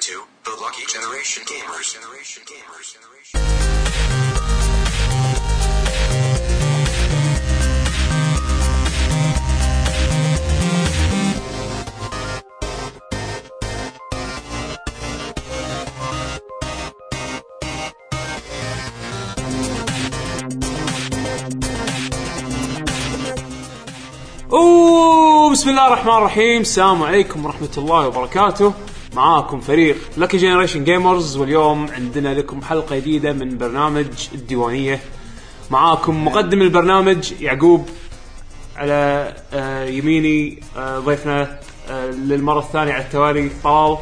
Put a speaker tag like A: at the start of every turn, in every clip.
A: to the Lucky Generation Gamers. Generation Gamers.
B: اوه بسم الله الرحمن الرحيم السلام عليكم ورحمه الله وبركاته معاكم فريق لكي جنريشن جيمرز واليوم عندنا لكم حلقه جديده من برنامج الديوانيه معاكم مقدم البرنامج يعقوب على آه، يميني آه، ضيفنا آه، للمره الثانيه على التوالي طلال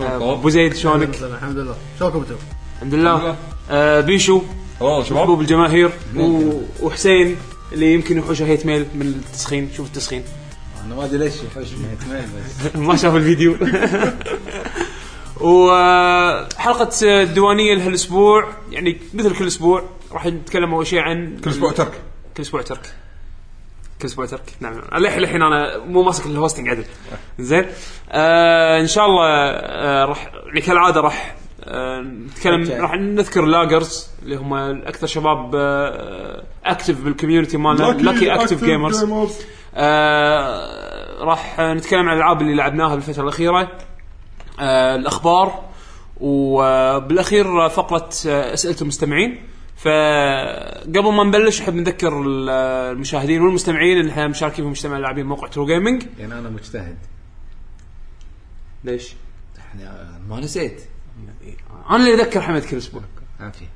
B: آه، ابو زيد شلونك؟
C: مثلاً، الحمد لله شلونكم انتم؟
B: الحمد لله آه، بيشو
D: والله
B: محبوب
D: شباب
B: الجماهير و- وحسين اللي يمكن يحوشه هيت ميل من التسخين شوف التسخين
E: انا ما ادري ليش يحوش اثنين بس
B: ما شاف الفيديو وحلقة الديوانية لهالاسبوع يعني مثل كل اسبوع راح نتكلم اول شيء عن
D: كل اسبوع ترك
B: كل اسبوع ترك كل اسبوع ترك نعم للحين للحين انا مو ماسك الهوستنج عدل زين آه ان شاء الله آه راح كالعاده راح آه نتكلم
E: أوكي.
B: راح نذكر لاجرز اللي هم اكثر شباب آه اكتف بالكوميونتي مالنا لكي اكتف جيمرز آه راح نتكلم عن الالعاب اللي لعبناها بالفتره الاخيره آه الاخبار وبالاخير فقره آه، اسئله المستمعين فقبل ما نبلش احب نذكر ال- المشاهدين والمستمعين ان احنا مشاركين في مجتمع اللاعبين موقع ترو جيمنج
E: يعني انا مجتهد
B: ليش؟
E: يعني أنا ما نسيت
B: انا اللي اذكر حمد كل اسبوع
E: عافيه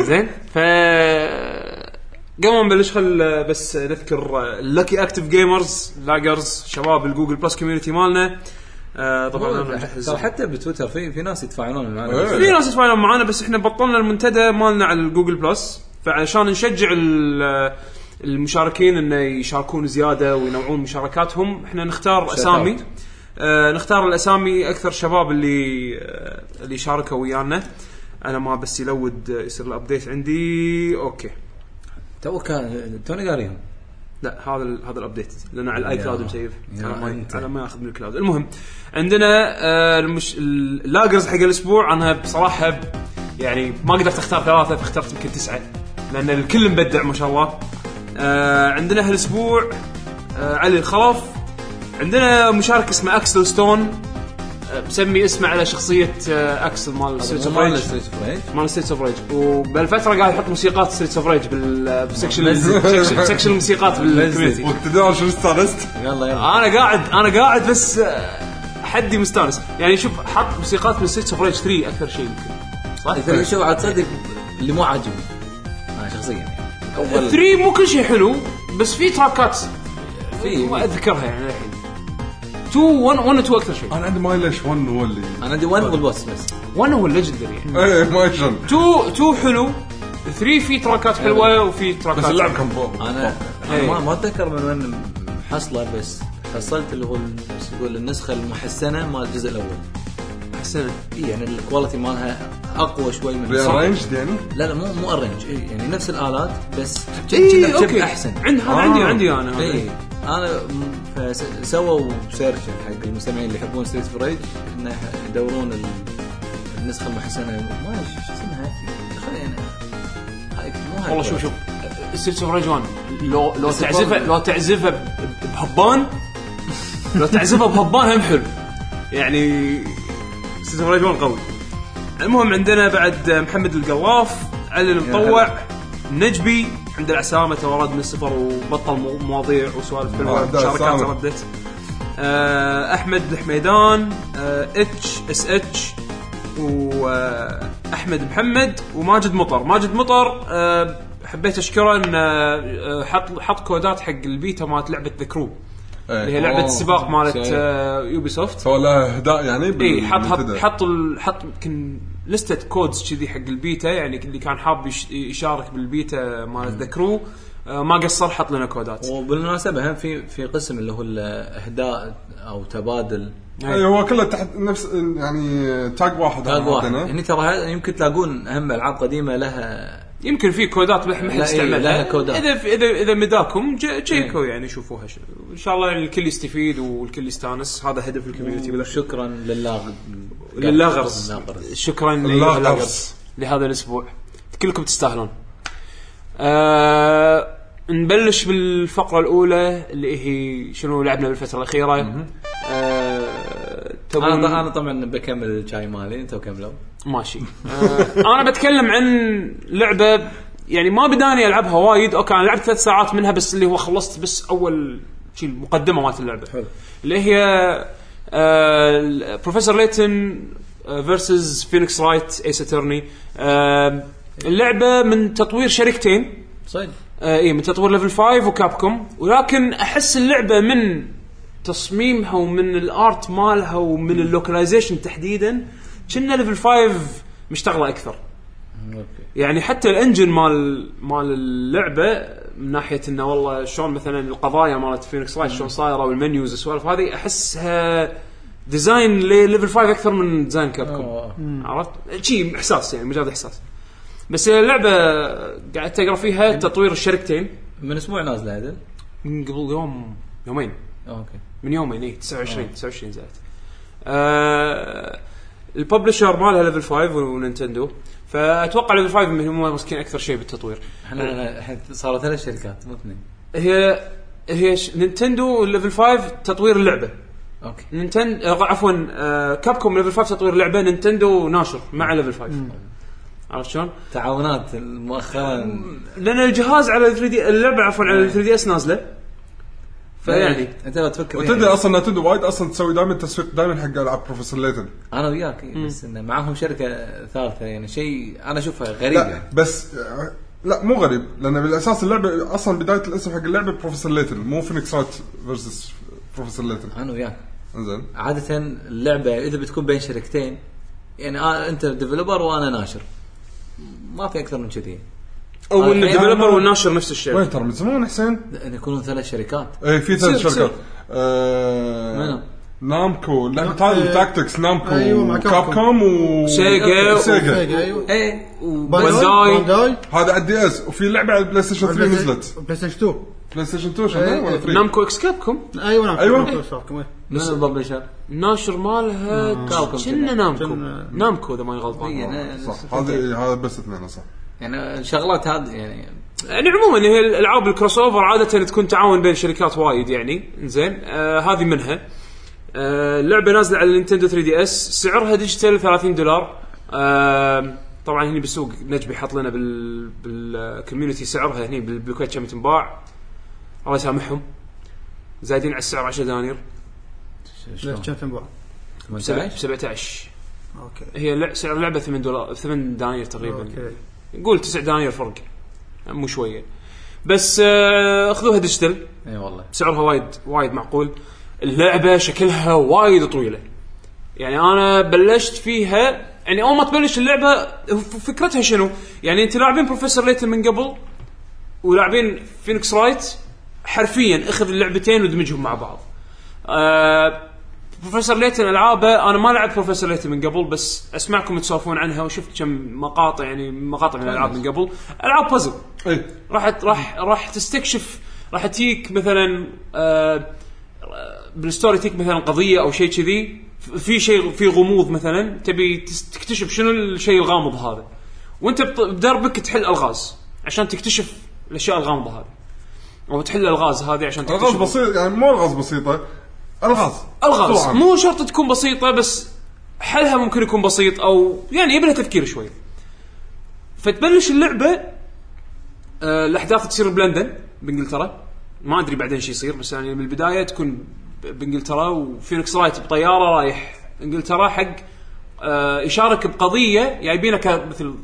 B: زين ف قبل ما نبلش خل بس نذكر لكي اكتف جيمرز لاجرز شباب الجوجل بلس كوميونتي مالنا آه، طبعا أنا مجهز-
E: ترى حتى بتويتر في في ناس يتفاعلون معنا
D: إيه.
B: في ناس يتفاعلون معانا بس احنا بطلنا المنتدى مالنا على الجوجل بلس فعشان نشجع ال- المشاركين انه يشاركون زياده وينوعون مشاركاتهم احنا نختار اسامي آه نختار الاسامي اكثر شباب اللي آه اللي شاركوا ويانا انا ما بس يلود آه، يصير الابديت عندي اوكي
E: تو كان توني قاريهم
B: لا هذا ال- هذا الابديت لان على الاي
E: يا-
B: كلاود مسيف
E: يا
B: انا ما
E: أنت.
B: انا ما اخذ من الكلاود المهم عندنا آه، المش... اللاجرز حق الاسبوع انا بصراحه ب- يعني ما قدرت اختار ثلاثه فاخترت يمكن تسعه لان الكل مبدع ما شاء الله آه، عندنا هالاسبوع آه، علي الخلف عندنا مشارك اسمه اكسل ستون آه، مسمي اسمه على شخصيه آه، اكسل مال ستريت اوف ريج
E: ستريت اوف ريج
B: مال ستريتس اوف ريج وبالفتره قاعد يحط موسيقات ستريتس اوف ريج بال- بالسكشن سكشن- سكشن الموسيقات بالكوميونتي
D: وانت داري شو آه، استانست
E: يلا يلا
B: انا قاعد انا قاعد بس آه، حدي مستانس يعني شوف حط موسيقات من ستريتس اوف ريج 3 اكثر شيء يمكن
E: ترى شو عاد تصدق اللي مو عاجبني انا شخصيا يعني اول
B: 3 مو كل شيء حلو بس في تراكات
E: في-
B: ما اذكرها يعني الحين 2 1 1 2 اكثر شيء
D: انا عندي ماي ليش 1 هو اللي
E: انا عندي 1 والبوس بس
B: 1 هو الليجندري يعني
D: ايه ما شن
B: 2 2 حلو 3 في تراكات حلوه وفي تراكات
D: بس اللعب كان بوم
E: انا
B: إيه.
E: انا ما- ما اتذكر من وين محصله بس حصلت اللي هو بس يقول النسخه المحسنه مال الجزء الاول
B: حسنه
E: إيه يعني الكواليتي مالها اقوى شوي من
D: ريارينجد يعني
E: لا لا مو مو ارنج إيه يعني نفس الالات بس
B: إيه،
E: كنا
B: أوكي.
E: بشب احسن
B: عند- هذا عندي- عندي أنا، هذا.
E: اي انا م- فس- إيه. سووا سيرش حق المستمعين اللي يحبون ستريت فريج انه يح- يدورون ال- النسخه المحسنه ما أدري شو اسمها دخل يعني هاي- مو هاي
B: والله شوف شوف ستريتس اوف ريج 1 لو لو
E: بس
B: تعزفها
E: برضه.
B: لو تعزفها ب- ب- بهبان لو تعزفها بهبان هم حلو يعني ستريتس اوف ريج 1 قوي المهم عندنا بعد محمد القواف علي المطوع نجبي عند العسامة تورد من السفر وبطل مو- مواضيع وسوالف
D: آه،
B: حلوه
D: عند
B: مشاركات
D: العسامة.
B: ردت آه، احمد الحميدان آه، اتش اس اتش واحمد آه، محمد وماجد مطر ماجد مطر آه، حبيت اشكره ان آه، حط حط كودات حق البيتا مالت لعبه ذا كرو اللي هي لعبه السباق مالت يوبي سوفت
D: سوى لها اهداء يعني بال-
B: اي إيه، حط حط
D: بالمنتدى.
B: حط ال- حط يمكن لستة كودز كذي حق البيتا يعني اللي كان حاب يش- يشارك بالبيتا مال ذا كرو آه، ما قصر حط لنا كودات
E: وبالمناسبه هم في في قسم اللي هو الاهداء او تبادل
D: اي إيه، هو كله تحت نفس يعني تاج واحد
E: تاج
D: إحنا
E: واحد
B: يعني-
E: يعني
D: حاطينه.
E: هني ترى ه- يمكن تلاقون اهم العاب قديمه لها
B: يمكن في كودات ما احنا
E: لا، إيه،
B: نستعملها
E: لها كودات. إيه.
B: اذا في اذا اذا مداكم ج- تشيكوا يعني شوفوها شنو. ان شاء الله الكل يستفيد والكل يستانس هذا هدف الكوميونتي بالاخير
E: شكرا للاغ
B: للاغرز
E: للاغرز.
B: شكرا
D: للاغرز.
B: للاغرز لهذا الاسبوع كلكم تستاهلون آه نبلش بالفقره الاولى اللي هي شنو لعبنا بالفتره الاخيره آه تبون-
E: انا انا طبعا بكمل الشاي مالي انتوا كملوا
B: ماشي آه انا بتكلم عن لعبه يعني ما بداني العبها وايد اوكي انا لعبت ثلاث ساعات منها بس اللي هو خلصت بس اول شيء المقدمه مالت اللعبه
E: حلو.
B: اللي هي آه بروفيسور ليتن فيرسز فينيكس رايت ايس اترني اللعبه آه، من تطوير شركتين
E: صدق
B: آه اي من تطوير ليفل 5 وكابكوم ولكن احس اللعبه من تصميمها ومن الارت مالها ومن اللوكلايزيشن تحديدا كنا ليفل 5 مشتغله اكثر
E: اوكي
B: يعني حتى الانجن مال مال اللعبه من ناحيه انه والله شلون مثلا القضايا مالت فينيكس رايت شلون صايره والمنيوز والسوالف هذه احسها ديزاين لليفل 5 اكثر من ديزاين كابكوم
E: أوه.
B: عرفت؟ شي احساس يعني مجرد احساس بس اللعبه قعدت اقرا فيها تطوير الشركتين
E: من اسبوع نازله هذا
B: من قبل يوم يومين
E: اوكي
B: من يومين إيه، اي 29 29 زائد آه الببلشر مالها ليفل 5 ونينتندو فاتوقع ليفل 5 من هم ماسكين اكثر شيء بالتطوير
E: احنا احنا صاروا ثلاث شركات مو اثنين
B: هي هي ش- نينتندو ليفل 5 تطوير اللعبه
E: اوكي
B: نينتند آه، عفوا آه كابكوم ليفل 5 تطوير لعبه نينتندو ناشر مع ليفل 5 عرفت شلون؟
E: تعاونات مؤخرا
B: لان الجهاز على 3 دي اللعبه عفوا على 3 دي اس نازله فيعني
E: انت لو تفكر
D: وتدري
E: يعني
D: اصلا نتندو وايد اصلا تسوي دائما تسويق دائما حق العاب بروفيسور ليتن
E: انا وياك بس انه معاهم شركه ثالثه يعني شيء انا اشوفها
B: إيه.
E: غريب
D: لا
E: يعني
D: بس لا مو غريب لان بالاساس اللعبه اصلا بدايه الاسم حق اللعبه بروفيسور ليتن مو فينيكس رايت فيرسس بروفيسور ليتن
E: انا وياك
D: انزين
E: عاده اللعبه اذا بتكون بين شركتين يعني آه انت ديفلوبر وانا ناشر ما في اكثر من كذي
B: او ان
E: أنا-
B: الديفلوبر والناشر نفس الشيء
D: وين ترى من زمان حسين؟
E: ان يكونون ثلاث شركات
D: ايه في ثلاث
E: يصير- يصير.
D: شركات آه،
E: منو؟
D: نامكو لا
C: نا-
D: تعال
C: إيه.
D: تاكتكس نامكو
C: أيوة، مع
D: كاب
C: كابكوم.
D: كوم و
B: سيجا و-
D: سيجا
C: ايوه
E: ايه
B: بانداي.
C: بانداي
D: هذا على الدي اس وفي لعبه على البلاي ستيشن 3 نزلت
C: بلاي ستيشن 2
D: بلاي ستيشن 2 شنو
C: إيه.
D: ولا 3
B: نامكو اكس كابكوم
C: ايوه نعم
D: أيوة.
C: كنت أشارككم، إيه.
E: من الببلشر؟
B: الناشر مالها
E: كابكوم
B: كنا
E: كنا.
B: نامكو
C: كنا-
B: نامكو اذا ماني غلطان
E: يعني
D: صح هذا هذا بس اثنين صح
E: يعني شغلات هذه يعني
B: يعني عموما هي الالعاب الكروس اوفر عاده تكون تعاون بين شركات وايد يعني زين آه هذه منها آه اللعبه نازله على النينتندو 3 دي اس سعرها ديجيتال 30 دولار آه طبعا هني بالسوق نجبي حط لنا بال بالكوميونتي سعرها هني بال- بالكويت كم تنباع الله يسامحهم زايدين على السعر 10 دنانير
C: ليش كان تنبع
B: ب
E: 18
B: 17
C: اوكي
B: هي لع- سعر اللعبه 8 دولار 8 دنانير تقريبا
C: اوكي
B: قول 9 دنانير فرق مو شويه بس آه، خذوها ديجيتال
E: اي إيه والله
B: سعرها وايد وايد معقول اللعبه شكلها وايد طويله يعني انا بلشت فيها يعني اول ما تبلش اللعبه هو ف- فكرتها شنو؟ يعني انت لاعبين بروفيسور ليتن من قبل ولاعبين فينيكس رايت حرفيا اخذ اللعبتين ودمجهم مع بعض. آه بروفيسور ليتن العابه انا ما لعبت بروفيسور ليتن من قبل بس اسمعكم تسولفون عنها وشفت كم مقاطع يعني مقاطع من الالعاب من قبل، العاب بازل
D: اي
B: راح راح راح تستكشف راح تجيك مثلا آه، آه، بالستوري تجيك مثلا قضيه او شيء كذي في شيء في غموض مثلا تبي تس- تكتشف شنو الشيء الغامض هذا وانت بط- بدربك تحل الغاز عشان تكتشف الاشياء الغامضه هذه او تحل الغاز هذه عشان تكتشف
D: الغاز بسيط يعني مو الغاز بسيطه الغاز
B: الغاز
D: طبعاً.
B: مو شرط تكون بسيطه بس حلها ممكن يكون بسيط او يعني يبي لها تفكير شوي فتبلش اللعبه آه الاحداث تصير بلندن بانجلترا ما ادري بعدين شو يصير بس يعني من البدايه تكون ب- بانجلترا وفينيكس رايت بطياره رايح انجلترا حق آه يشارك بقضيه جايبينها كمثل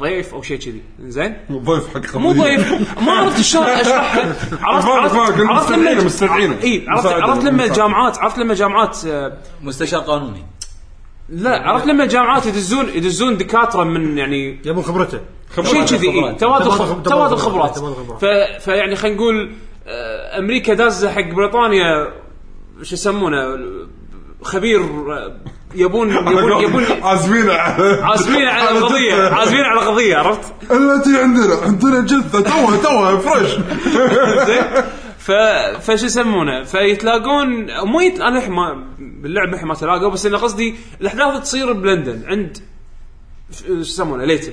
B: ضيف او شيء كذي زين
D: ضيف حق قضية.
B: مو ضيف ما عرفت شلون اشرحها عرفت
D: فاهم،
B: عرفت
D: فاهم،
B: عرفت لما
D: مستدعينه، مستدعينه.
B: اي عرفت
D: مساعدة،
B: عرفت لما
D: مساعدة.
B: الجامعات عرفت لما الجامعات آه،
E: مستشار قانوني
B: لا عرفت لما الجامعات يدزون يدزون دكاتره من يعني
C: يبون خبرته
B: شيء كذي إيه،
E: خبرات.
B: توازن خ-
C: تبادل-
B: توازن
C: تبادل
B: خبرات
C: تبادل خبرات.
B: ف- فيعني خلينا نقول آه، امريكا دازه حق بريطانيا شو يسمونه خبير آه، يبون يبون يبون
D: عازمين على
B: عازمين على القضيه
D: جثة.
B: عازمين على القضيه عرفت؟
D: التي عندنا عندنا جثه توها توها فريش
B: زين ف فشو يسمونه فيتلاقون مو يت... انا الحين ما باللعبه الحين ما تلاقوا بس انا قصدي الاحداث تصير بلندن عند ف- شو يسمونه ليتن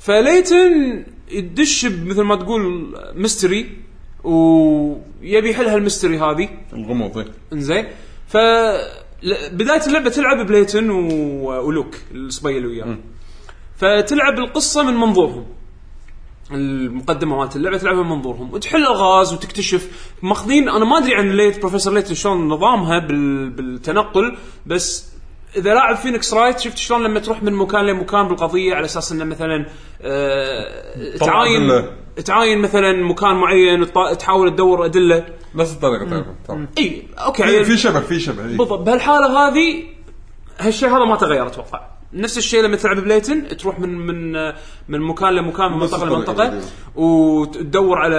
B: فليتن يدش ب- مثل ما تقول ميستري ويبي يحل هالميستري هذه
D: الغموض إيه.
B: انزين ف ل- بدايه اللعبه تلعب بليتن و... ولوك الصبي اللي وياه فتلعب القصه من منظورهم المقدمه مالت اللعبه تلعبها من منظورهم وتحل الغاز وتكتشف ماخذين انا ما ادري عن ليت بروفيسور ليتن شلون نظامها بال... بالتنقل بس اذا لاعب فينيكس رايت شفت شلون لما تروح من مكان لمكان بالقضيه على اساس انه مثلا آه...
D: طبعاً
B: تعاين
D: بالله.
B: تعاين مثلا مكان معين وتط- تحاول تدور ادله
D: نفس الطريقه تقريبا طبعاً.
B: اي اوكي
D: في-
B: عيل-
D: في شبه في شبه إيه.
B: بالضبط بهالحاله هذه هالشيء هذا ما تغير اتوقع نفس الشيء لما تلعب بليتن تروح من من من مكان لمكان من
D: نفس
B: منطقه
D: الطريقة
B: لمنطقه
D: تقريباً.
B: وتدور على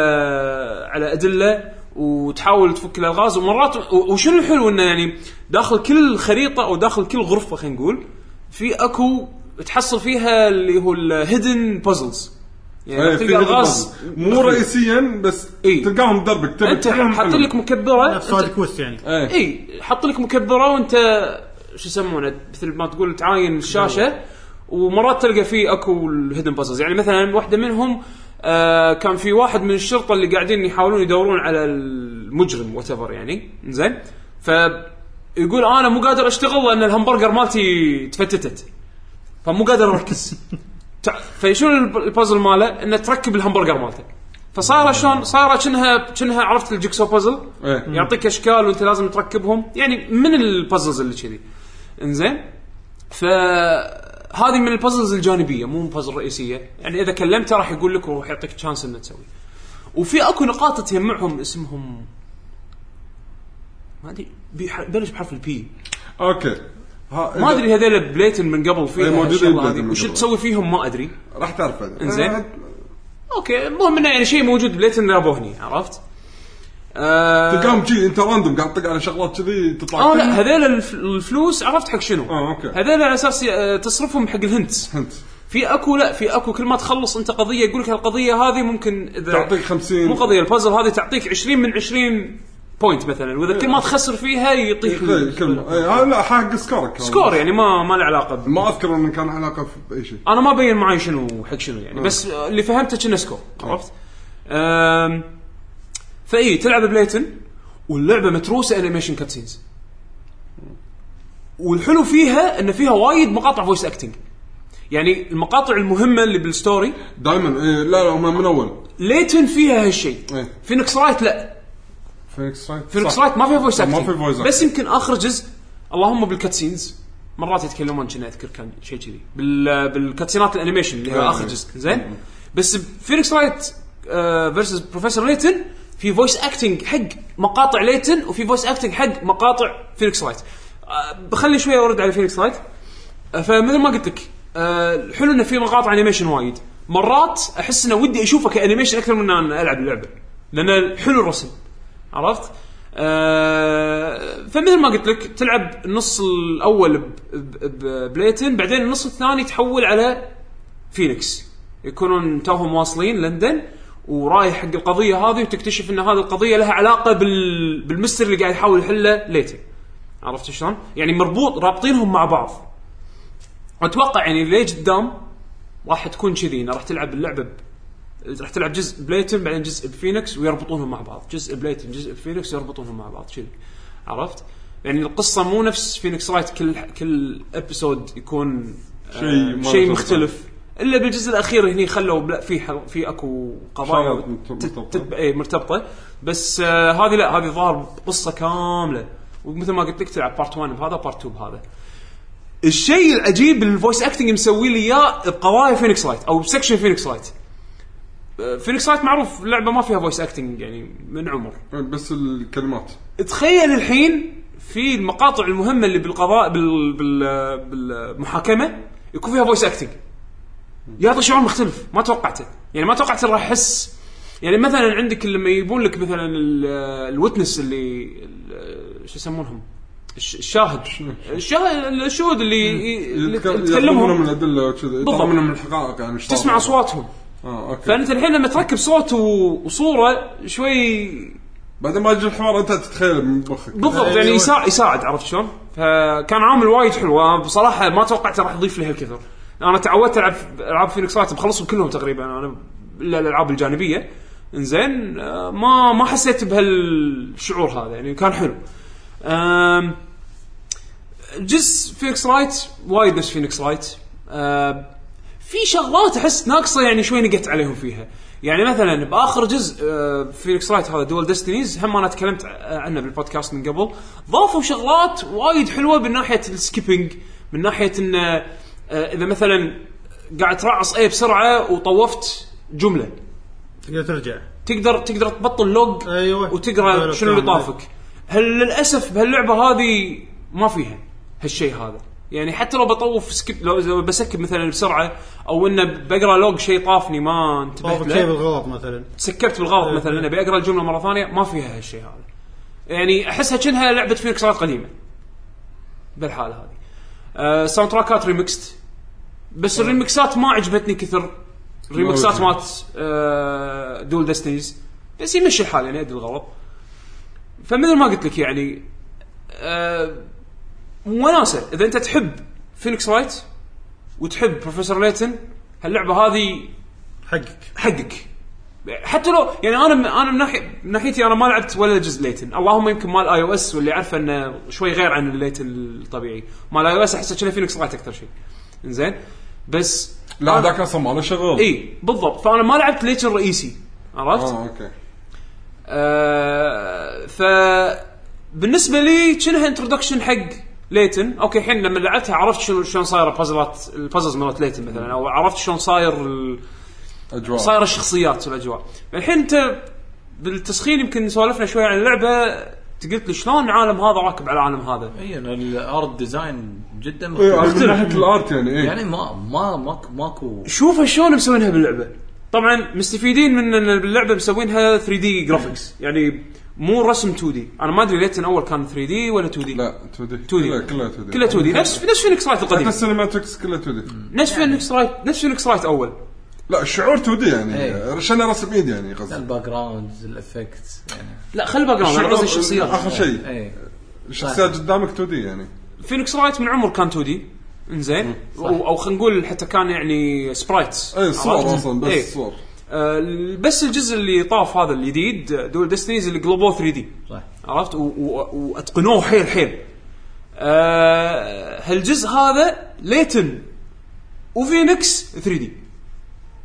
B: على ادله وتحاول تفك الالغاز ومرات و- وشنو الحلو انه يعني داخل كل خريطه او داخل كل غرفه خلينا نقول في اكو تحصل فيها اللي هو الهيدن بازلز يعني
D: إيه، في
B: تلقى الغاز
D: غاز. مو رئيسيا بس
B: إيه.
D: تلقاهم دربك تبي
B: انت
D: تلقاهم
B: حاط
D: حلو.
B: لك مكبره
C: نفس سؤال كوست يعني
D: إيه.
B: اي حط لك مكبره وانت شو يسمونه مثل ما تقول تعاين الشاشه ومرات تلقى فيه اكو الهيدن بازلز يعني مثلا واحده منهم آه كان في واحد من الشرطه اللي قاعدين يحاولون يدورون على المجرم وات يعني زين ف يقول انا مو قادر اشتغل لان الهمبرجر مالتي تفتتت فمو قادر اركز تع- فشنو الب- البازل ماله انه تركب الهمبرجر مالته فصار شلون صارت شنها شنها عرفت الجيكسو بازل
D: إيه.
B: يعطيك اشكال وانت لازم تركبهم يعني من البازلز اللي كذي انزين فهذه من البازلز الجانبيه مو من بازل رئيسيه يعني اذا كلمته راح يقول لك وراح يعطيك تشانس انه تسوي وفي اكو نقاط تجمعهم اسمهم ما ادري بيح- بلش بحرف البي
D: اوكي ها-
B: ما ادري هذول بليتن من قبل
D: إيه،
B: فيها
D: موجودين
B: الشغله
D: بليتن
B: هذه
D: من
B: وش
D: قبل.
B: تسوي فيهم ما ادري
D: راح تعرف بعدين
B: إنزين.
D: آه،
B: اوكي المهم انه يعني شيء موجود بليتن رابوه هني عرفت؟ آه
D: تلقاهم شي انت راندوم قاعد تطق على شغلات كذي تطلع
B: اه لا هذيل الف- الفلوس عرفت حق شنو؟
D: آه، أوكي.
B: هذيل على اساس آه، تصرفهم حق الهندس
D: انت
B: في اكو لا في اكو كل ما تخلص انت قضيه يقول لك هالقضيه هذه ممكن اذا
D: تعطيك 50
B: مو قضيه البازل هذه تعطيك 20 من 20 بوينت مثلا واذا كل ما تخسر فيها يعطيك
D: إيه، كلمه إيه، آه، لا حق سكورك
B: سكور يعني ما ما له علاقه ب...
D: ما اذكر انه كان علاقه باي شيء
B: انا ما بين معي شنو حق شنو يعني بس اللي فهمته كنا سكور عرفت؟ أم، فاي تلعب بليتن واللعبه متروسه انيميشن كاتسينز والحلو فيها ان فيها وايد مقاطع فويس اكتنج يعني المقاطع المهمه اللي بالستوري
D: دائما إيه لا لا هم من اول
B: ليتن فيها هالشيء
D: إيه.
B: فينكس رايت لا
D: فينكس رايت
B: فينكس
D: صح.
B: رايت ما فيها فويس
D: ما
B: اكتنج
D: في voice acting.
B: بس يمكن اخر جزء اللهم بالكاتسينز مرات يتكلمون كنا اذكر كان شيء كذي بال بالكاتسينات الانيميشن اللي هي
D: إيه.
B: اخر جزء زين بس آه، فينكس رايت فيرسز بروفيسور ليتن في فويس اكتنج حق مقاطع ليتن وفي فويس اكتنج حق مقاطع فينكس رايت آه، بخلي شويه ارد على فينكس رايت آه، فمثل ما قلت لك آه، الحلو انه في مقاطع انيميشن وايد مرات احس انه ودي اشوفه كانيميشن اكثر من ان العب اللعبه لان حلو الرسم عرفت؟ آه فمثل ما قلت لك تلعب النص الاول ب- ب- ب- بليتن بعدين النص الثاني تحول على فينيكس يكونون توهم واصلين لندن ورايح حق القضيه هذه وتكتشف ان هذه القضيه لها علاقه بال... بالمستر اللي قاعد يحاول يحله ليتن عرفت شلون؟ يعني مربوط رابطينهم مع بعض اتوقع يعني اللي قدام راح تكون كذي إنه راح تلعب اللعبه ب... راح تلعب جزء بليتن بعدين جزء بفينكس ويربطونهم مع بعض جزء بليتن جزء بفينكس يربطونهم مع بعض كذي عرفت يعني القصه مو نفس فينكس رايت كل كل ابيسود يكون آه،
D: شيء ما
B: شيء
D: له
B: مختلف الا بالجزء الاخير هني خلوا بلا في حل- في اكو قضايا
D: شغلات مرتبطة.
B: تت- تت- إيه، مرتبطه بس آه، هذه لا هذه ظهر قصه كامله ومثل ما قلت لك تلعب بارت 1 بهذا بارت 2 بهذا الشيء العجيب اللي الفويس اكتنج مسوي لي اياه بقضايا فينيكس رايت او بسكشن فينيكس رايت آه، فينيكس رايت معروف اللعبه ما فيها فويس اكتنج يعني من عمر
D: بس الكلمات
B: تخيل الحين في المقاطع المهمه اللي بالقضاء بال بال بالمحاكمه يكون فيها فويس اكتنج يعطي شعور مختلف ما توقعته يعني ما توقعت راح احس يعني مثلا عندك لما يجيبون لك مثلا الوتنس اللي ال- شو يسمونهم الش- الشاهد الشاهد الشهود اللي اللي
D: يتك- يطلبونهم من
B: تكلمهم
D: الادله وكذا يطلبونهم من الحقائق يعني إيش صار.
B: تسمع اصواتهم
D: اه اوكي
B: فانت الحين لما تركب صوت و- وصوره شوي
D: بعدين ما يجي الحوار انت تتخيله من مخك
B: بالضبط يعني يساعد, يساعد عرفت شلون؟ فكان عامل وايد حلو أنا بصراحه ما توقعت راح يضيف لي هالكثر انا تعودت العب العاب فينيكس رايت مخلصهم كلهم تقريبا انا الا الالعاب الجانبيه انزين آه، ما ما حسيت بهالشعور هذا يعني كان حلو آم، جزء فينيكس رايت وايد نفس فينيكس رايت آه، في شغلات احس ناقصه يعني شوي نقت عليهم فيها يعني مثلا باخر جزء آه، فينيكس رايت هذا دول ديستنيز هم انا تكلمت ع- عنه بالبودكاست من قبل ضافوا شغلات وايد حلوه من ناحيه السكيبنج من ناحيه ان آه، اذا مثلا قاعد ترعص اي بسرعه وطوفت جمله
C: تقدر ترجع
B: تقدر تقدر تبطل لوج
C: أيوة.
B: وتقرا
C: أيوة،
B: شنو اللي
C: فاهم.
B: طافك هل للاسف بهاللعبه هذه ما فيها هالشيء هذا يعني حتى لو بطوف سكيب لو إذا بسكب مثلا بسرعه او انه بقرا لوج شيء طافني ما انتبهت
C: طابق شيء
B: له
C: بالغلط مثلا
B: سكبت بالغلط مثلا انه بقرا الجمله مره ثانيه ما فيها هالشيء هذا يعني احسها كأنها لعبه فينيكس رايت قديمه بالحاله هذه آه ساوند تراكات ريمكست بس الريمكسات ما عجبتني كثر الريمكسات
D: ما
B: مات آه دول ديستنيز بس يمشي الحال يعني ادري الغرض فمثل ما قلت لك يعني آه وناسه اذا انت تحب فينيكس رايت وتحب بروفيسور ليتن هاللعبه هذه
C: حقك
B: حقك حتى لو يعني انا من انا من ناحيه من ناحيتي انا ما لعبت ولا جزء ليتن اللهم يمكن مال اي او اس واللي عارفه انه شوي غير عن الليتن الطبيعي مال اي او اس احسه كنا فينكس رايت اكثر شيء زين بس
D: لا ذاك اصلا ما له شغل
B: اي بالضبط فانا ما لعبت ليتن الرئيسي عرفت؟
D: اه اوكي
B: آه ف بالنسبه لي كأنها انتروداكشن حق ليتن اوكي الحين لما لعبتها عرفت شنو شلون صايره بازلات البازلز مالت ليتن مثلا او عرفت شلون صاير ال...
D: اجواء
B: صايره الشخصيات والاجواء الحين انت بالتسخين يمكن سولفنا شوي عن اللعبه أنت قلت لي شلون العالم هذا راكب على العالم هذا
E: اي أنا الارت ديزاين جدا
D: إيه،
E: مختلف.
D: من ناحيه الارت يعني ايه
E: يعني ما ما ماكو ماكو
B: شوف شلون مسوينها باللعبه طبعا مستفيدين من ان باللعبه مسوينها 3 دي جرافيكس يعني مو رسم 2 دي انا ما ادري ليتن اول كان 3 دي ولا 2 دي
D: لا 2 دي
B: 2D.
D: كلها كلها 2 دي
B: كلها 2 دي نفس نفس فينيكس رايت
D: حتى
B: القديم
D: السينماتكس كلها 2 دي
B: نفس فينيكس رايت نفس فينيكس رايت اول
D: لا الشعور 2 دي يعني
E: إيه.
D: شنو رسم ايد يعني قصدي
E: الباك جراوندز الافكتس يعني إيه.
B: لا خلي باك جراوند انا قصدي إيه. الشخصيات
D: اخر شيء
E: اي
D: الشخصيات قدامك 2 دي يعني
B: فينيكس رايت من عمر كان 2 دي انزين او أو خلينا نقول حتى كان يعني سبرايتس
D: اي صور
B: عرفت؟
D: اصلا إيه، بس
B: إيه.
D: صور
B: آه، بس الجزء اللي طاف هذا الجديد دول ديستنيز اللي قلبوه 3 دي
E: صح
B: عرفت و- و- واتقنوه حيل حيل آه، هالجزء هذا ليتن وفينيكس 3 دي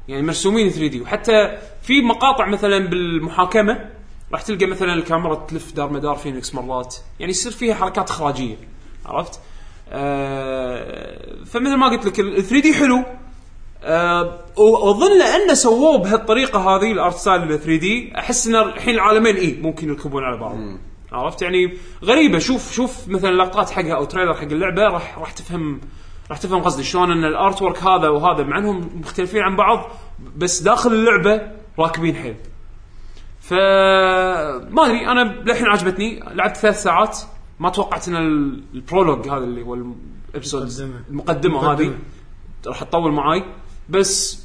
B: يعني مرسومين 3 دي وحتى في مقاطع مثلا بالمحاكمه راح تلقى مثلا الكاميرا تلف دار مدار فينيكس مرات يعني يصير فيها حركات اخراجيه عرفت؟ آه فمثل ما قلت لك ال 3 دي حلو آه واظن لانه سووه بهالطريقه هذه الارت ستايل ال 3 دي احس ان الحين العالمين اي ممكن يركبون على بعض عرفت يعني غريبه شوف شوف مثلا لقطات حقها او تريلر حق اللعبه راح راح تفهم راح تفهم قصدي شلون ان الارت ورك هذا وهذا مع انهم مختلفين عن بعض بس داخل اللعبه راكبين حيل ف ما ادري انا للحين عجبتني لعبت ثلاث ساعات ما توقعت ان ال- البرولوج هذا اللي هو الابسود
C: المقدمة.
B: المقدمه هذه
C: مقدمة.
B: راح تطول معاي بس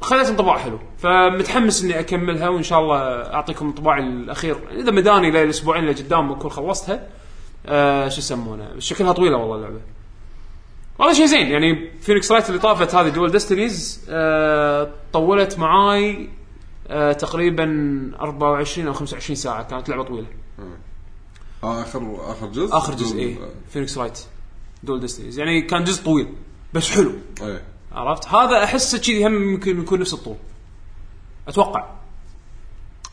B: خليت انطباع حلو فمتحمس اني اكملها وان شاء الله اعطيكم انطباعي الاخير اذا مداني للاسبوعين اللي قدام اكون خلصتها آه شو يسمونه شكلها طويله والله اللعبه والله شيء زين يعني فينيكس رايت اللي طافت هذه دول ديستنيز آه طولت معاي آه تقريبا 24 او 25 ساعه كانت لعبه طويله
D: آه، اخر اخر جزء
B: اخر جزء ايه فينيكس رايت دول ديستنيز يعني كان جزء طويل بس حلو
D: ايه
B: عرفت هذا احسه كذي هم يمكن يكون نفس الطول اتوقع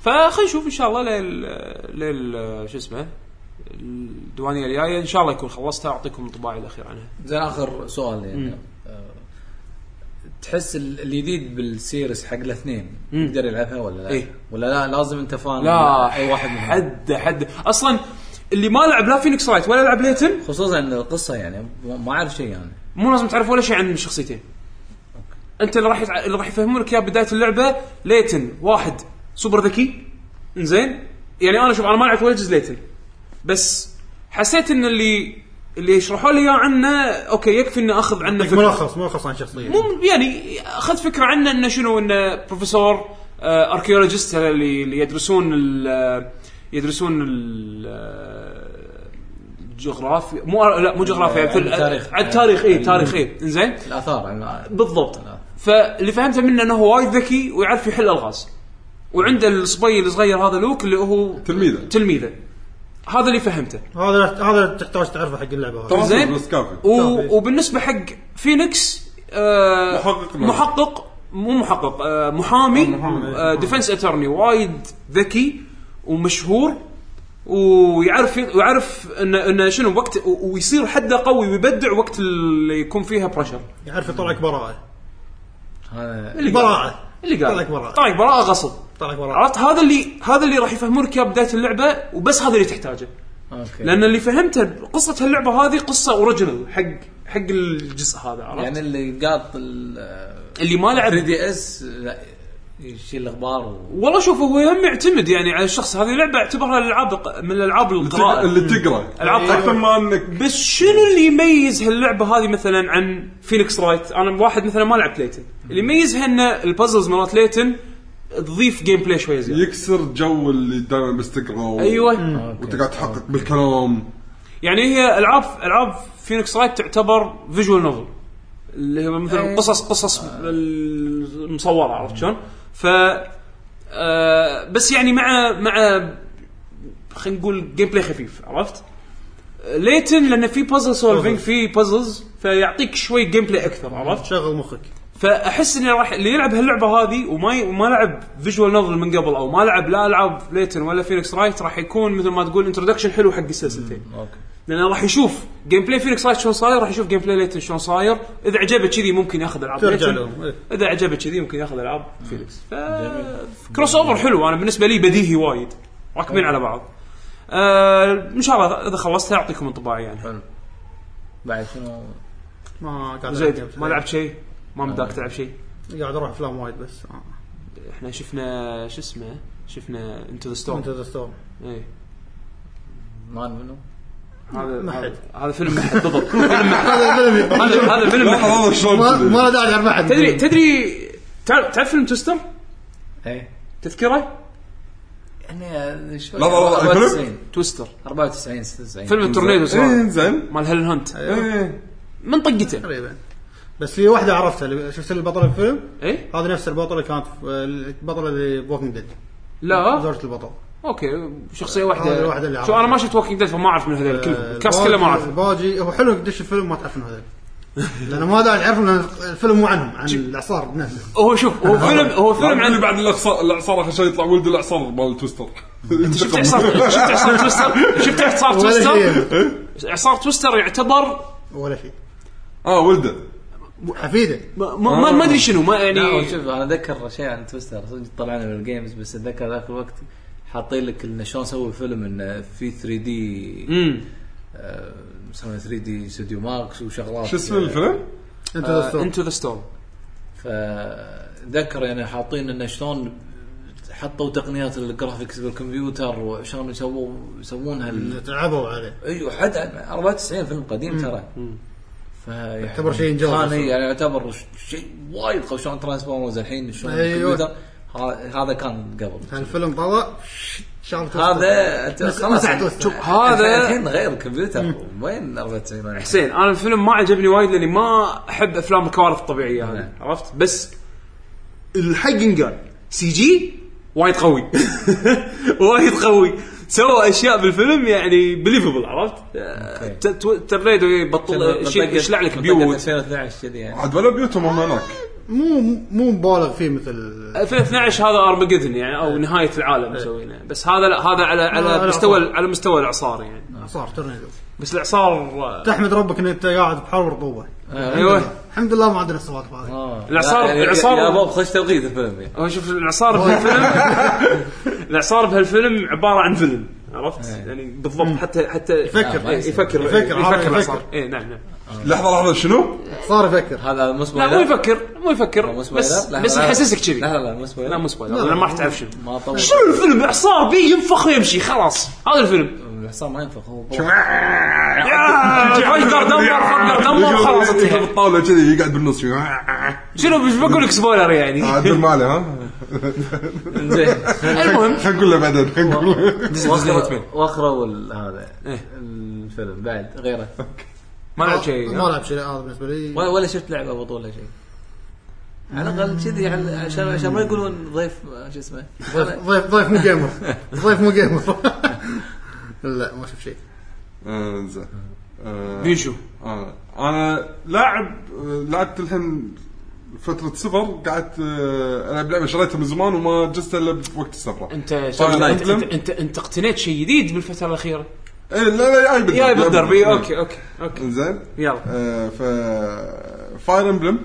B: فخلينا نشوف ان شاء الله لل لل شو اسمه الديوانيه الجايه ان شاء الله يكون خلصتها اعطيكم انطباعي الاخير عنها
E: زين اخر سؤال يعني آه، تحس ال- الجديد بالسيريس حق الاثنين يقدر يلعبها ولا لا؟
B: إيه.
E: ولا لا لازم انت فان
B: لا
E: اي واحد منهم
B: حد حد اصلا اللي ما لعب لا فينيكس رايت ولا لعب ليتن
E: خصوصا إن القصه يعني ما- ما اعرف شيء يعني
B: مو لازم تعرف ولا شيء عن الشخصيتين انت اللي راح يتع... اللي راح يفهمونك اياه بدايه اللعبه ليتن واحد سوبر ذكي انزين يعني انا شوف انا ما لعبت ولا جزء ليتن بس حسيت ان اللي اللي يشرحوا لي اياه عنه اوكي يكفي اني اخذ عنه
C: لك
B: فكره
C: ملخص ملخص عن شخصيه
B: مو يعني اخذت فكره عنه انه شنو انه بروفيسور اركيولوجيست اللي اللي يدرسون ال آه، يدرسون ال جغرافيا مو لا مو جغرافيا
E: علم
B: مثل-
E: التاريخ.
B: على التاريخ اي
E: علم-
B: تاريخ اي انزين
E: الاثار يعني
B: بالضبط فاللي فهمته منه انه هو وايد ذكي ويعرف يحل الغاز وعنده الصبي الصغير هذا لوك اللي هو
D: تلميذه
B: تلميذه هذا اللي فهمته
C: هذا هذا تحتاج تعرفه حق اللعبه هذا
D: طبعا
B: زين.
D: بس كافي
B: و... وبالنسبه حق فينيكس آه
D: محقق نوبل.
B: محقق مو محقق آه محامي
D: محامي.
B: آه ديفنس اترني وايد ذكي ومشهور ويعرف يعرف انه انه شنو وقت و- ويصير حده قوي ويبدع وقت اللي يكون فيها بريشر
C: يعرف يطلعك براءه
E: هذا
B: اللي قال
C: براءه
B: اللي قال
C: طلعك براءه
B: طلعك براءه غصب
C: طلعك براءه
B: عرفت هذا اللي هذا اللي راح يفهمونك اياه بدايه اللعبه وبس هذا اللي تحتاجه
E: اوكي
B: لان اللي فهمته قصه هاللعبه هذه قصه اوريجنال حق حق الجزء هذا عرفت
E: يعني اللي قاط ال
B: اللي ما لعب
E: 3
D: يعني-
E: دي اس لا، يشيل الاخبار و...
B: والله شوف هو هم يعتمد يعني على الشخص هذه لعبه اعتبرها الالعاب من الالعاب
D: تق-
B: القراءه
D: اللي تقرا
B: ألعاب
D: اكثر
B: تقرأ.
D: ما انك
B: بس شنو اللي يميز هاللعبه هذه مثلا عن فينيكس رايت انا واحد مثلا ما لعبت ليتن اللي يميزها ان البازلز مرات ليتن تضيف جيم بلاي شويه زياده
D: يكسر جو اللي دائما بس تقرا و-
B: ايوه
D: وتقعد تحقق بالكلام
B: يعني هي العاب العاب فينيكس رايت تعتبر فيجوال نوفل اللي هي مثلا
E: أي.
B: قصص قصص المصوره عرفت شلون؟ ف آه، بس يعني مع مع خلينا نقول جيم بلاي خفيف عرفت؟ ليتن لان في بازل سولفينج في بازلز فيعطيك شوي جيم بلاي اكثر عرفت؟
C: شغل مخك
B: فاحس اني راح اللي يلعب هاللعبه هذه وما ي... وما لعب فيجوال نوفل من قبل او ما لعب لا العاب ليتن ولا فينيكس رايت راح يكون مثل ما تقول انتروداكشن حلو حق السلسلتين
E: اوكي
B: لانه راح يشوف جيم بلاي فينيكس رايت شلون صاير راح يشوف جيم بلاي ليتن شلون صاير اذا عجبه كذي ممكن ياخذ العاب
C: ترجع
B: ليتن
C: لهم إيه.
B: اذا عجبه كذي ممكن ياخذ العاب فينيكس ف... كروس اوفر حلو انا بالنسبه لي بديهي وايد راكبين على بعض آه ان شاء الله اذا خلصتها اعطيكم انطباعي يعني
E: حلو بعد شنو
C: ما قاعد
B: زيد
C: ألعب.
B: ما لعبت شيء ما مداك تلعب شيء
C: قاعد اروح افلام وايد بس آه.
B: احنا شفنا شو اسمه شفنا انتو ذا
C: انت
B: ستورم
C: ذا ستورم
B: ايه
E: مان منو؟
B: هذا
C: محد.
B: هذا- هذا فيلم محد بالضبط فيلم محد هذا هذا فيلم محد
D: لحظه هذا شلون
C: ما
D: كذي؟
C: ما له داعي يعرف احد
B: تدري تدري تعرف تعرف فيلم توستر
E: ايه
B: تذكره
E: يعني شوي
D: لا، لا، لا، الفيلم؟
E: 94
B: توستر
E: 94 96
B: فيلم التورنيدو
D: ايه
B: صار
D: زين
B: مال هيلن هانت
D: ايه
B: من طقته
C: تقريبا بس في واحده عرفتها اللي- شفت البطل الفيلم
B: اي
C: هذه نفس البطله كانت في- البطله اللي بوكينج ديد
B: لا
C: زوجة البطل
B: اوكي شخصيه
C: هذه
B: واحده
C: الواحدة اللي
B: شو انا
C: عرفتها.
B: ما شفت ووكينج ديد فما اعرف من هذول
C: آه،
B: كلهم الكاس كله ما اعرف
C: الباجي هو حلو قديش الفيلم ما تعرف انه هذول لانه ما داعي تعرفهم لان الفيلم مو عنهم عن الاعصار بنفسه
B: هو شوف هو فيلم هو فيلم
D: اللي
B: عن
D: آه. بعد الاعصار الاعصار اخر شيء يطلع ولد الاعصار مال توستر
B: شفت اعصار شفت اعصار توستر شفت اعصار
C: ولا
B: توستر
C: شيء
B: اعصار توستر يعتبر
C: ولا شيء
D: اه ولده
C: حفيده
B: ما- ما ما ادري شنو ما
E: لا هو
B: يعني
E: شوف انا اتذكر شيء عن تويستر صدق طلعنا من الجيمز بس اتذكر ذاك الوقت حاطين لك انه شلون سووا فيلم انه في آه، 3 دي
B: امم
E: مسمى 3 دي استوديو ماكس وشغلات
D: شو اسم الفيلم؟
C: انت ذا ستورم
B: انتو ذا ستورم
E: فذكر يعني حاطين انه شلون حطوا تقنيات الجرافيكس بالكمبيوتر وشلون يسووا يسوونها ال-
C: تعبوا عليه
E: ايوه حد 94 فيلم قديم ترى يعتبر
C: يعتبر شيء انجاز
E: كان
C: أصلاً.
E: إي، يعني يعتبر ش- شيء وايد قوي شلون ترانسفورمرز الحين شلون
C: أيوة.
E: الكمبيوتر ه- هذا كان قبل
C: الفيلم طلع شال توستر.
E: هذا أت-
C: نس-
E: خلاص
C: نسع
E: يعني
C: توستر.
E: شوف،
B: هذا-
E: الحين غير الكمبيوتر وين 94
B: حسين انا الفيلم ما عجبني وايد لاني ما احب افلام الكوارث الطبيعيه هذه
E: نعم.
B: عرفت بس الحق انقال سي جي وايد قوي وايد قوي سووا اشياء بالفيلم يعني بليفبل عرفت؟ آه، ت- تو- ترنيدو يبطل شيء يشلع لك بيوت
E: 2012 كذي يعني
D: عاد ولا بيوتهم هم هناك
C: مو مو مبالغ فيه مثل
B: 2012 هذا ارمجدن يعني او نهايه العالم مسوينه بس هذا لا هذا على
C: لا،
B: على
C: لا،
B: مستوى
C: صار.
B: على مستوى الاعصار يعني
C: اعصار تورنيدو
B: بس الاعصار آه،
C: تحمد ربك ان انت قاعد بحر ورطوبه
B: ايوه
C: الحمد لله ما عندنا السوالف هذه
E: آه.
B: الإعصار-
E: لا، يعني-
B: الإعصار-
E: يا باب خش توقيت الفيلم يعني.
B: هو شوف الاعصار بهالفيلم الاعصار بهالفيلم عباره عن فيلم عرفت؟ يعني بالضبط حتى حتى
C: إيه. يفكر.
B: إيه، يفكر
C: يفكر،
B: يفكر
C: عارف يفكر.
B: الاعصار اي نعم نعم
D: لحظه لحظه شنو؟
C: صار يفكر
E: هذا مو
B: لا مو
E: سبويلر
B: يفكر مو يفكر
E: مو سبويلر؟
B: بس
E: لا،
B: بس
E: لا، لا.
B: يحسسك كذي
E: لا لا لا مو سبويلر
B: لا مو سبويلر لأن ما راح تعرف شنو
E: ما طول
B: شنو الفيلم اعصار بي ينفخ ويمشي خلاص هذا الفيلم
E: الحصان ما ينفخ هو
B: فجر دمر فجر دمر خلاص
D: يجيب
B: انتهى
D: الطاوله كذي يقعد بالنص آه،
B: شنو مش بقول لك سبويلر
C: آه.
B: يعني
D: عدل ماله آه، ها
E: زين
B: المهم
D: خلينا نقول له بعدين خلينا نقول له.
E: واخروا ال- هذا
B: إيه.
E: الفيلم بعد غيره
B: ما لعب شيء
C: ما لعب شيء هذا بالنسبه لي
E: ولا, ولا شفت لعبه بطوله شيء على الاقل كذي على- عشان عشان ما يقولون ضيف آه، شو اسمه أنا-
C: ضيف ضيف مو جيمر ضيف مو جيمر لا ما شفت شيء
D: آه، زين آه،
B: بيشو
D: آه. انا لاعب آه، لعبت الحين فترة سفر قعدت آه، العب لعبة شريتها من زمان وما جستها الا بوقت السفرة.
B: انت
D: Fire
B: انت
D: Emblem.
B: انت- انت انت اقتنيت شيء جديد بالفتره الاخيره
D: ايه لا لا جاي بالدرب
B: يا إيه، بالدرب إي، اوكي اوكي اوكي
D: زين
B: يلا
D: آه، ف فاير امبلم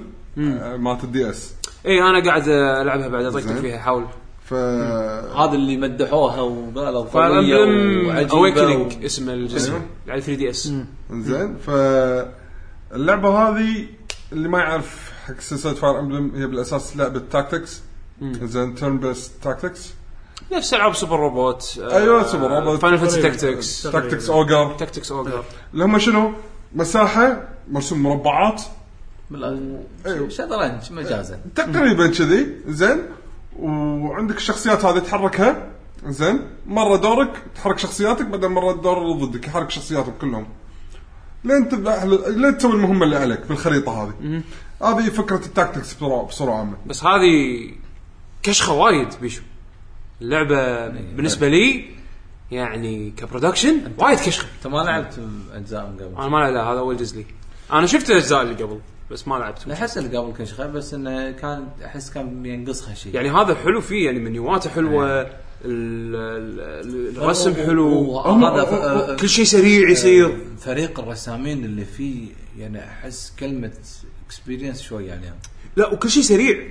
D: مالت الدي اس
B: اي انا إيه، قاعد العبها بعد اطقطق
D: زين.
B: فيها احاول
D: ف
E: هذا اللي مدحوها وقالوا
B: فاير
E: قويه
B: امبلم
E: وعجيبه
B: اويكننج
E: و-
B: اسم الجزء على 3 دي اس
D: زين ف اللعبة هذه اللي ما يعرف حق سلسلة فاير امبلم هي بالاساس لعبة تاكتكس زين تيرن بيست تاكتكس
B: نفس العاب سوبر روبوت
D: أيوة، سوبر روبوت.
B: فاينل فانتسي تاكتكس
D: تاكتكس اوجر
B: تاكتكس اوجر
D: اللي هم شنو؟ مساحة مرسوم مربعات
E: بلا-
D: أيوه.
E: شطرنج مجازا
D: تقريبا كذي زين وعندك الشخصيات هذه تحركها زين مره دورك تحرك شخصياتك بعدين مره الدور اللي ضدك يحرك شخصياتهم كلهم لين تذبح لين تسوي المهمه اللي عليك بالخريطه هذه هذه فكره التاكتكس بسرعه بسرعه عامه
B: بس هذه كشخه وايد بيشو
D: إيه،
B: اللعبه بالنسبه لي يعني كبرودكشن وايد كشخه
E: انت ما لعبت اجزاء من قبل
B: انا ما لا هذا اول جزء لي انا شفت الاجزاء اللي قبل بس ما لعبتهم
E: احس اللي قبل كان شغال بس انه كان احس كان ينقصها شيء
B: يعني هذا حلو فيه يعني منيواته حلوه
E: إيه.
B: ال- ال- الرسم
E: و-
B: حلو
E: و- هذا ف- آه،
B: كل شيء سريع يصير
E: فريق الرسامين اللي فيه يعني احس كلمه اكسبيرينس شوي يعني. عليهم
B: لا وكل شيء سريع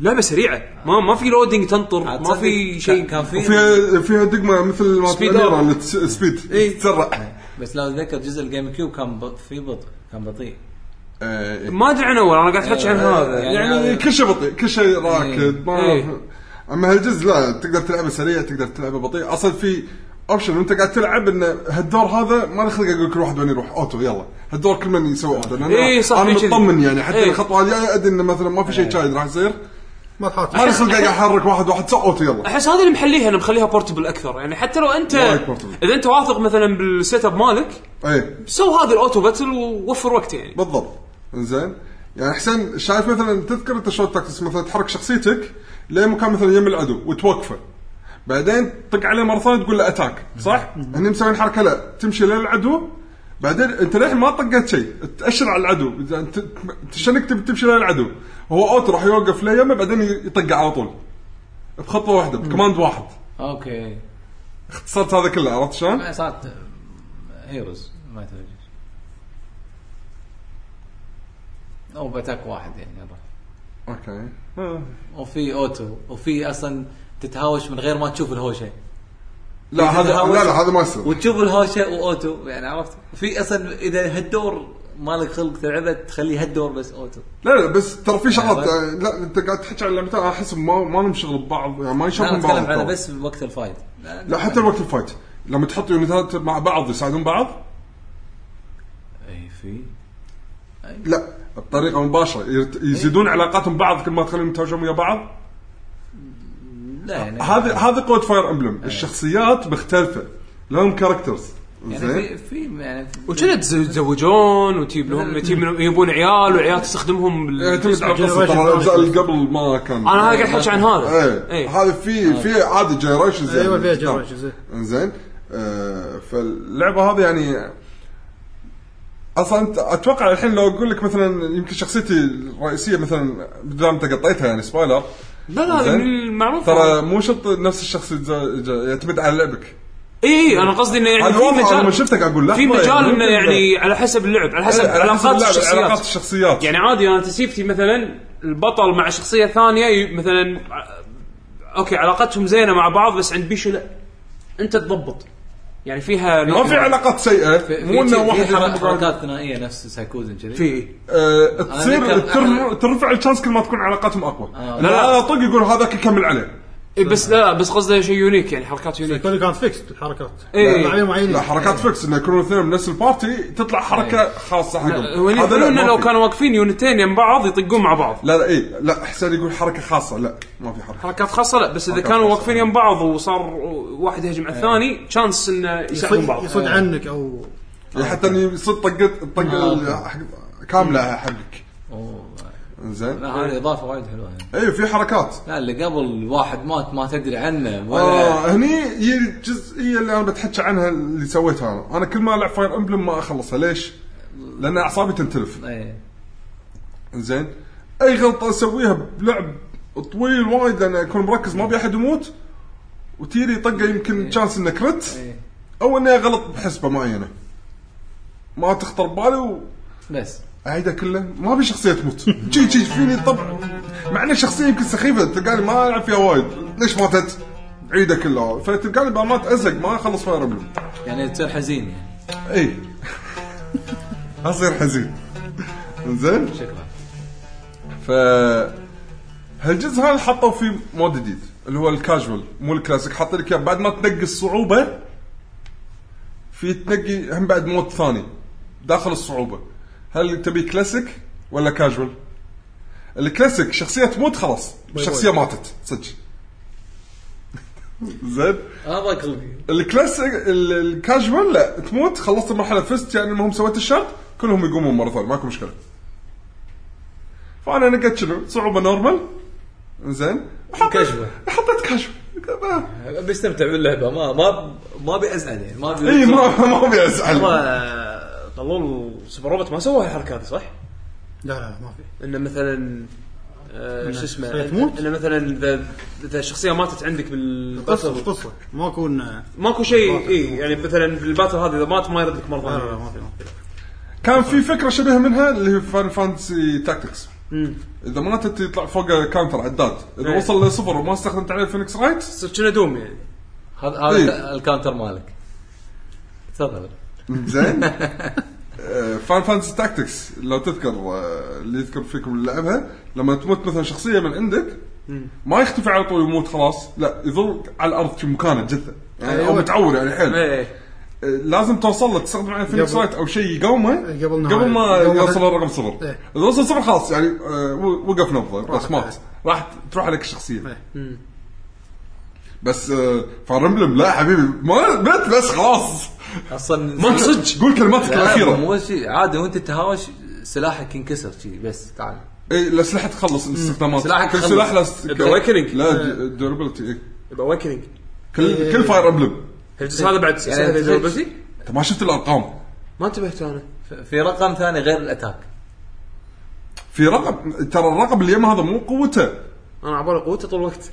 B: لعبه سريعه ما ما في لودينج تنطر ما في شيء
E: كان في
D: وفيها فيها دقمه مثل ما
B: سبيد
D: الأميرة
B: أب.
D: اللي تس- سبيد
B: إيه.
D: تسرع
E: بس لو اتذكر جزء الجيم كيوب كان بط- في بطء كان بطيء
D: إيه.
B: ما ادري عن اول انا قاعد احكي عن هذا
E: يعني
D: يعني
E: هذا-
D: كل شيء بطيء كل شيء راكد ما
B: إيه.
D: اما هالجزء لا تقدر تلعبه سريع تقدر تلعبه بطيء اصلا في اوبشن وانت قاعد تلعب ان هالدور هذا ما له خلق اقول لك روح دوني روح اوتو يلا هالدور كل من يسوي اوتو لان
B: إيه، صح،
D: انا
B: في كذي.
D: مطمن يعني حتى
B: إيه.
D: الخطوه الجايه ادري انه مثلا ما في شيء شايد راح يصير
C: ما تحاول
D: ما له خلق اقعد احرك واحد واحد سوى اوتو يلا
B: احس هذا اللي محليها انا مخليها بورتبل اكثر يعني حتى لو انت
D: وايد portable.
B: اذا انت واثق مثلا بالسيت اب مالك
D: اي
B: سو هذا الاوتو باتل ووفر وقت يعني
D: بالضبط زين يعني حسين شايف مثلا تذكر انت شلون تاكتس مثلا تحرك شخصيتك لمكان مثلا يم العدو وتوقفه بعدين طق عليه مره ثانيه تقول له اتاك صح؟ هني مسوين حركه لا تمشي للعدو بعدين انت للحين ما طقت شيء تاشر على العدو إذا أنت- شنك تبي تمشي للعدو هو اوتو راح يوقف له يمه بعدين يطق على طول بخطوه واحده بكماند واحد
E: اوكي
D: اختصرت هذا كله عرفت شلون؟
E: ما صارت هيروز ما تدري او باتاك واحد يعني يلا.
D: اوكي آه.
E: وفي اوتو وفي اصلا تتهاوش من غير ما تشوف الهوشه
D: لا هذا لا لا هذا ما يصير
E: وتشوف الهوشه واوتو يعني عرفت في اصلا اذا هالدور مالك خلق تلعبه تخليه هالدور بس اوتو
D: لا لا بس ترى في شغلات
E: بس-
D: آه، لا انت قاعد تحكي عن لعبتين انا احس ما ما لهم شغل ببعض يعني ما
E: انا
D: يشوفون بعض
E: اتكلم على
D: ترى.
E: بس وقت الفايت
D: لا حتى وقت الفايت لما تحط يونتات مع بعض يساعدون بعض
E: اي في
D: لا بطريقه مباشره يرت-
E: إيه.
D: يزيدون علاقاتهم بعض كل ما تخليهم يتهاوشون ويا بعض
E: لا يعني
D: هذه هذه قوه فاير
E: إيه.
D: امبلم الشخصيات مختلفه لهم كاركترز
E: يعني
D: زين
E: في في يعني في-
B: وكذا تزوجون وتجيب
E: إيه.
B: لهم تجيب لهم- يبون عيال وعيال تستخدمهم بال-
D: يعتمد على القصه
C: Generation
D: ترى الاجزاء
C: Generation.
D: اللي قبل ما كان
B: انا هذا قاعد احكي عن هذا
E: إيه.
D: ايه
C: إيه.
B: ايه
D: هذا في في عادي جنريشنز
C: ايوه فيها
D: نعم.
C: جراج زين
D: انزين آه، فاللعبه هذه يعني اصلا أنت- اتوقع الحين لو اقول لك مثلا يمكن شخصيتي الرئيسيه مثلا بدام انت قطيتها يعني سبايلر
B: لا لا هذا
D: زين.
B: من المعروف
D: ترى مو شرط نفس الشخص يتز- ج- يعتمد على لعبك
B: اي اي انا إيه، قصدي انه يعني
D: هذا
B: في
D: واضح، أنا لما
B: مجال
D: شفتك اقول لا طيب،
B: في مجال انه يعني على حسب اللعب على حسب علاقات
D: علاقات
B: الشخصيات
D: الشخصيات
B: يعني عادي انا تسيفتي مثلا البطل مع شخصيه ثانيه ي- مثلا ع- اوكي علاقتهم زينه مع بعض بس عند بيشو لا انت تضبط يعني فيها
D: ما في علاقات سيئه
E: في-
D: مو انه واحد
E: في
D: يحب يقعد-
E: حركات ثنائيه نفس سايكوزن كذي
B: في
D: آه، تصير
E: أنا ذكر-
D: تر- ترفع الشانس كل ما تكون علاقاتهم اقوى
E: آه.
D: لا لا طق يقول هذاك يكمل عليه
B: إيه بس لا بس قصده شيء يونيك يعني حركات يونيك
C: كل كانت فيكس الحركات
B: إيه.
C: لاعبين معينين
D: لا حركات فيكس ان يكونوا اثنين من نفس البارتي تطلع حركه خاصه حقهم
B: هو
D: هذا لا،
B: يقولون
D: ما
B: انه لو
D: في.
B: كانوا واقفين يونتين يم بعض يطقون مع بعض
D: لا لا اي لا حسين يقول حركه خاصه لا ما في حركه
B: حركات خاصه لا بس اذا
D: حركات
B: كانوا
D: خاصة.
B: واقفين يم بعض وصار واحد يهجم على الثاني تشانس انه يساعدون
C: يصد,
B: بعض
C: يصد عنك او
D: يعني حتى اني يصير طقت الطقه
E: آه.
D: ال- حق- كامله حقك
E: اوه
D: زين
E: لا هذه اضافه وايد حلوه يعني.
D: اي إيه، في حركات
E: لا اللي قبل واحد مات ما تدري عنه ولا
D: اه هني هي الجزئيه اللي انا بتحكي عنها اللي سويتها انا انا كل ما العب فاير امبلم ما اخلصها ليش؟ لان اعصابي تنتلف
E: ايه
D: زين اي غلطه اسويها بلعب طويل وايد لان اكون مركز ما ابي احد يموت وتيري طقه يمكن تشانس انه كرت
E: ايه
D: او انها غلط بحسبه معينه ما تخطر ببالي
E: بس
D: واعيدها كله ما ابي شخصيه تموت جي جي فيني طبع مع ان الشخصيه يمكن سخيفه تلقاني ما العب فيها وايد ليش ماتت؟ عيده كلها فتلقاني بعد ما ازق ما اخلص فاير امبلم
E: يعني تصير حزين يعني
D: اي اصير إيه. حزين زين
E: شكرا
D: ف هالجزء هذا حطوا فيه مود جديد اللي هو الكاجوال مو الكلاسيك حاط لك إياه بعد ما تنقي الصعوبه في تنقي هم بعد مود ثاني داخل الصعوبه هل تبي كلاسيك ولا كاجوال؟ الكلاسيك شخصيه تموت خلاص الشخصيه ماتت صدق زين
E: الله يخلقك
D: الكلاسيك ال- الكاجوال لا تموت خلصت المرحله فزت يعني المهم سويت الشرط كلهم يقومون مره ثانيه ماكو مشكله فانا نقيت شنو صعوبه نورمال زين
E: كاجوال.
D: حطيت آه. كاجوال
E: بيستمتع باللعبه ما ما ما ابي ازعل يعني ما ابي
D: اي ما ما ابي ازعل
B: آه، طلول سوبر روبوت ما سوى هالحركه هذه صح؟
C: لا لا ما في
B: انه مثلا آه، شو اسمه
C: شخصية تموت؟
B: انه مثلا اذا اذا الشخصيه ماتت عندك
C: قصه
B: بالباتل
C: قصه ما آه، اكون لا
B: ماكو شيء اي يعني مثلا بالباتل هذه اذا مات ما يرد لك مره
C: لا لا،
B: ثانيه
C: ما في ما في
D: كان في فكره شبه منها اللي هي فان فانتسي تاكتكس اذا ماتت يطلع فوق كاونتر عداد اذا
B: إيه.
D: وصل لصفر وما استخدمت عليه فينيكس رايت
B: تصير كنا دوم يعني
E: هذا
D: إيه.
E: هذا الكاونتر مالك تفضل
D: زين آه، فان فانتسي تاكتكس لو تذكر آه، اللي يذكر فيكم اللي لعبها لما تموت مثلا شخصيه من عندك ما يختفي على طول يموت خلاص لا يظل على الارض في مكانه جثه يعني او
C: أيوة.
D: متعور يعني حيل آه،
B: ايه
D: لازم توصل له تستخدم على فينيكس
C: قبل- إيه،
D: رايت او شيء يقومه
C: قبل نهاية.
D: قبل ما
C: قبل ما
D: يوصل
C: تك-
D: للرقم صفر
C: إيه.
D: اذا وصل صفر خلاص يعني آه، و- وقف نبضه خلاص
C: راحت
D: مات
C: عليه.
D: راح تروح عليك الشخصيه
C: إيه.
D: بس فارمبلم لا حبيبي ما مات بس خلاص
E: اصلا
D: ما صدق قول كلماتك الاخيره
E: لا، مو شيء عادي وانت تهاوش سلاحك ينكسر شي بس تعال
D: اي الاسلحه إيه، تخلص الاستخدامات
E: سلاحك
D: كل
E: تخلص.
D: سلاح له
B: الأواكننج.
D: لا الدورابيلتي اي
B: يبقى اوكننج
E: إيه.
D: كل كل فاير امبلم
B: الجزء هذا بعد
E: يعني
B: سهل
E: تخيل-
B: durability؟
D: انت ما شفت الارقام
B: ما انتبهت انا
E: ف- في رقم ثاني غير الاتاك
D: في رقم ترى الرقم اللي يمه هذا مو قوته
B: انا عبالي قوته طول الوقت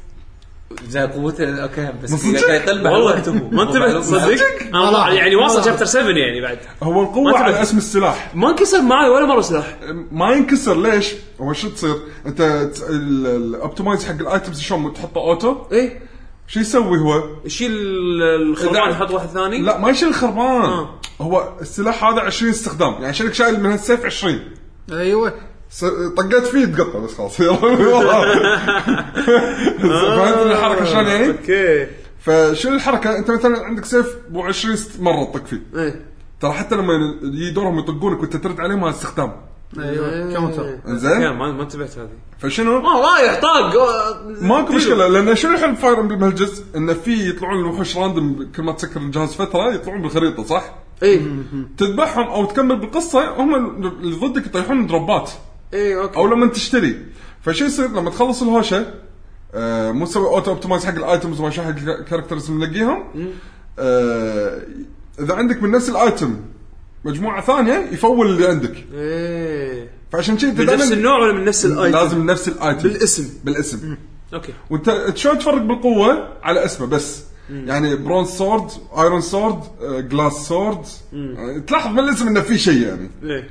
E: زين قوته اوكي بس
D: مصدق؟
E: إذا كان يطلع
B: والله
E: الوقت هو-
B: ما انتبهت
E: هو-
B: تصدق انا طالع- يعني واصل شابتر 7 يعني بعد
D: هو
B: ما
D: القوه
B: تبي.
D: على اسم السلاح
B: ما انكسر معي ولا مره سلاح
D: ما ينكسر ليش؟ هو شو تصير؟ انت الاوبتمايز حق الايتمز شلون تحطه اوتو؟
E: إيه.
B: ايه
D: شو يسوي هو؟
B: يشيل الخربان
D: إذا-
B: يحط واحد ثاني
D: لا ما يشيل خربان
B: آه.
D: هو السلاح هذا 20 استخدام يعني شلك شايل من هالسيف 20
C: ايوه
D: س- طقيت فيه تقطع بس خلاص يلا فهمت الحركه شلون يعني؟
B: اوكي
D: فشنو الحركه انت مثلا عندك سيف ابو 20 مره تطق فيه
B: ايه
D: ترى حتى لما يجي دورهم يطقونك وانت ترد عليهم هذا استخدام
C: ايوه كاونتر
B: كان
D: زين
B: ما ما انتبهت هذه
D: فشنو
B: ما رايح طاق
D: ماكو مشكله لان شنو الحلو فاير امبلم هالجزء انه في يطلعون الوحوش راندم كل ما تسكر الجهاز فتره يطلعون بالخريطه صح؟
B: ايه
D: تذبحهم او تكمل بالقصه هم اللي ضدك يطيحون دروبات
B: ايه اوكي
D: او لما تشتري فشو يصير لما تخلص الهوشه آه مو تسوي اوتو اوبتمايز حق الايتمز وما شو حق الكاركترز اللي نلاقيهم آه اذا عندك من نفس الايتم مجموعه ثانيه يفول اللي عندك
B: ايه
D: فعشان كذي انت
B: من نفس
D: دائما
B: النوع ولا من نفس الايتم
D: لازم نفس الايتم
B: بالاسم.
D: بالاسم
B: اوكي
D: وانت شلون تفرق بالقوه على اسمه بس يعني برونز سورد ايرون سورد آه، جلاس سورد يعني تلاحظ من الاسم انه في شيء يعني
B: ايه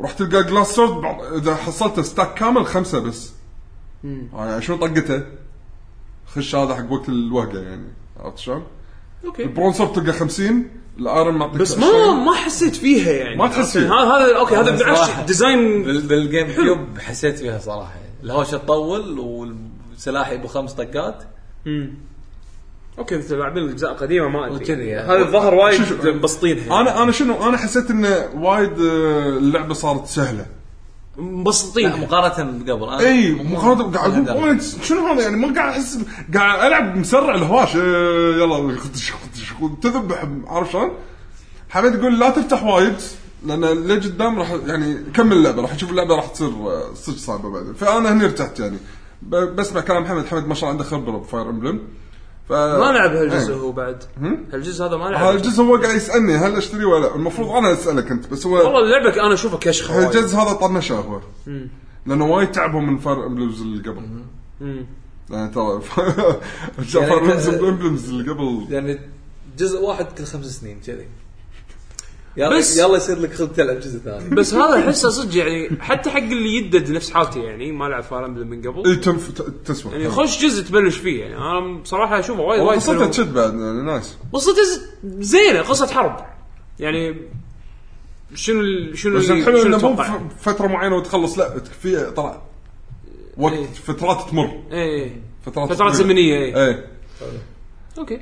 D: راح تلقى جلاس سورد بعض اذا حصلته ستاك كامل خمسه بس يعني شو طقته؟ خش هذا حق وقت الوهقه يعني عرفت شلون؟
B: اوكي
D: البرون سورد تلقى 50 الايرون معطيك
B: بس ما
D: 20.
B: ما حسيت فيها يعني
D: ما تحس
B: هذا
D: فيها.
B: هذا اوكي هذا
E: بس
B: بالعكس
E: صراحة.
B: ديزاين
E: بال- بالجيم كيوب حسيت فيها صراحه يعني. الهوشه تطول والسلاحي ابو خمس طقات
B: امم اوكي مثل لاعبين الاجزاء القديمه ما
E: وكذي
B: ادري
E: يعني.
B: هذا الظهر
D: شوف شوف.
B: وايد مبسطينها
D: انا انا شنو انا حسيت انه وايد آه، اللعبه صارت سهله
E: لا
B: مبسطينها
E: مقارنه بقبل أنا-
D: اي مقارنه إيه، قاعد
E: لا،
D: اقول
E: لا.
D: وايد شنو هذا يعني ما قاعد احس قاعد العب مسرع الهواش آه، يلا خدش- خدش- تذبح عارف شلون؟ حبيت اقول لا تفتح وايد لان اللي قدام راح يعني كمل اللعبه راح تشوف اللعبه راح تصير آه، صدق صعبه بعدين فانا هني ارتحت يعني ب- بسمع كلام حمد حمد ما شاء الله عنده خبره بفاير امبلم ف...
B: ما لعب هالجزء هو بعد
D: إيه. هم؟
B: هالجزء هذا ما لعب
D: هذا الجزء هو قاعد يسالني هل اشتري ولا لا المفروض انا اسالك انت بس هو
B: والله اللعبه انا اشوفها كشخه وايد.
D: الجز هذا طنشه هو لانه وايد تعبهم من فاير امبلمز اللي قبل
B: مم. يعني
D: يعني ترى فاير امبلمز امبلمز اللي قبل
E: يعني جزء واحد كل خمس سنين كذي يلا
B: بس-
E: يلا يصير لك خلق تلعب جزء ثاني
B: بس هذا احسه صدق يعني حتى حق اللي يدد نفس حالتي يعني ما لعب فاير امبلم من قبل
D: اي تنف ت- تسوى
B: يعني خوش جزء تبلش فيه يعني انا بصراحه اشوفه وايد وايد
D: قصته
B: حلو.
D: تشد بعد يعني نايس
B: قصته ز- زينه قصه حرب يعني شنو ال- شنو
D: بس
B: اللي-
D: الحلو
B: شنو
D: انه مو
B: تتوقع؟
D: بف- فتره معينه وتخلص لا في طلع وقت
B: إيه.
D: فترات تمر
B: ايه
D: فترات
B: فترات زمنية، إيه.
D: ايه
B: اوكي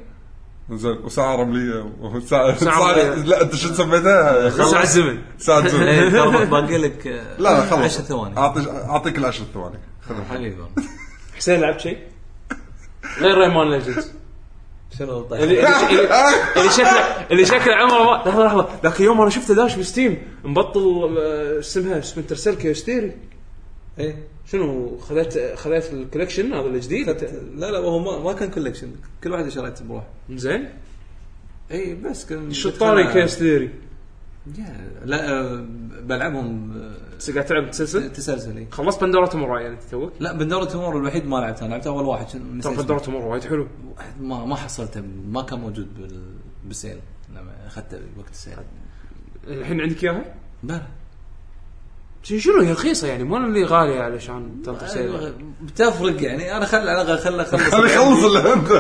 D: زين وساعه رمليه وساعه
B: رملية.
D: ساعه لا انت شو سميتها يا أخي؟
B: ساعة زمن
D: ساعه زمن
E: إيه، ترى باقي لك آه،
D: لا لا خلص
E: 10 ثواني
D: اعطيك اعطيك العشر ثواني
E: آه، حبيبي
B: حسين لعبت شيء؟ غير ريمان ليجندز
E: شنو
B: اللي
E: طيب
B: اللي- اللي- اللي شكله اللي شكله عمره ما لحظه لحظه ذاك اليوم انا شفته داش بستيم مبطل آه، اسمها سبنتر سيل كيوستيري
E: إيه.
B: شنو خذيت خذيت الكوليكشن هذا الجديد
E: لا لا وهو ما, ما كان كولكشن كل واحد شريته بروحه
B: زين
E: اي إيه، بس كان
B: شطاري كيس ثيري
E: يا، لا آه، بلعبهم آه،
B: بس قاعد تلعب تسلسل
E: تسلسل إيه.
B: خلصت بندورة تمر يعني توك
E: لا بندورة تمور الوحيد ما لعبتها أنا لعبتها اول واحد شنو
B: ترى
E: نسيت
B: بندورة تمر وايد حلو
E: اسمه. ما ما حصلته ما كان موجود بال بالسيل لما اخذته وقت السيل
B: الحين عندك اياها؟
E: بلى
B: شي- شنو هي رخيصه يعني مو اللي غاليه علشان
E: آه،
B: تنطر
E: أيوة.
B: سيلة
E: بتفرق يعني انا خل على الاقل خل اخلص
D: خلي يخلص اللي انت
E: خل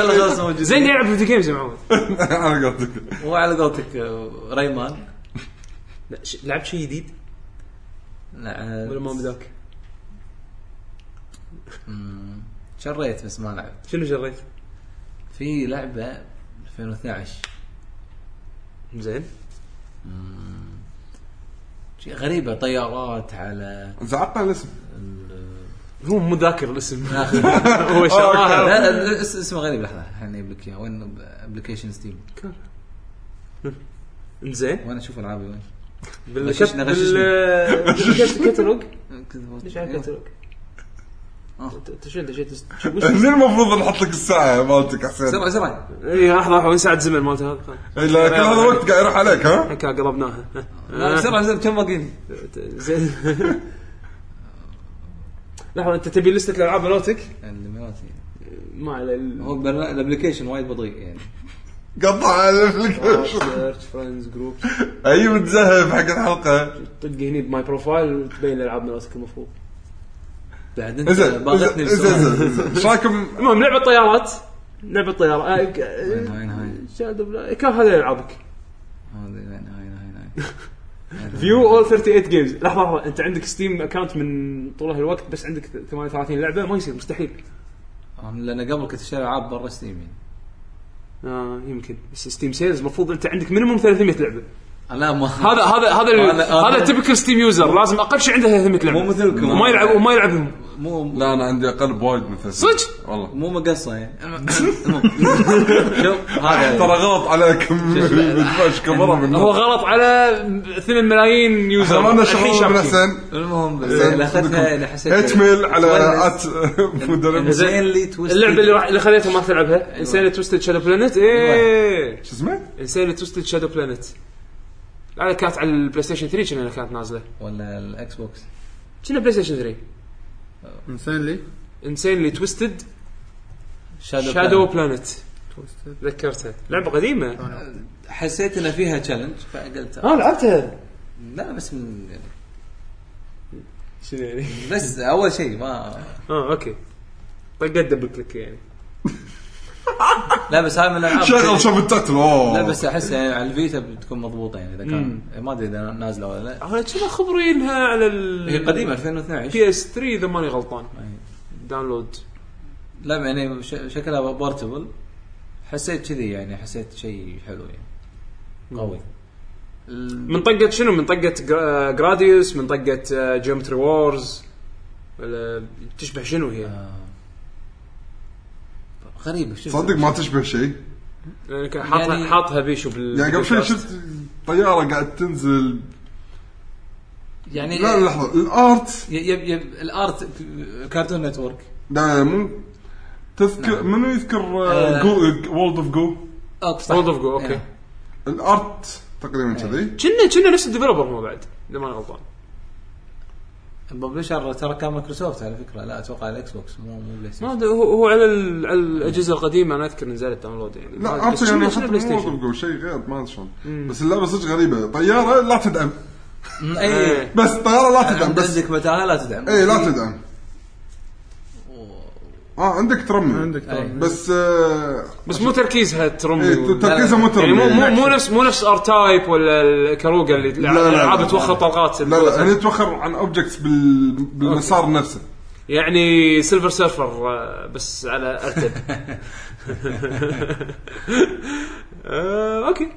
E: اخلص موجود
B: زين يعني. يلعب فيديو جيمز يا معود
D: انا قصدك
E: وعلى قولتك آه، ريمان
B: لا، ش- لعبت شيء جديد
E: لا، آه،
B: ولا ما بداك؟
E: مم، شريت بس ما لعبت
B: شنو جريت؟
E: في لعبه 2012
B: زين
E: شيء غريبه طيارات على
D: زعقنا الاسم
B: هو مو ذاكر الاسم
E: لا
B: هو شغال
E: آه، لا اس- اسمه غريب لحظه الحين اجيب لك اياه وين ابلكيشن ستيم
B: زين
E: وين اشوف العابي وين
B: بالكت-
E: غششنا- غششنا.
B: بال- بالكتالوج ليش على
E: إيه.
B: الكتالوج؟
E: آه.
B: انت أنت شو انت شو تس- وش-
D: زين المفروض نحط لك الساعه مالتك حسين
E: سرعه سرعه
B: اي لحظه لحظه وين ساعه الزمن مالته هذا؟ خلاص.
D: إي، لا كل هذا الوقت قاعد يروح عليك ها
B: هيك قلبناها ها.
E: لا، سرعه سرعه آه، كم باقي
B: زين لحظه انت تبي لسته الالعاب مالتك؟
E: الاماراتي
B: ما على
E: هو بل- الابلكيشن وايد بطيء يعني
D: قطع عليك
B: آه.
D: الكل.
B: سيرش فريندز جروب
D: اي متزهف حق الحلقه
B: طق هني بماي بروفايل وتبين الالعاب مالتك المفروض
E: بعد انت
D: زين
E: باغتني
D: زين
E: بسرعه
D: زين، زين ايش رايكم
B: المهم لعبه طيارات لعبه طيارات آه، ك-
E: وين وين هاي
B: شادو بلا- كان هذا العابك
E: هذه وين هاي هاي هاي
B: فيو اول 38 جيمز لحظه لحظه انت عندك ستيم اكونت من طول هالوقت بس عندك 38 لعبه ما يصير مستحيل
E: أنا- لان قبل كنت اشتري العاب برا ستيم يعني
B: آه يمكن بس ستيم سيلز المفروض انت عندك مينيموم 300 لعبه
E: لا ما
B: هذا هذا هذا ال-
E: أنا- أنا-
B: هذا تبكل ستيم يوزر لازم اقل شيء عنده 300 لعبه
E: مو مثلكم.
B: وما يلعب وما يلعبهم
E: مو
D: لا انا عندي اقل بوايد من ثلاثين.
B: صدق؟
D: والله
E: مو مقصه يعني المهم. شوف هذا
D: ترى غلط عليكم مدفعش كبره من
B: هو غلط على 8 ملايين يوزر
D: زماننا
B: الحين
D: شغل من
B: شابكين.
D: حسين
E: المهم بس
B: إيه،
D: زين،
E: اللي اخذتها اللي حسيت
D: ايميل على
E: تونس.
D: ات مدرب شو
E: زين لي تويست
B: اللعبه اللي راح اللي خليتها ما تلعبها انسان توستد شادو بلانت ايه
D: اسمه؟
B: انسان توستد شادو بلانت على كانت على البلاي ستيشن 3 كنا كانت نازله
E: ولا الاكس بوكس
B: كنا بلاي ستيشن 3
C: انسان لي
B: انسان اللي توستد
E: شادو,
B: شادو بلانت ذكرتها لعبه قديمه
E: حسيت ان فيها تشالنج فقلت
B: اه لعبتها
E: لا بس من يعني
B: شنو يعني؟
E: بس اول شيء ما
B: اه اوكي طقت دبل كليك يعني
E: لا بس هاي من الالعاب
D: شغل شوف التتل اوه
E: لا بس احس يعني على الفيتا بتكون مضبوطه يعني اذا كان ما ادري اذا نازله ولا لا
B: انا كنا خبري انها على ال
E: هي قديمه 2012
B: بي اس 3 اذا ماني غلطان داونلود
E: لا يعني ش- شكلها بورتبل حسيت كذي يعني حسيت شيء حلو يعني قوي ال-
B: من طقه شنو من طقه جرا- جراديوس من طقه جيومتري وورز ولا تشبه شنو هي؟
E: آه. غريبه شوف
D: صدق ما تشبه شيء
B: يعني كان حاطها
E: يعني-
B: حاطها بيشو بال
D: يعني قبل شوي
B: بالكاست.
D: شفت طياره قاعد تنزل
E: يعني
D: لا لحظه الارت
E: يب يب, يب الارت ك- كارتون نتورك
D: لا لا، مو تذكر منو يذكر
E: آه.
D: جو وولد اوف جو
E: اوكي صح
B: World of Go، أوكي.
D: آه.
E: إيه.
D: الارت تقريبا كذي
B: كنا كنا نفس الديفلوبر مو بعد اذا ماني غلطان
E: الببلشر ترى كان مايكروسوفت على فكره لا اتوقع الاكس بوكس مو مو بلاي
B: ما
E: ستيشن
B: ادري هو هو على ال- على الاجهزه القديمه انا اذكر نزلت داونلود يعني
D: لا
B: ما- بس
D: عرفت يعني
B: شنو-
D: حتى
B: شنو بلاي
D: مو وولد
B: ستيشن
D: اوف جو شيء غير ما ادري شلون بس اللعبه صدق غريبه طياره لا تدعم
E: مم،
B: إيه.
E: اي
D: بس طياره لا تدعم
E: عند-
D: بس إيه،
E: عندك متاهه لا تدعم
D: اي لا تدعم اه عندك ترمي إيه.
C: عندك ترى.
E: أي.
D: بس آه
B: بس مو تركيزها ترمي
D: إيه،
B: و-
D: تركيزها مو
B: يعني
D: ترمي
B: مو مو
D: يعني
B: مو نفس مو نفس ار تايب ولا الكاروجا اللي
D: لا، لا،
B: العاب
D: لا.
B: توخر طلقات
D: لا لا هني توخر عن اوبجكتس بال... بالمسار نفسه
B: يعني سيلفر سيرفر آه، بس على ارتب آه، اوكي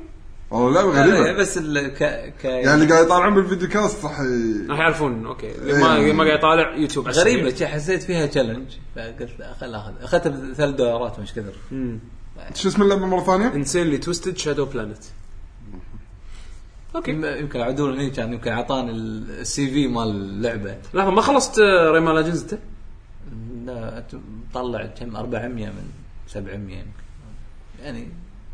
D: والله لعبه
E: لا، لا،
D: غريبه
E: إيه، بس ال ك ك
D: يعني اللي قاعد يطالعون بالفيديو كاست راح ي-
B: راح يعرفون اوكي اللي ما
D: إيه.
B: ما قاعد يطالع يوتيوب على السريع.
E: غريبه شي حسيت فيها تشالنج فقلت لا خل اخذ اخذتها بثلاث دولارات مش كثر
D: شو اسم اللعبه مره ثانيه؟
B: انسينلي توستد شادو بلانت اوكي
E: يم- يمكن عدول هني كان يمكن اعطاني ال- السي في مال اللعبه
B: لحظه ما خلصت آه، ريما لاجنز انت؟
E: لا أت- طلع كم 400 من 700 يمكن يعني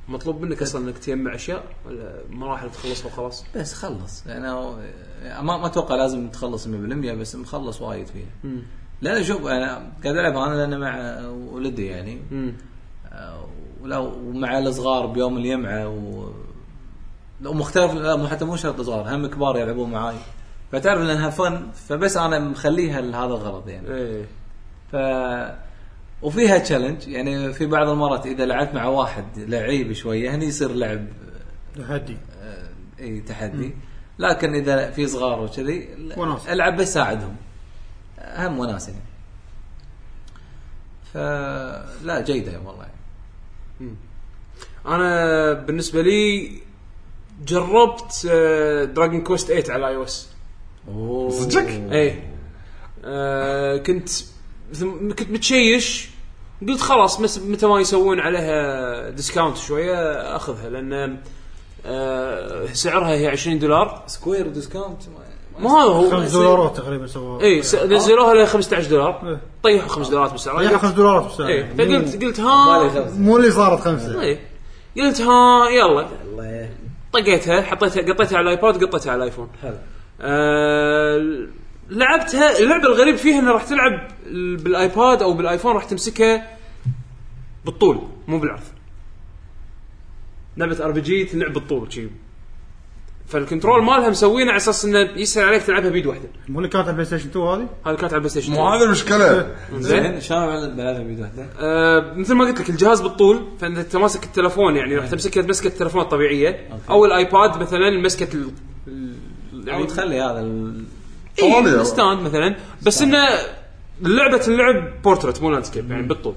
B: مطلوب منك اصلا انك تجمع اشياء ولا مراحل تخلصها وخلاص؟
E: بس خلص انا يعني ما ما اتوقع لازم تخلص 100% بس مخلص وايد فيها لا شوف انا قاعد العبها انا لان مع ولدي يعني
B: امم
E: آه، ولا ومع الصغار بيوم الجمعه و لو مختلف لا مو حتى مو شرط صغار هم كبار يلعبون معاي فتعرف انها فن فبس انا مخليها لهذا الغرض يعني
D: إيه.
B: ايه
E: ف وفيها تشالنج يعني في بعض المرات اذا لعبت مع واحد لعيب شويه هني يصير لعب
C: تحدي
E: آه، اي تحدي لكن اذا في صغار وكذي ل-
C: وناسة.
E: العب بس ساعدهم اهم وناس يعني فلا جيده والله يعني.
B: انا بالنسبه لي جربت آه، دراجون كوست 8 على اي او اس
D: صدق؟
B: اي آه، كنت مثل- كنت متشيش قلت خلاص مس- متى ما يسوون عليها ديسكاونت شويه اخذها لان آه، سعرها هي 20 دولار
E: سكوير ديسكاونت
B: ما هذا هو
C: 5 دولارات تقريبا سووها
B: اي إيه، س- نزلوها ل 15 دولار
C: إيه.
B: طيحوا 5 دولارات بالسعر
C: طيح 5 دولارات بالساعه
B: اي
C: يعني.
B: فقلت قلت ها
C: مو اللي صارت خمسه
B: اي قلت ها يلا طقيتها حطيتها قطيتها على الايباد قطيتها على الايفون
E: حلو.
B: آه لعبتها اللعبه الغريب فيها انها راح تلعب ال- بالايباد او بالايفون راح تمسكها بالطول مو بالعرض لعبه ار بي جي تلعب بالطول شي فالكنترول مالها مسوينه على اساس انه يسهل عليك تلعبها بيد واحده
C: مو اللي كانت على البلاي ستيشن 2 هذه
B: هذا كانت على البلاي ستيشن
D: مو هذا المشكله
B: زين
E: زين شلون بلعبها بيد واحده؟
B: آه مثل ما قلت لك الجهاز بالطول فانت ماسك التلفون يعني راح تمسكه مسكه التلفون الطبيعيه او الايباد مثلا مسكه ال...
D: يعني
B: ال- يعني
E: او تخلي هذا ال-
D: طوالي.
B: إيه ستاند مثلا بس انه لعبه اللعب بورتريت مو لاندسكيب يعني بالطول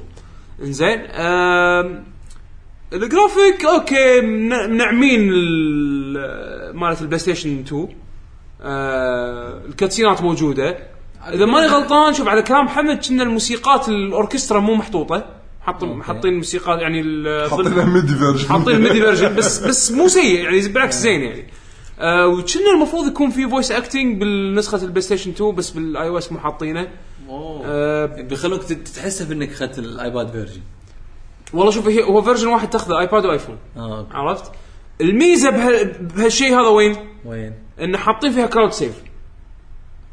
B: انزين آم، الجرافيك اوكي من- منعمين ال- مالت البلاي ستيشن 2 آه، الكاتسينات موجوده اذا ماني غلطان شوف على كلام حمد كنا الموسيقات الاوركسترا مو محطوطه حاطين حاطين موسيقى يعني ال-
D: حطينا ميدي فيرجن
B: حاطين ميدي فيرجن بس بس مو سيء يعني بالعكس زين يعني آه وكنا المفروض يكون في فويس اكتنج بالنسخه البلاي ستيشن 2 بس بالاي او اس مو حاطينه آه
E: أه، بيخلوك تت- تتحسف انك اخذت الايباد فيرجن
B: والله شوف هي هو فيرجن واحد تاخذه ايباد وايفون
E: اه أوكي.
B: عرفت الميزه بها بهالشيء هذا وين؟
E: وين؟
B: انه حاطين فيها كلاود سيف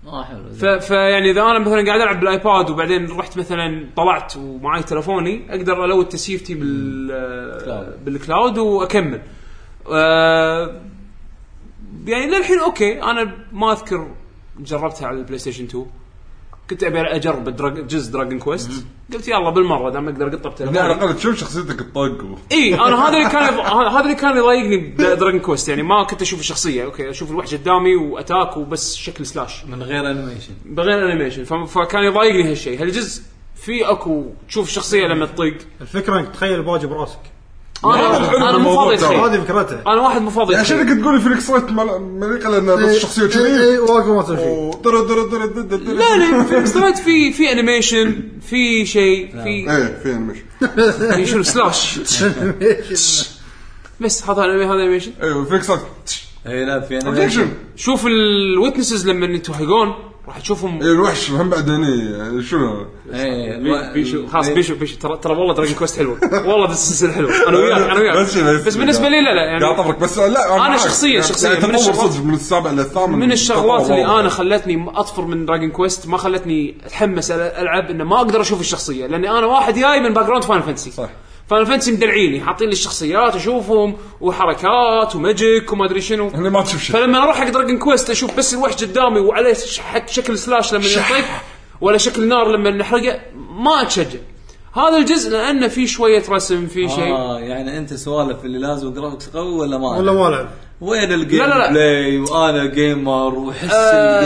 E: اه حلو
B: ف... يعني
E: زين.
B: فيعني اذا انا مثلا قاعد العب بالايباد وبعدين رحت مثلا طلعت ومعاي تلفوني اقدر الود تسيفتي بال آه،
E: كلاود.
B: بالكلاود واكمل. آه، يعني للحين اوكي انا ما اذكر جربتها على البلاي ستيشن 2 كنت ابي اجرب دراج... جزء دراجون كويست قلت يلا بالمره دام اقدر اقطه
D: يعني على
B: بتلفوني
D: الاقل تشوف شخصيتك الطاق و-
B: اي انا هذا اللي كان هذا اللي كان يضايقني بدراجون كويست يعني ما كنت اشوف الشخصيه اوكي اشوف الوحش قدامي واتاك وبس شكل سلاش
E: من غير انيميشن
B: بغير انيميشن ف- فكان يضايقني هالشيء هالجزء في اكو تشوف الشخصيه لما تطق
C: الفكره انك تخيل البواجي براسك
B: انا انا مو
D: الموضوع
B: فاضي
D: ترى.
B: أتخيل.
C: هذه فكرته
B: انا واحد مو فاضي
D: عشان
B: أتخيل.
D: يعني كنت تقولي فينيكس رايت مل- مليقه لانها
C: إيه،
D: بس شخصيه
C: اي
D: كذي
C: واقف ما تسوي شيء
D: وطر- طر- طر- طر- طر-
B: لا لا في سترايد في في انيميشن في شيء في
D: ايه في انيميشن
B: في شنو سلاش بس هذا أنمي- هذا انيميشن
D: ايوه فينيكس رايت
E: اي إيه، لا في انا
D: اوبجكشن
B: شوف الويتنسز لما يتوهقون راح تشوفهم
D: إيه، الوحش هم بعد هني يعني شنو
E: إيه، أه،
B: بي- بيشو خلاص بيشو بيشو ترى ترى والله دراجون كويست حلوه والله ذي السلسله حلوه انا وياك انا وياك
D: بس- بس-
B: بس بالنسبه لي لا لا
D: قاعد
B: يعني
D: اطبرك بس لا
B: أنا
D: معاك.
B: شخصياً-
D: يعني
B: شخصياً من
D: تطور
B: الشغلات-
D: صدق من السابع للثامن
B: من الشغلات اللي
D: تطور.
B: انا خلتني اطفر من دراجون كويست ما خلتني اتحمس أل- العب انه ما اقدر اشوف الشخصيه لاني انا واحد جاي من باك جراوند فان فانسي
D: صح.
B: فان فانسي مدلعيني حاطين لي الشخصيات اشوفهم وحركات وماجيك وما ادري شنو
D: هني ما تشوف شيء
B: فلما اروح حق دراجون كويست اشوف بس الوحش قدامي وعليه ش- حق شكل سلاش لما ينطق ولا شكل نار لما نحرقه ما اتشجع هذا الجزء لانه في شويه رسم في شيء
E: اه يعني انت سوالف اللي لازم جرافكس قوي ولا ما
C: ولا ما لعب
E: وين الجيم
B: لا، لا، لا.
E: بلاي وانا جيمر وحس
B: آه،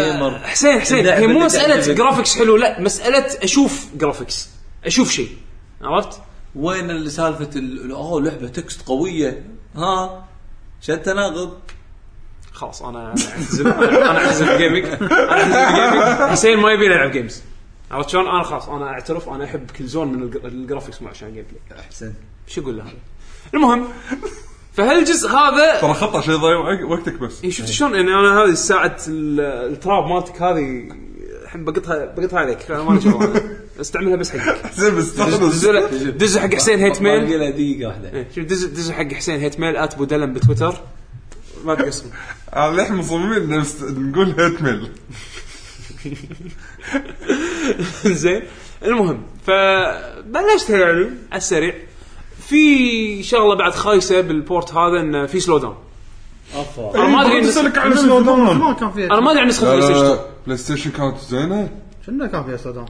E: الجيمر
B: حسين حسين
E: اللعبة
B: هي مو
E: اللي
B: مساله
E: تعجبك.
B: جرافكس حلو لا مساله اشوف جرافكس اشوف شيء عرفت؟
E: وين اللي سالفه ال- اوه لعبه تكست قويه ها شو التناقض؟
B: خلاص انا أنا اعتزل انا اعتزل جيمنج انا اعتزل جيمنج حسين ما يبي يلعب جيمز عرفت شلون؟ انا خلاص انا اعترف انا احب كل زون من الج- الجرافكس مو عشان جيم بلاي
E: احسن
B: شو اقول له هذا؟ المهم فهالجزء هذا
D: ترى خطا شيء ضيع وق- وقتك بس
B: اي شفت شلون يعني انا هذه ساعه ال- التراب مالتك هذه الحين بقطها بقطها عليك أنا ما نشوفها استعملها بس حقك
D: زين بس
B: دز
D: تاخذ-
B: له- دز حق حسين هيت
E: باقي
B: ميل
E: له دقيقه واحده
B: إيه، شوف دز دز حق حسين هيت ميل ات بودلم بتويتر ما تقصر
D: آه، اللي احنا مصممين نفس- نقول هيت ميل
B: زين المهم فبلشت يعني على السريع في شغله بعد خايسه بالبورت هذا انه في سلو داون
E: افا
B: انا ما ادري إن-
D: اسالك عن
C: بس
D: سلو
C: لو داون
D: داون
C: زمان كان فيها
B: انا ما ادري عن نسخه بلاي ستيشن 2
D: بلاي ستيشن كانت زينه
C: شنو كان فيها سودان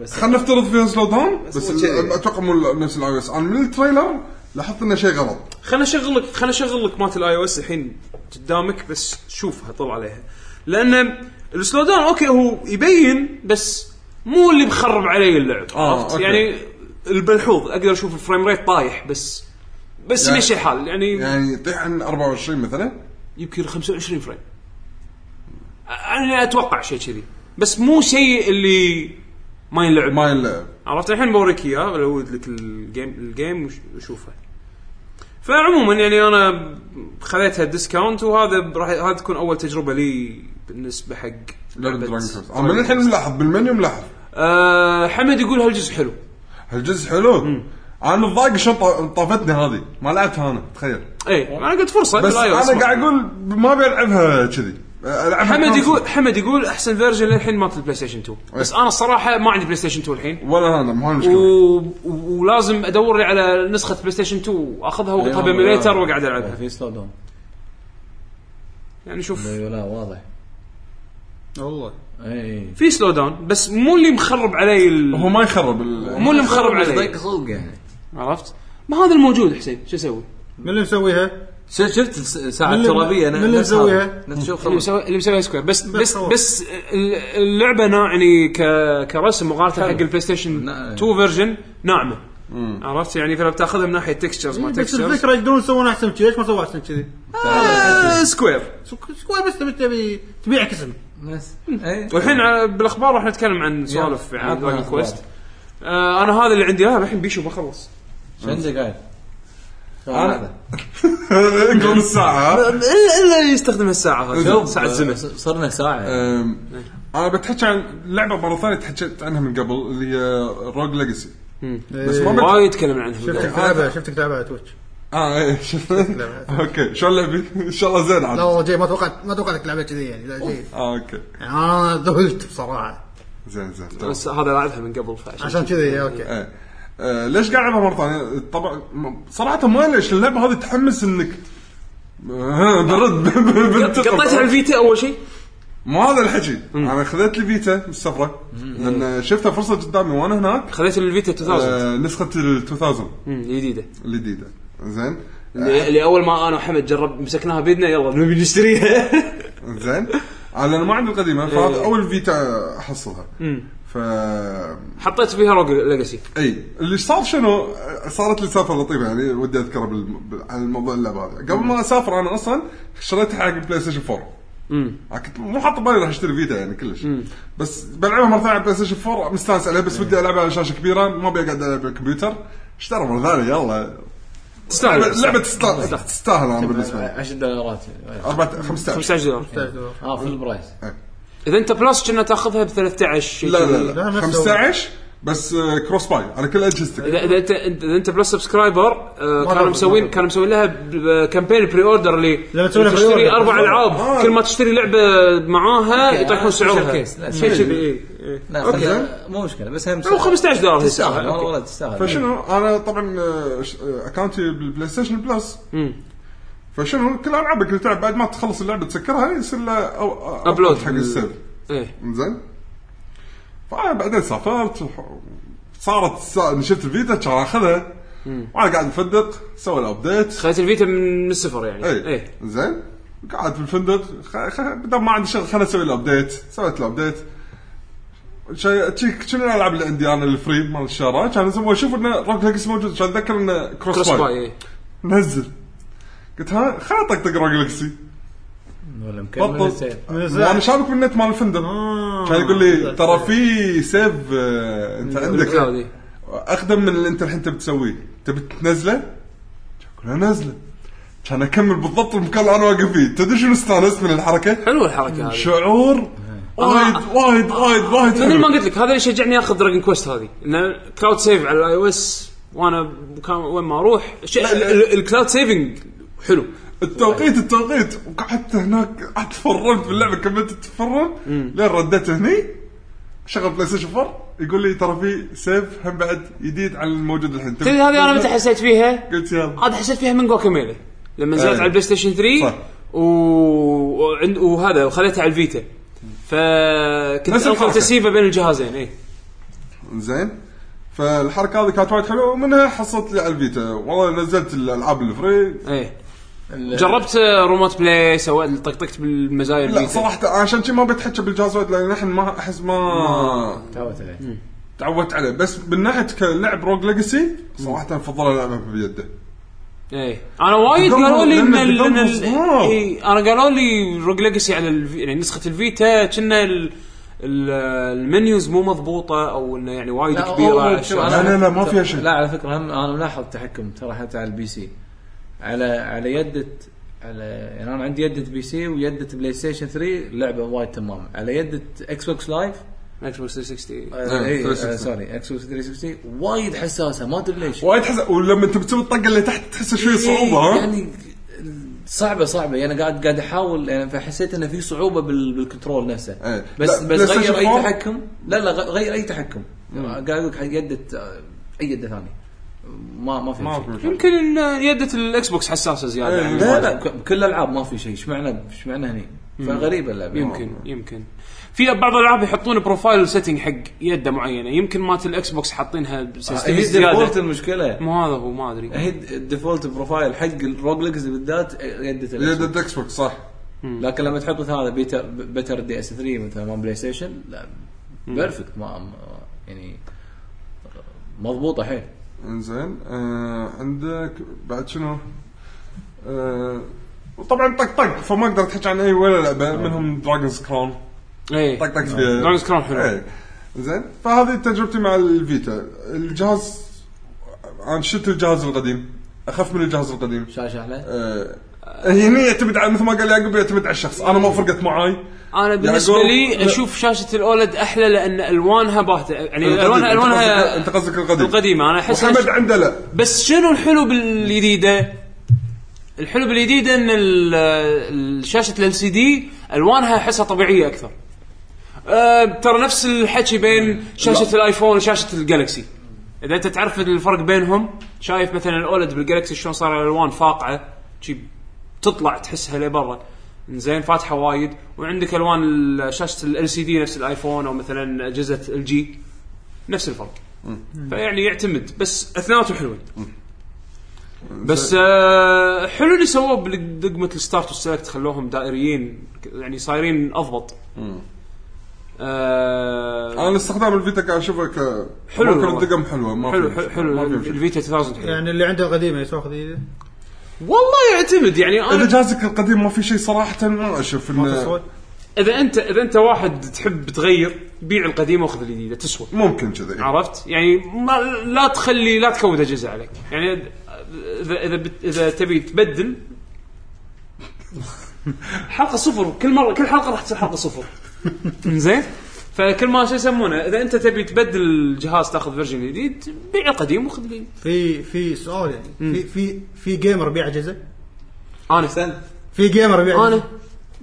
E: بس
D: خلينا نفترض فيها سلو داون بس
E: هو شيء.
D: ال- اتوقع مو نفس الاي اس انا من التريلر لاحظت انه شيء غلط
B: خلنا اشغل لك خلنا اشغل لك مالت الاي او اس الحين قدامك بس شوفها طل عليها لان السلو داون اوكي هو يبين بس مو اللي مخرب علي اللعب
D: آه،
B: عرفت؟
D: أوكي.
B: يعني الملحوظ اقدر اشوف الفريم ريت طايح بس بس
D: يعني-
B: ماشي الحال يعني,
D: يعني يطيح عن 24 مثلا
B: يمكن 25 فريم انا اتوقع شيء كذي بس مو شيء اللي ما ينلعب
D: ما يلعب
B: عرفت الحين بوريك اياه بلود لك الجيم الجيم وش- وشوفه فعموما يعني انا خذيتها ديسكاونت وهذا راح هذا تكون اول تجربه لي بالنسبه حق
D: لعبه
B: لعبة
D: دراجون كويست انا
B: دراجون
D: آه، من الحين
B: كويست.
D: ملاحظ بالمنيو ملاحظ
B: أه حمد يقول هالجزء حلو
D: هالجزء حلو انا الضايق شلون طا- طافتني هذه ما لعبتها انا تخيل
B: اي انا إيه، قلت فرصه
D: بس
B: بالآي أو إس
D: انا
B: ما.
D: قاعد اقول ما بلعبها كذي العبها
B: حمد
D: كونسل.
B: يقول حمد يقول احسن فيرجن للحين مالت البلاي ستيشن 2
D: إيه.
B: بس انا الصراحه ما عندي بلاي ستيشن 2 الحين
D: ولا انا ما هي
B: و...
D: المشكله
B: و- ولازم ادور لي على نسخه بلاي ستيشن 2 اخذها واقطها
E: أيوة.
B: بميليتر واقعد العبها
E: في سلو داون
B: يعني شوف
D: إيه.
E: ايوه لا واضح إيه،
C: والله
E: اي
B: في سلو داون بس مو اللي مخرب علي ال...
D: هو ما يخرب ال-
B: مو اللي مخرب
E: ضيق
B: علي
E: خلق يعني
B: عرفت ما هذا الموجود حسين شو اسوي
C: من اللي مسويها؟
E: ش- شفت الس- الساعه
C: من اللي-
E: الترابيه
C: من اللي
E: نفس
C: مسويها؟
E: هذا. نفس شوف
B: اللي
E: خلص
B: مسوي اللي مسويها سكوير بس بس
C: هو.
B: بس ال- اللعبه نا يعني ك... كرسم مقارنه حق البلاي ستيشن
E: نعم.
B: 2 فيرجن ناعمه عرفت يعني فلو بتاخذها من ناحيه تكستشرز ما
C: إيه، بس
B: تكستشرز
C: الفكره يقدرون يسوون احسن من كذي ليش ما سووا احسن من كذي؟
B: آه، سكوير
C: سك- سكوير بس تبي تبي تبيع كسم
E: بس اي
B: والحين على- بالاخبار راح نتكلم عن سوالف
E: يلا.
B: يعني
E: عطنا
B: دراجون
E: أخبار.
B: كويست آه انا هذا اللي عندي لا الحين بيشو بخلص
E: شو عندك قاعد؟
D: أنا- نقول الساعه ها؟
B: الا الا اللي يستخدم الساعه هذه
E: شوف،
B: ساعه زمن
E: ص- صرنا ساعه
D: أم، انا بتحكي عن لعبه مره ثانيه تحكيت عنها من قبل اللي هي روج ليجسي بس ما بت...
B: وايد تكلم عنها
C: إيه. شفتك تلعبها شفتك تلعبها على تويتش
D: اه ايه شفت اوكي شلون لعبي؟ ان شاء الله زين
C: لا
D: عاد
C: والله جاي ما توقعت ما توقعت تلعبها كذي يعني لا جاي
D: اه اوكي
C: يعني انا ذهلت بصراحه
D: زين زين تمام.
B: بس هذا لعبها من قبل فعشان
C: عشان كذي اوكي
D: ايه آه، ليش قاعد العبها مره ثانيه؟ طبعا م- صراحه ما ليش اللعبه هذه تحمس انك آه، برد ب- ب- بنتقم.
B: قطيت على الفيتا اول شيء
D: مو هذا الحكي انا خذيت لي فيتا من السفره لان شفتها فرصه قدامي وانا هناك
B: خذيت الفيتا 2000
D: آه، نسخه ال 2000
B: مم، الجديده
D: الجديده زين
B: اللي اللي اول ما انا وحمد جرب مسكناها بيدنا يلا نبي نشتريها
D: زين انا ما عندي القديمه فهذا اول فيتا احصلها ف
B: حطيت فيها روج ليجاسي
D: اي اللي صار شنو صارت لي سالفه لطيفه يعني ودي اذكرها بال... بال- عن الموضوع اللعبه هذا قبل ما اسافر انا اصلا شريتها حق بلاي ستيشن 4 امم كنت مو حاط بالي راح اشتري فيتا يعني كلش بس بلعبها مره ثانيه على بلاي ستيشن 4 مستانس عليها بس ودي العبها على شاشه كبيره ما ابي اقعد العب على الكمبيوتر اشترى مره ثانيه يلا لعبه
B: تستاهل
D: لعبة تستاهل تستاهل انا بالنسبه لي
E: 10 دولارات
D: 4 15
B: 15 دولار
C: إيه.
E: اه فل برايس
B: اذا انت بلس كنا تاخذها ب 13
D: لا لا
C: لا،
D: لا
C: نفس
D: 15 بس آه، كروس باي على كل اجهزتك
B: اذا اذا انت اذا انت بلس سبسكرايبر آه، كانوا
C: أعرف.
B: مسوين كانوا مسوين لها ب- ب- كامبين بري اوردر اللي
C: لما تسوي لها
B: تشتري
C: pre-order.
B: اربع
D: آه.
B: العاب كل ما تشتري لعبه معاها يطيحون سعرها
E: شوكيس، لا،
B: شيء
E: شوكيس.
B: شيء إيه، إيه.
E: لا
D: أوكي.
E: خليها- نعم. مو مشكله بس هم
B: او 15 دولار
E: تستاهل
B: تستاهل
E: والله
B: أوكي.
E: والله تستاهل
D: فشنو انا طبعا آه، ش- آه، اكونتي بالبلاي ستيشن بلس فشنو كل العابك اللي تلعب بعد ما تخلص اللعبه تسكرها يصير لها أو-
B: أبلود.
D: حق السيف
B: إيه.
D: زين فبعدين سافرت وح- صارت سا- شفت الفيتا كان اخذها وانا قاعد مفندق سوى الابديت
B: خذيت الفيتا من من الصفر يعني
D: اي
B: ايه
D: إيه. زين قاعد في الفندق خ... خ... بدل ما عندي شغل خليني اسوي الابديت سويت الابديت شيء تشيك شنو الالعاب اللي عندي انا الفري مال الشارع كان اسوي اشوف انه روك ليجسي موجود عشان اتذكر انه كروس
B: كروس باي
D: باي
B: إيه.
D: نزل قلت ها خليني اطقطق روك ليجسي
E: ولا مكمل
D: بطل
E: السير.
D: وانا شابك بالنت مال الفندق كان يقول لي ترى في سيف آه، انت
B: بالكلاود،
D: عندك
B: إيه.
D: اقدم من اللي انت الحين تبي تسويه تبي تنزله؟ كنا نازله كان اكمل بالضبط المكان اللي انا واقف فيه تدري شنو استانست من الحركه؟
B: حلوه الحركه هذه
D: شعور وايد وايد وايد وايد
B: مثل ما
D: حلو.
B: قلت لك هذا اللي شجعني اخذ دراجون كويست هذه ان كلاود سيف على الاي او اس وانا كان وين ما اروح شيء-
D: لا، أه. لا.
B: ال- الكلاود سيفنج حلو
D: التوقيت التوقيت وقعدت هناك قعدت تفرمت باللعبه كملت تتفرم لين رديت هني شغل بلاي ستيشن 4 يقول لي ترى في سيف هم بعد جديد عن الموجود الحين
B: تدري هذه انا متى حسيت فيها؟
D: قلت يلا
B: هذا حسيت فيها من جواكاميلي لما نزلت
D: أي.
B: على البلاي ستيشن 3
D: أه. صح.
B: و... وعند... وهذا وخليتها على الفيتا فكنت
D: نفس
B: القى
D: الحركة.
B: تسييفه بين الجهازين إيه. اي
D: زين فالحركه هذه كانت وايد حلوه ومنها حصلت لي على الفيتا والله نزلت الالعاب الفري
B: ايه
E: ال-
B: جربت آه، روموت بلاي سويت طقطقت بالمزايا
D: لا
B: الفيتا
D: صراحه عشان شي ما بتحكى بالجهاز وايد لان نحن ما احس ما
E: تعودت عليه
D: تعودت عليه بس من ناحيه كلعب روج ليجسي صراحه افضل العبها بيده
B: ايه انا وايد
D: تدمر-
B: قالوا لي ان
D: لأن
B: ال-
D: تدمر
B: إن ال-
D: صعب.
B: إيه، انا قالوا لي روج ليجسي على الفي... يعني نسخه الفيتا كنا ال... ال- المنيوز مو مضبوطه او انه يعني وايد
E: لا،
B: كبيره
E: أول-
B: على
E: شوف،
B: الشاشة.
E: أنا-
D: لا، لا، لا، ما فيها شيء.
E: لا على فكره هم انا ملاحظ تحكم ترى حتى على البي سي على على يده على يعني انا عندي يده بي سي ويده بلاي ستيشن 3 لعبه وايد تمام على يده اكس بوكس لايف
B: اكس بوكس 360
D: نعم،
E: آه، إيه، آه،
D: 360.
E: سوري اكس بوكس 360 وايد حساسه ما تدري ليش
D: وايد حس ولما انت بتسوي الطقه اللي تحت تحس شوي صعوبه ها
E: يعني صعبه صعبه يعني انا قاعد قاعد احاول يعني فحسيت انه في صعوبه بال بالكنترول نفسه
D: إيه.
E: بس
D: لا،
E: بس
D: PlayStation إيه.
E: غير اي
D: 4
E: تحكم لا لا غ- غير اي تحكم قاعد اقول لك يدت آه، اي يده ثانيه ما ما في
D: ما
E: شيء
D: في شيء.
B: يمكن ان يده الاكس بوكس حساسه زياده
D: إيه.
B: يعني
E: لا لا ك- بكل الالعاب ما في شيء ايش معنى ايش معنى هني فغريبه اللعبه
B: يمكن يمكن في بعض الالعاب يحطون بروفايل سيتنج حق يده معينه يمكن مالت الاكس بوكس حاطينها
E: آه، هي
B: بسنسيتيف
E: الديفولت
B: زياده
E: المشكله
B: مو هذا هو ما ادري
E: هي الديفولت بروفايل حق الروج ليجز بالذات آه، يدت
D: يد الاكس بوكس صح
E: لكن لما تحط مثل هذا بيتر بيتر دي اس 3 مثلا مال بلاي ستيشن لا بيرفكت ما ما- يعني مضبوطه حيل
D: انزين آه عندك بعد شنو؟ آه وطبعا طق طق فما اقدر تحكي عن اي ولا لعبه منهم دراجونز كرون
B: ايه
D: طق طق فيها
B: Dragon's Crown حلو.
D: إيه. زين فهذه تجربتي مع الفيتا الجهاز انا شلت الجهاز القديم اخف من الجهاز القديم
E: شاشه
B: إيه.
E: احلى
D: آه، هني يعتمد على مثل ما قال يعقوب يعتمد على الشخص انا ما فرقت معاي
B: انا بالنسبه
D: يعقوب،
B: لي
D: لا.
B: اشوف شاشه الاولد احلى لان الوانها باهته يعني
D: القديم.
B: الوانها
D: أنت
B: الوانها
D: قصدك- أنت قصدك القديم.
B: القديمه انا احس
D: محمد عنده لا
B: بس شنو الحلو بالجديده؟ الحلو بالجديده ان ال- ال- شاشه ال سي دي الوانها احسها طبيعيه اكثر. أه ترى نفس الحكي بين شاشه الايفون وشاشه الجالكسي. اذا انت تعرف الفرق بينهم شايف مثلا الاولد بالجالكسي شلون صار الالوان فاقعه شي تطلع تحسها لبرا زين فاتحه وايد وعندك الوان ال- شاشه ال سي دي نفس الايفون او مثلا اجهزه الجي نفس الفرق. فيعني يعتمد بس اثنيناتهم حلوين. بس آه حلو اللي سووه بدقمه الستارت والسلكت خلوهم دائريين يعني صايرين اضبط آه
D: انا استخدام الفيتا قاعد اشوفه ك
B: حلو
D: ممكن
B: والله.
D: الدقم حلوه ما
B: حلو
D: في
B: حلو,
D: مشكلة، ما
B: حلو
D: في مشكلة.
B: الفيتا 2000 حلو
C: يعني اللي عنده قديمه يسوق جديده
B: والله يعتمد يعني
D: اذا
B: انا
D: جهازك القديم ما في شيء صراحه ما اشوف
C: ما في
D: انه
C: صوت
B: اذا انت اذا انت واحد تحب تغير بيع القديمه وخذ الجديده تسوى
D: ممكن كذا
B: عرفت؟ يعني ما لا تخلي لا تكود اجهزه عليك، يعني اذا اذا بت- اذا تبي تبدل حلقه صفر كل مره كل حلقه راح تصير حلقه صفر. زين؟ فكل ما شو يسمونه اذا انت تبي تبدل الجهاز تاخذ فيرجن جديد بيع القديم وخذ الجديد.
C: في في سؤال يعني في في في جيمر بيع اجهزه
B: انا
C: في جيمر بيع
B: انا
C: اجهزه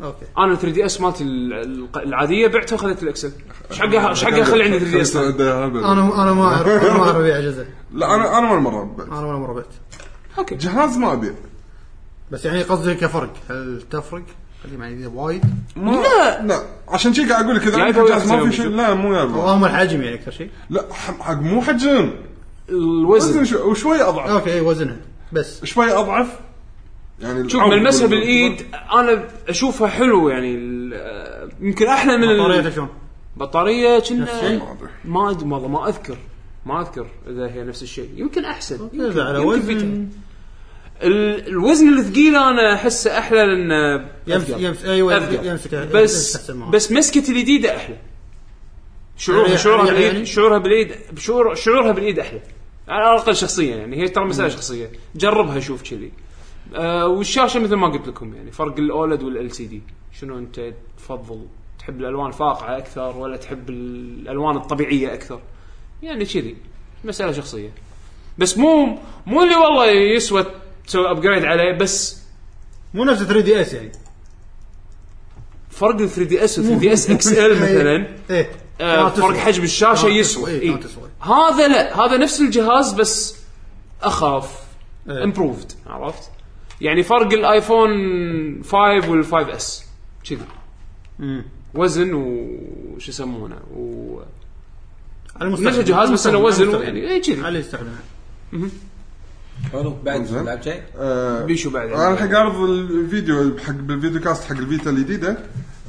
C: اوكي
B: انا 3 دي اس مالتي ال- ال- العاديه بعتها وخذت الاكسل. ايش حقها ايش حقها خلي عندي 3 دي اس؟
D: انا
C: انا انا ما اعرف انا ما اعرف ابيع اجهزه
D: لا انا انا ولا مره بعد.
C: انا ولا مره بعت
B: اوكي.
D: جهاز ما ابيع
C: بس يعني قصدي كفرق هل تفرق؟ خلي معي ذي وايد
D: لا لا عشان شي قاعد اقول لك اذا
B: يعني
D: عندك
B: هو
D: جهاز ما
B: يحسب
D: في شيء
B: يشوف.
D: لا مو يربع
C: وهم الحجم يعني اكثر شيء
D: لا ح- حق مو حجم
B: الوزن
D: وزن شو- وشوي اضعف
C: اوكي اي وزنها بس
D: شوي اضعف يعني
B: شوف
D: العمق
B: ملمسها
D: وال-
B: بالايد انا اشوفها حلو يعني ال- آه، يمكن احلى من
C: طريقتها
B: ال-
C: شلون؟
B: البطارية كنا
D: ما أدري.
B: ما أد- والله ما اذكر ما اذكر اذا هي نفس الشيء يمكن احسن يمكن,
C: إذا على
B: يمكن
C: وزن
B: فيتها. ال- الوزن الثقيل انا احسه احلى لان
C: يمس
B: أثقل.
C: يمس ايوه
B: أثقل.
C: يمسك
B: بس بس مسكة الجديدة احلى شعورها
C: يعني-
B: شعورها
C: يعني-
B: بالايد شعورها بالايد شعور شعورها بالايد احلى على الاقل شخصيا يعني هي ترى مساله شخصيه جربها شوف كذي آه والشاشه مثل ما قلت لكم يعني فرق الاولد والال سي دي شنو انت تفضل تحب الالوان الفاقعه اكثر ولا تحب الالوان الطبيعيه اكثر يعني كذي مساله شخصيه بس مو مو اللي والله يسوى تسوي ابجريد عليه بس
C: مو نفس 3 دي اس يعني
B: فرق ال 3 دي اس و 3 دي اس اكس ال مثلا
C: ايه
B: آه،
C: ما تسوى.
B: فرق حجم الشاشه
C: ما
B: يسوى
C: تسوى، إيه، ما
B: إيه.
C: تسوى.
B: هذا لا هذا نفس الجهاز بس اخاف
C: إيه.
B: امبروفد عرفت يعني فرق الايفون 5 وال 5 اس كذي
C: مم.
B: وزن وش يسمونه و
C: على المستخدم.
B: نفس الجهاز بس انه
C: على
B: وزن
C: المستخدم.
B: يعني اي كذي
C: على يستخدمه
E: حلو بعد
D: زين.
E: لعبت شيء؟
B: إيه.
D: آه،
B: بيشو بعد
D: انا الحين عرض الفيديو حق بالفيديو كاست حق الفيتا الجديده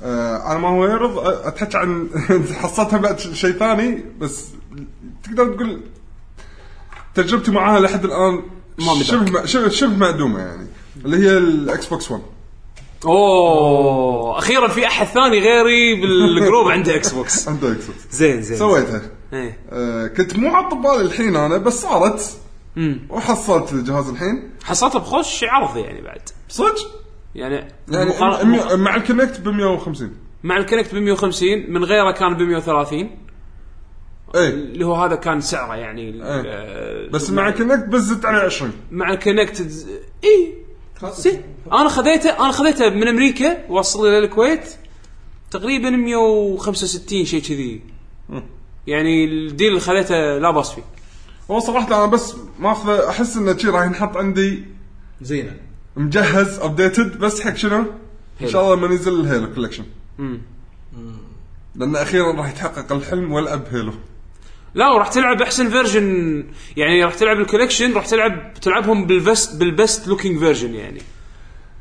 D: آه، انا ما هو يعرض آه، اتحكى عن حصلتها بعد شيء ثاني بس تقدر تقول تجربتي معاها لحد الان
B: ما مداك.
D: شبه مع- شبه شبه معدومه يعني اللي هي الاكس بوكس 1
B: اوه اخيرا في احد ثاني غيري بالجروب عنده اكس بوكس
D: عند اكس بوكس
B: زين زين
D: سويتها
B: إيه.
D: آه، كنت مو حاط ببالي الحين انا بس صارت وحصلت الجهاز الحين
B: حصلته بخش عرض يعني بعد
D: صدق
B: يعني
D: يعني
B: مقار-
D: مع- مع الكونكت ب 150
B: مع الكونكت ب 150 من غيره كان ب 130
D: اي
B: اللي هو هذا كان سعره يعني ال-
D: إيه.
B: آه،
D: بس مع كونكت بس زدت عليه 20
B: مع الكونكت اي زين انا خذيته انا خذيته من امريكا وصل الى الكويت تقريبا 165 شيء كذي يعني الديل اللي خذيته لا باس فيه
D: هو صراحه انا بس ماخذه احس انه شي راح ينحط عندي
E: زينه
D: مجهز ابديتد بس حق شنو؟ ان شاء الله لما ينزل الهيلو كولكشن لان اخيرا راح يتحقق الحلم والعب هيلو
B: لا وراح تلعب احسن فيرجن يعني راح تلعب الكوليكشن راح تلعب تلعبهم بالبست بالبست لوكينج فيرجن يعني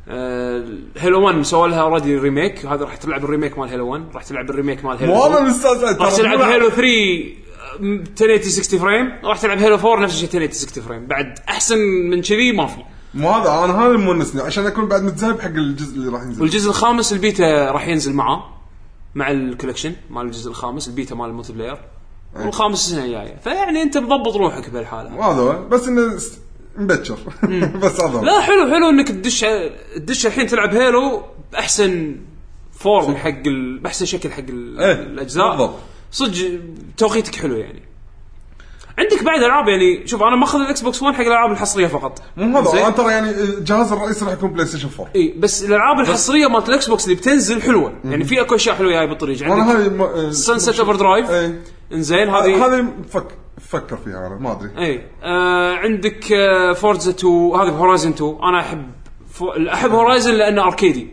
B: آه، هيلو 1 سووا لها اوريدي ريميك هذا راح تلعب الريميك مال هيلو 1 راح تلعب الريميك مال هيلو
D: والله
B: 2.
D: مستانس
B: راح تلعب هيلو 3 آه، 1080 60 فريم راح تلعب هيلو 4 نفس الشيء 1080 60 فريم بعد احسن من كذي ما في
D: مو هذا انا هذا اللي مونسني عشان اكون بعد متذهب حق الجزء اللي راح ينزل
B: والجزء الخامس البيتا راح ينزل معاه مع الكوليكشن مال الجزء الخامس البيتا مال الملتي بلاير والخامس السنه الجايه فيعني انت مضبط روحك بهالحاله
D: وهذا هو بس انه س- مبكر بس هذا هو.
B: لا حلو حلو انك تدش تدش الحين تلعب هيلو باحسن فورم حق ال... باحسن شكل حق ال...
D: إيه،
B: الاجزاء
D: بالضبط.
B: صدق توقيتك حلو يعني عندك بعد العاب يعني شوف انا ماخذ الاكس بوكس 1 حق الالعاب الحصريه فقط
D: مو هذا
B: زين؟
D: انا ترى يعني الجهاز الرئيسي راح يكون بلاي ستيشن 4
B: اي بس الالعاب الحصريه مالت الاكس بوكس اللي بتنزل حلوه يعني في اكو اشياء حلوه جاي بالطريق
D: انا
B: عندك
D: هذه
B: سنسيت اوفر درايف
D: اي
B: انزين هذه
D: هذه فك فكر فيها انا ما ادري
B: اي آه عندك آه فورزا 2 هذه هورايزن 2 انا احب فو... احب هورايزن لانه اركيدي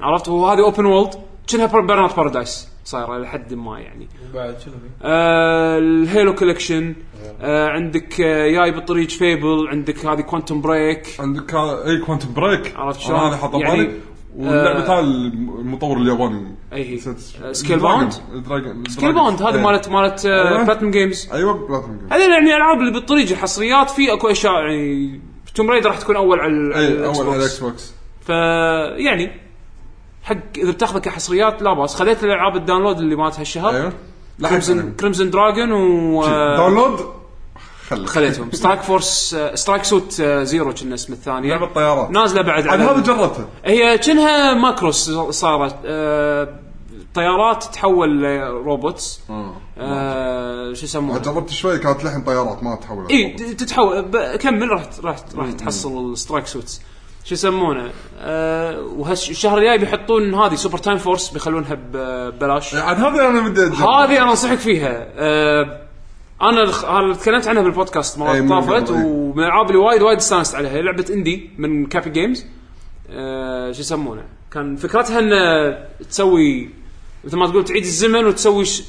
B: عرفت وهذه اوبن وولد كانها برنات بارادايس صايره الى حد ما يعني
F: بعد شنو في؟
B: آه، الهيلو كولكشن آه، عندك آه، جاي بالطريق فيبل عندك هذه كوانتم بريك
D: عندك إيه، ها- اي كوانتم بريك
B: عرفت شلون؟
D: انا حاطه
B: يعني-
D: بالي واللعبه
B: آه،
D: تاع المطور الياباني
B: أي هي.
D: نسيت-
B: آه، سكيل باوند؟
D: دراجون- دراجون-
B: كيل بوند هذه
D: إيه.
B: مالت مالت
D: أيوة.
B: بلاتنم جيمز
D: ايوه بلاتنم جيم.
B: هذول يعني العاب اللي بالطريق الحصريات في اكو اشياء يعني توم رايدر راح تكون اول على ال- على
D: اي
B: الإكس
D: اول إيه، على
B: بوكس.
D: الاكس بوكس
B: فيعني يعني، حق اذا بتاخذه كحصريات لا باس خذيت الالعاب الداونلود اللي مالت هالشهر
D: ايوه لا حق
B: كريمزن كريمزن دراجون و آه،
D: سنة. داونلود خلي
B: خليتهم سترايك فورس آه، سترايك سوت آه، زيرو كنا اسم الثانيه
D: لعبه الطيارات
B: نازله بعد
D: عاد
B: على-
D: هذا جربته
B: هي كأنها ماكروس صارت آه، طيارات تتحول لروبوتس آه، شو يسمونه
D: جربت شوي كانت لحن طيارات ما
B: اي
D: تحول
B: ت- إيه، تتحول ب- كمل راح راح راح تحصل السترايك سوتس شو يسمونه آه وهالشهر الجاي بيحطون هذه سوبر تايم فورس بيخلونها ب- ببلاش
D: عاد هذا انا بدي اجرب
B: هذه انا انصحك فيها آه انا الخ- أنا تكلمت عنها بالبودكاست
D: أي،
B: مرات
D: من
B: طافت
D: قبل، أي.
B: ومن الالعاب اللي وايد وايد استانست عليها هي لعبه اندي من كابي جيمز آه شو يسمونه كان فكرتها ان تسوي مثل ما تقول تعيد الزمن وتسوي ش...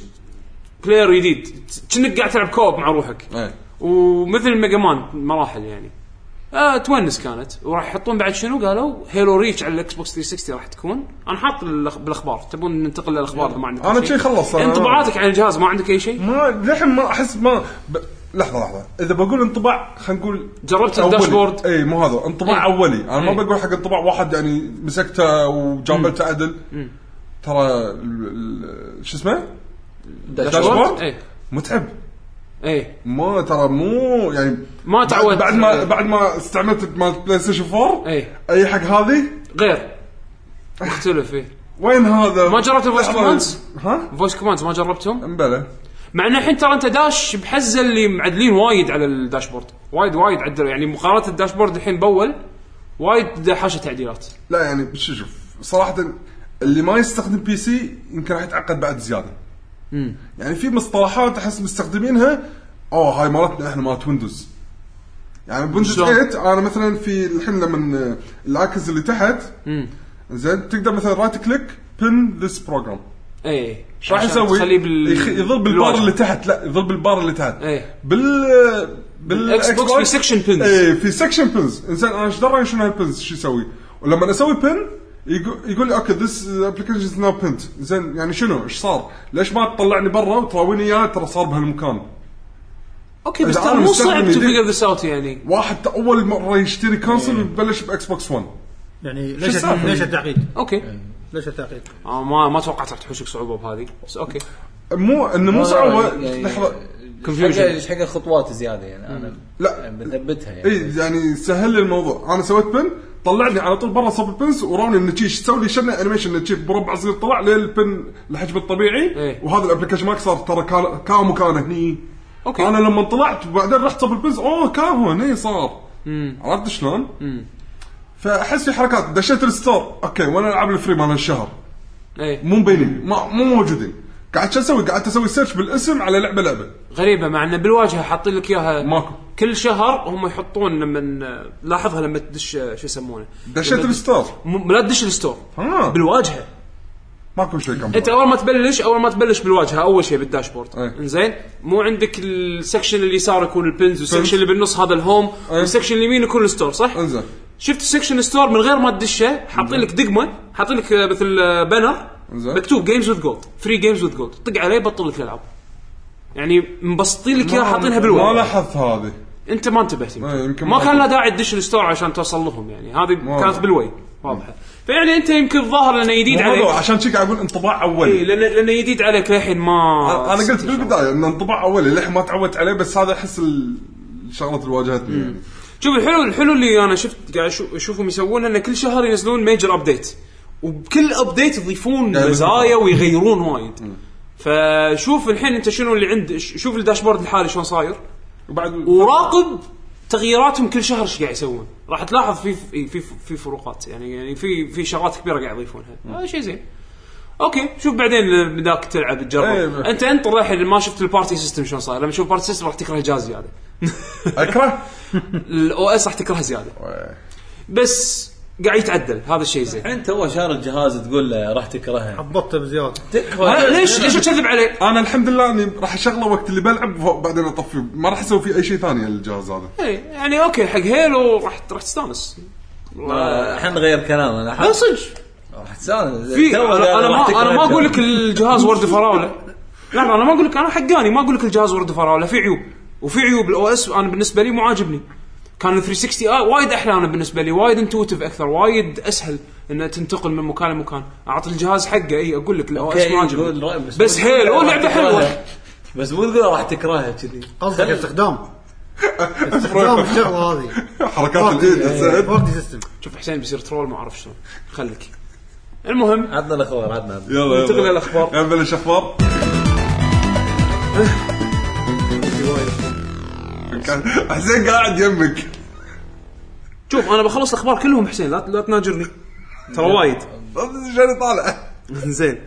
B: بلاير جديد ت- كأنك قاعد تلعب كوب مع روحك
D: إيه.
B: ومثل ميجا مان مراحل يعني آه تونس كانت وراح يحطون بعد شنو قالوا هيلو ريتش على الاكس بوكس 360 راح تكون انا حاط الأخ- بالاخبار تبون ننتقل للاخبار اذا ما عندك
D: أنا شي خلص، أنا-
B: انطباعاتك عن الجهاز ما عندك اي شيء
D: ما لحن ما احس ما ب... لحظه لحظه اذا بقول انطباع خلينا نقول
B: جربت
D: أولي.
B: الداشبورد؟
D: اي مو هذا انطباع
B: إيه.
D: اولي انا
B: إيه.
D: ما بقول حق انطباع واحد يعني مسكته وجاملته عدل ترى ال- ال- شو اسمه داشبورد؟
B: اي
D: متعب
B: اي
D: ما ترى مو يعني
B: إيه. ما
D: بعد-
B: تعودت.
D: بعد ما بعد ما استعملت مال بلاي ستيشن 4
B: إيه.
D: اي حق هذه
B: غير مختلف إيه. اي
D: وين هذا
B: ما جربت الفويس
D: لحظة.
B: كوماندز؟
D: ها
B: فويس كوماندز ما جربتهم
D: امبلا
B: مع ان الحين ترى انت داش بحزه اللي معدلين وايد على الداشبورد وايد وايد عدلوا يعني مقارنه الداشبورد الحين باول وايد حاشه تعديلات
D: لا يعني شو شوف صراحه اللي ما يستخدم بي سي يمكن راح يتعقد بعد زياده يعني في مصطلحات احس مستخدمينها اوه هاي مالتنا احنا مالت ويندوز يعني بويندوز
B: شلون؟
D: 8 انا مثلا في الحين لما العكس اللي تحت زين تقدر مثلا رايت كليك بن ذيس بروجرام
B: اي
D: شو إيه. راح يسوي؟
B: تخليه بال
D: يخ- يظل بالبار
B: بالواجهة.
D: اللي تحت لا يظل بالبار اللي تحت
B: إيه.
D: بال بالإكس
B: بوكس
D: بوكس.
B: في section pins.
D: ايه في سكشن بنز انزين انا ايش دراني شنو هالبنز شو يسوي؟ ولما اسوي بن يقول لي اوكي ذس ابلكيشن از ناو بنت زين يعني شنو ايش صار؟ ليش ما تطلعني برا وتراويني اياه ترى صار بهالمكان؟
B: اوكي بس
D: إذا
B: ترى
D: أنا
B: مو
D: مستخدم
B: صعب تو
D: يدي-
B: فيجر ذس اوت يعني
D: واحد اول مره يشتري
B: إيه.
D: كونسل ويبلش باكس بوكس 1
C: يعني ليش
D: السالفة؟
C: ليش التعقيد؟
B: اوكي
D: يعني.
C: ليش التعقيد؟
B: آه ما ما توقعت راح تحوشك صعوبه بهذه بس اوكي
D: مو انه مو صعب
B: يعني-
D: لحظه
B: Confusion.
E: ايش حق الخطوات زياده يعني انا
D: لا.
E: بثبتها
B: إيه.
E: يعني
D: اي يعني سهل لي الموضوع انا سويت بن طلعني على طول برا صب البنس وراوني انه شي تسوي لي شنه انيميشن انه شي مربع صغير طلع للبن الحجم الطبيعي
B: إيه.
D: وهذا الابلكيشن ماك صار ترى كا- كا مكانه هني
B: اوكي
D: انا لما طلعت وبعدين رحت صب البنس اوه كا هو هني صار عرفت شلون؟ فاحس في حركات دشيت الستور اوكي وانا العب الفري مال الشهر
B: اي
D: مو مبينين ما- مو موجودين قعدت شو اسوي؟ قعدت اسوي سيرش بالاسم على لعبه لعبه
B: غريبه مع انه بالواجهه حاطين لك اياها
D: ماكو
B: كل شهر هم يحطون لما لاحظها لما تدش آه، شو يسمونه
D: دشيت
B: لما-
D: الستور
B: م- لا تدش الستور
D: ها.
B: بالواجهه
D: ماكو شيء كان
B: انت اول ما تبلش اول ما تبلش بالواجهه اول شيء بالداشبورد
D: ايه.
B: انزين مو عندك السكشن اللي يسار يكون البنز والسكشن اللي بالنص هذا الهوم
D: ايه.
B: والسكشن اليمين يكون الستور صح؟
D: انزين
B: شفت السكشن ستور من غير ما تدشه حاطين لك دقمه حاطين لك آه، مثل آه، بانر
D: نعم. زين.
B: مكتوب جيمز وذ جولد فري جيمز وذ جولد طق عليه بطل لك الالعاب يعني مبسطين لك اياها حاطينها
D: ما
B: بالواجهه
D: لاحظت هذه
B: انت ما انتبهت
D: ايه،
B: يمكن
D: يمكن
B: ما
D: ما
B: كان لا
D: انتبهت.
B: داعي تدش الستور عشان توصل لهم يعني هذه
D: واضح.
B: كانت بالوي واضحه فيعني انت يمكن الظاهر لانه جديد
D: مو
B: عليك إيه،
D: موضوع عشان شي قاعد اقول انطباع
B: اي
D: اولي
B: لان لانه جديد عليك للحين ما
D: انا أنا قلت
B: ستيشن.
D: بالبدايه انه انطباع اولي للحين ما تعودت عليه بس هذا احس ال- الشغلات اللي واجهتني يعني
B: شوف الحلو الحلو اللي انا شفت قاعد أشو- اشوفهم يسوونه انه كل شهر ينزلون ميجر ابديت وبكل ابديت يضيفون
D: يعني
B: مزايا
D: بالضبط.
B: ويغيرون وايد فشوف الحين انت شنو اللي عند ش- شوف الداشبورد الحالي شلون صاير
D: وبعد
B: وراقب تغييراتهم كل شهر ايش قاعد يسوون راح تلاحظ في في في, في فروقات يعني يعني في في شغلات كبيره قاعد يضيفونها هذا شيء زين اوكي شوف بعدين بداك تلعب
D: إيه،
B: تجرب
D: بس.
B: انت انطر الحين ما شفت البارتي سيستم شلون صاير لما تشوف البارتي سيستم راح تكره الجهاز زياده
D: اكره
B: الاو اس راح تكرهه زياده بس قاعد يتعدل هذا الشيء زين
E: انت هو شاري الجهاز تقول له راح تكرهها
C: عبطته بزياده
B: أنا
E: تكفى
B: ليش ليش اكذب عليه؟
D: انا الحمد لله اني راح اشغله وقت اللي بلعب وبعدين اطفيه ما راح اسوي فيه اي شيء ثاني الجهاز هذا
B: إيه، يعني اوكي حق هيلو راح راح تستانس
E: آه، الحين نغير كلام انا
B: لا
E: حاس-
B: صدق
E: راح تستانس
B: في
E: تو
B: انا انا
E: راح
B: ما انا ما
E: تكرهها.
B: اقول لك الجهاز ورد فراوله لحظه انا ما اقول لك انا حقاني ما اقول لك الجهاز ورد فراوله في عيوب وفي عيوب الاو اس انا بالنسبه لي مو عاجبني كان ال 360 آه وايد احلى انا بالنسبه لي وايد انتوتيف اكثر وايد اسهل انه تنتقل من مكان لمكان اعطي الجهاز حقه اي اقول لك الاو اس
E: أوكي، إيه،
B: مو
E: قول رأي،
B: عاجبني بس
E: مو تقول
B: هيلو
E: راح
B: لعبه حلوه
E: تكرهها. بس مو تقول راح تكرهها كذي
C: قصدك استخدام استخدام الشغله هذه
D: حركات الايد تساعد
C: بارتي سيستم
B: شوف حسين بيصير ترول ما اعرف شلون خليك المهم
E: عطنا الاخبار عطنا
D: يلا يلا
B: ننتقل للأخبار.
D: يلا بلش اخبار كان- حسين قاعد يمك
B: شوف انا بخلص الاخبار كلهم حسين لا لا تناجرني ترى وايد
D: شنو طالع
B: زين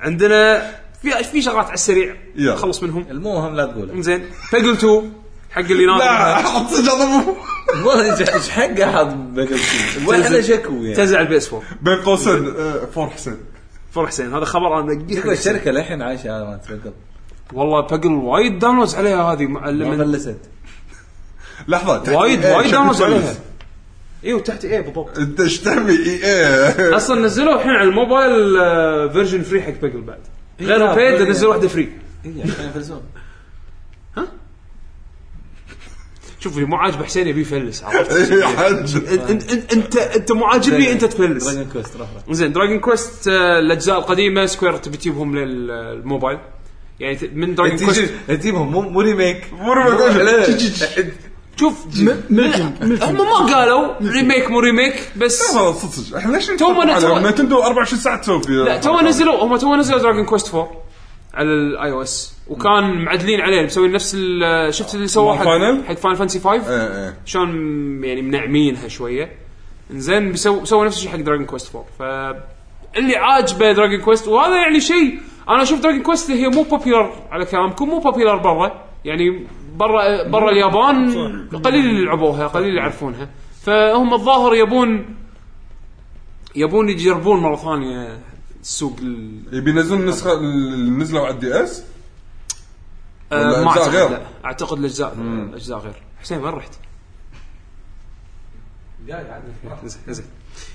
B: عندنا في في شغلات على السريع
D: يلا.
B: خلص منهم
E: المهم لا تقول
B: زين بيجل 2 حق اللي
D: لا
B: ناظر
D: حط صج هذا مو-
E: ايش حق احد بقلبي ولا شكو يعني
B: تزعل بيس 4
D: بين قوسين آه، فور حسين
B: فور حسين هذا خبر انا دقيق
E: تقول الشركه للحين عايشه على ما تفكر
B: والله بيجل وايد داونلودز عليها هذه مع-
E: ما إيه،
B: لما
E: فلست
D: لحظه تحت
B: وايد
D: EA
B: وايد
D: شكل
B: داونلودز
D: فلس.
B: عليها ايوه تحت ايه
E: إيه.
B: بالضبط
D: آه، انت ايش تبي اي ايه
B: اصلا نزلوا الحين على الموبايل آه، فيرجن فري حق بيجل بعد غير
E: إيه، لا، يعني.
B: البيد
E: بيجل.
B: نزلوا واحده فري
E: اي إيه، عشان يفلسون
B: شوف اللي مو عاجبه حسين يبي يفلس عرفت
D: يا حج
B: أن- أن- أن- انت انت مو عاجبني انت تفلس
E: دراجون كوست روح روح
B: زين دراجون كويست آه، الاجزاء القديمه سكوير تبي تجيبهم للموبايل يعني ت- من دراجون كويست
E: تجيبهم مو مو ريميك
D: مو ريميك، ولا-
E: لا، لا.
B: شوف هم ما قالوا ريميك مو ريميك بس
D: لحظة، صدق صدق احنا ليش
B: تو ما
D: نتوقع
B: نتوقع.
D: على نتندو 24 ساعه تسوي فيها
B: لا تو نزلوا هم تو نزلوا دراجون كويست 4 على الاي او اس وكان معدلين عليه مسوين نفس ال- شفت اللي سووه
D: مال
B: حق
D: فاينل؟
B: حق فاينل فانسي 5
D: ايه ايه
B: شلون يعني منعمينها شويه زين بيسو سووا نفس الشيء حق دراجون كويست 4 ف اللي عاجبه دراجون كويست وهذا يعني شيء انا اشوف دراجون كويست هي مو بوبيلر على كلامكم مو بوبيلر برا يعني برا برا اليابان قليل اللي لعبوها قليل اللي يعرفونها فهم الظاهر يبون يبون يجربون مره ثانيه السوق ال-
D: يبي ينزلون النسخه اللي نزلوا على الدي اس ولا
B: آه ما
D: أجزاء
B: اعتقد
D: غير؟
B: لا اعتقد الاجزاء اجزاء غير حسين وين رحت؟ زين زين.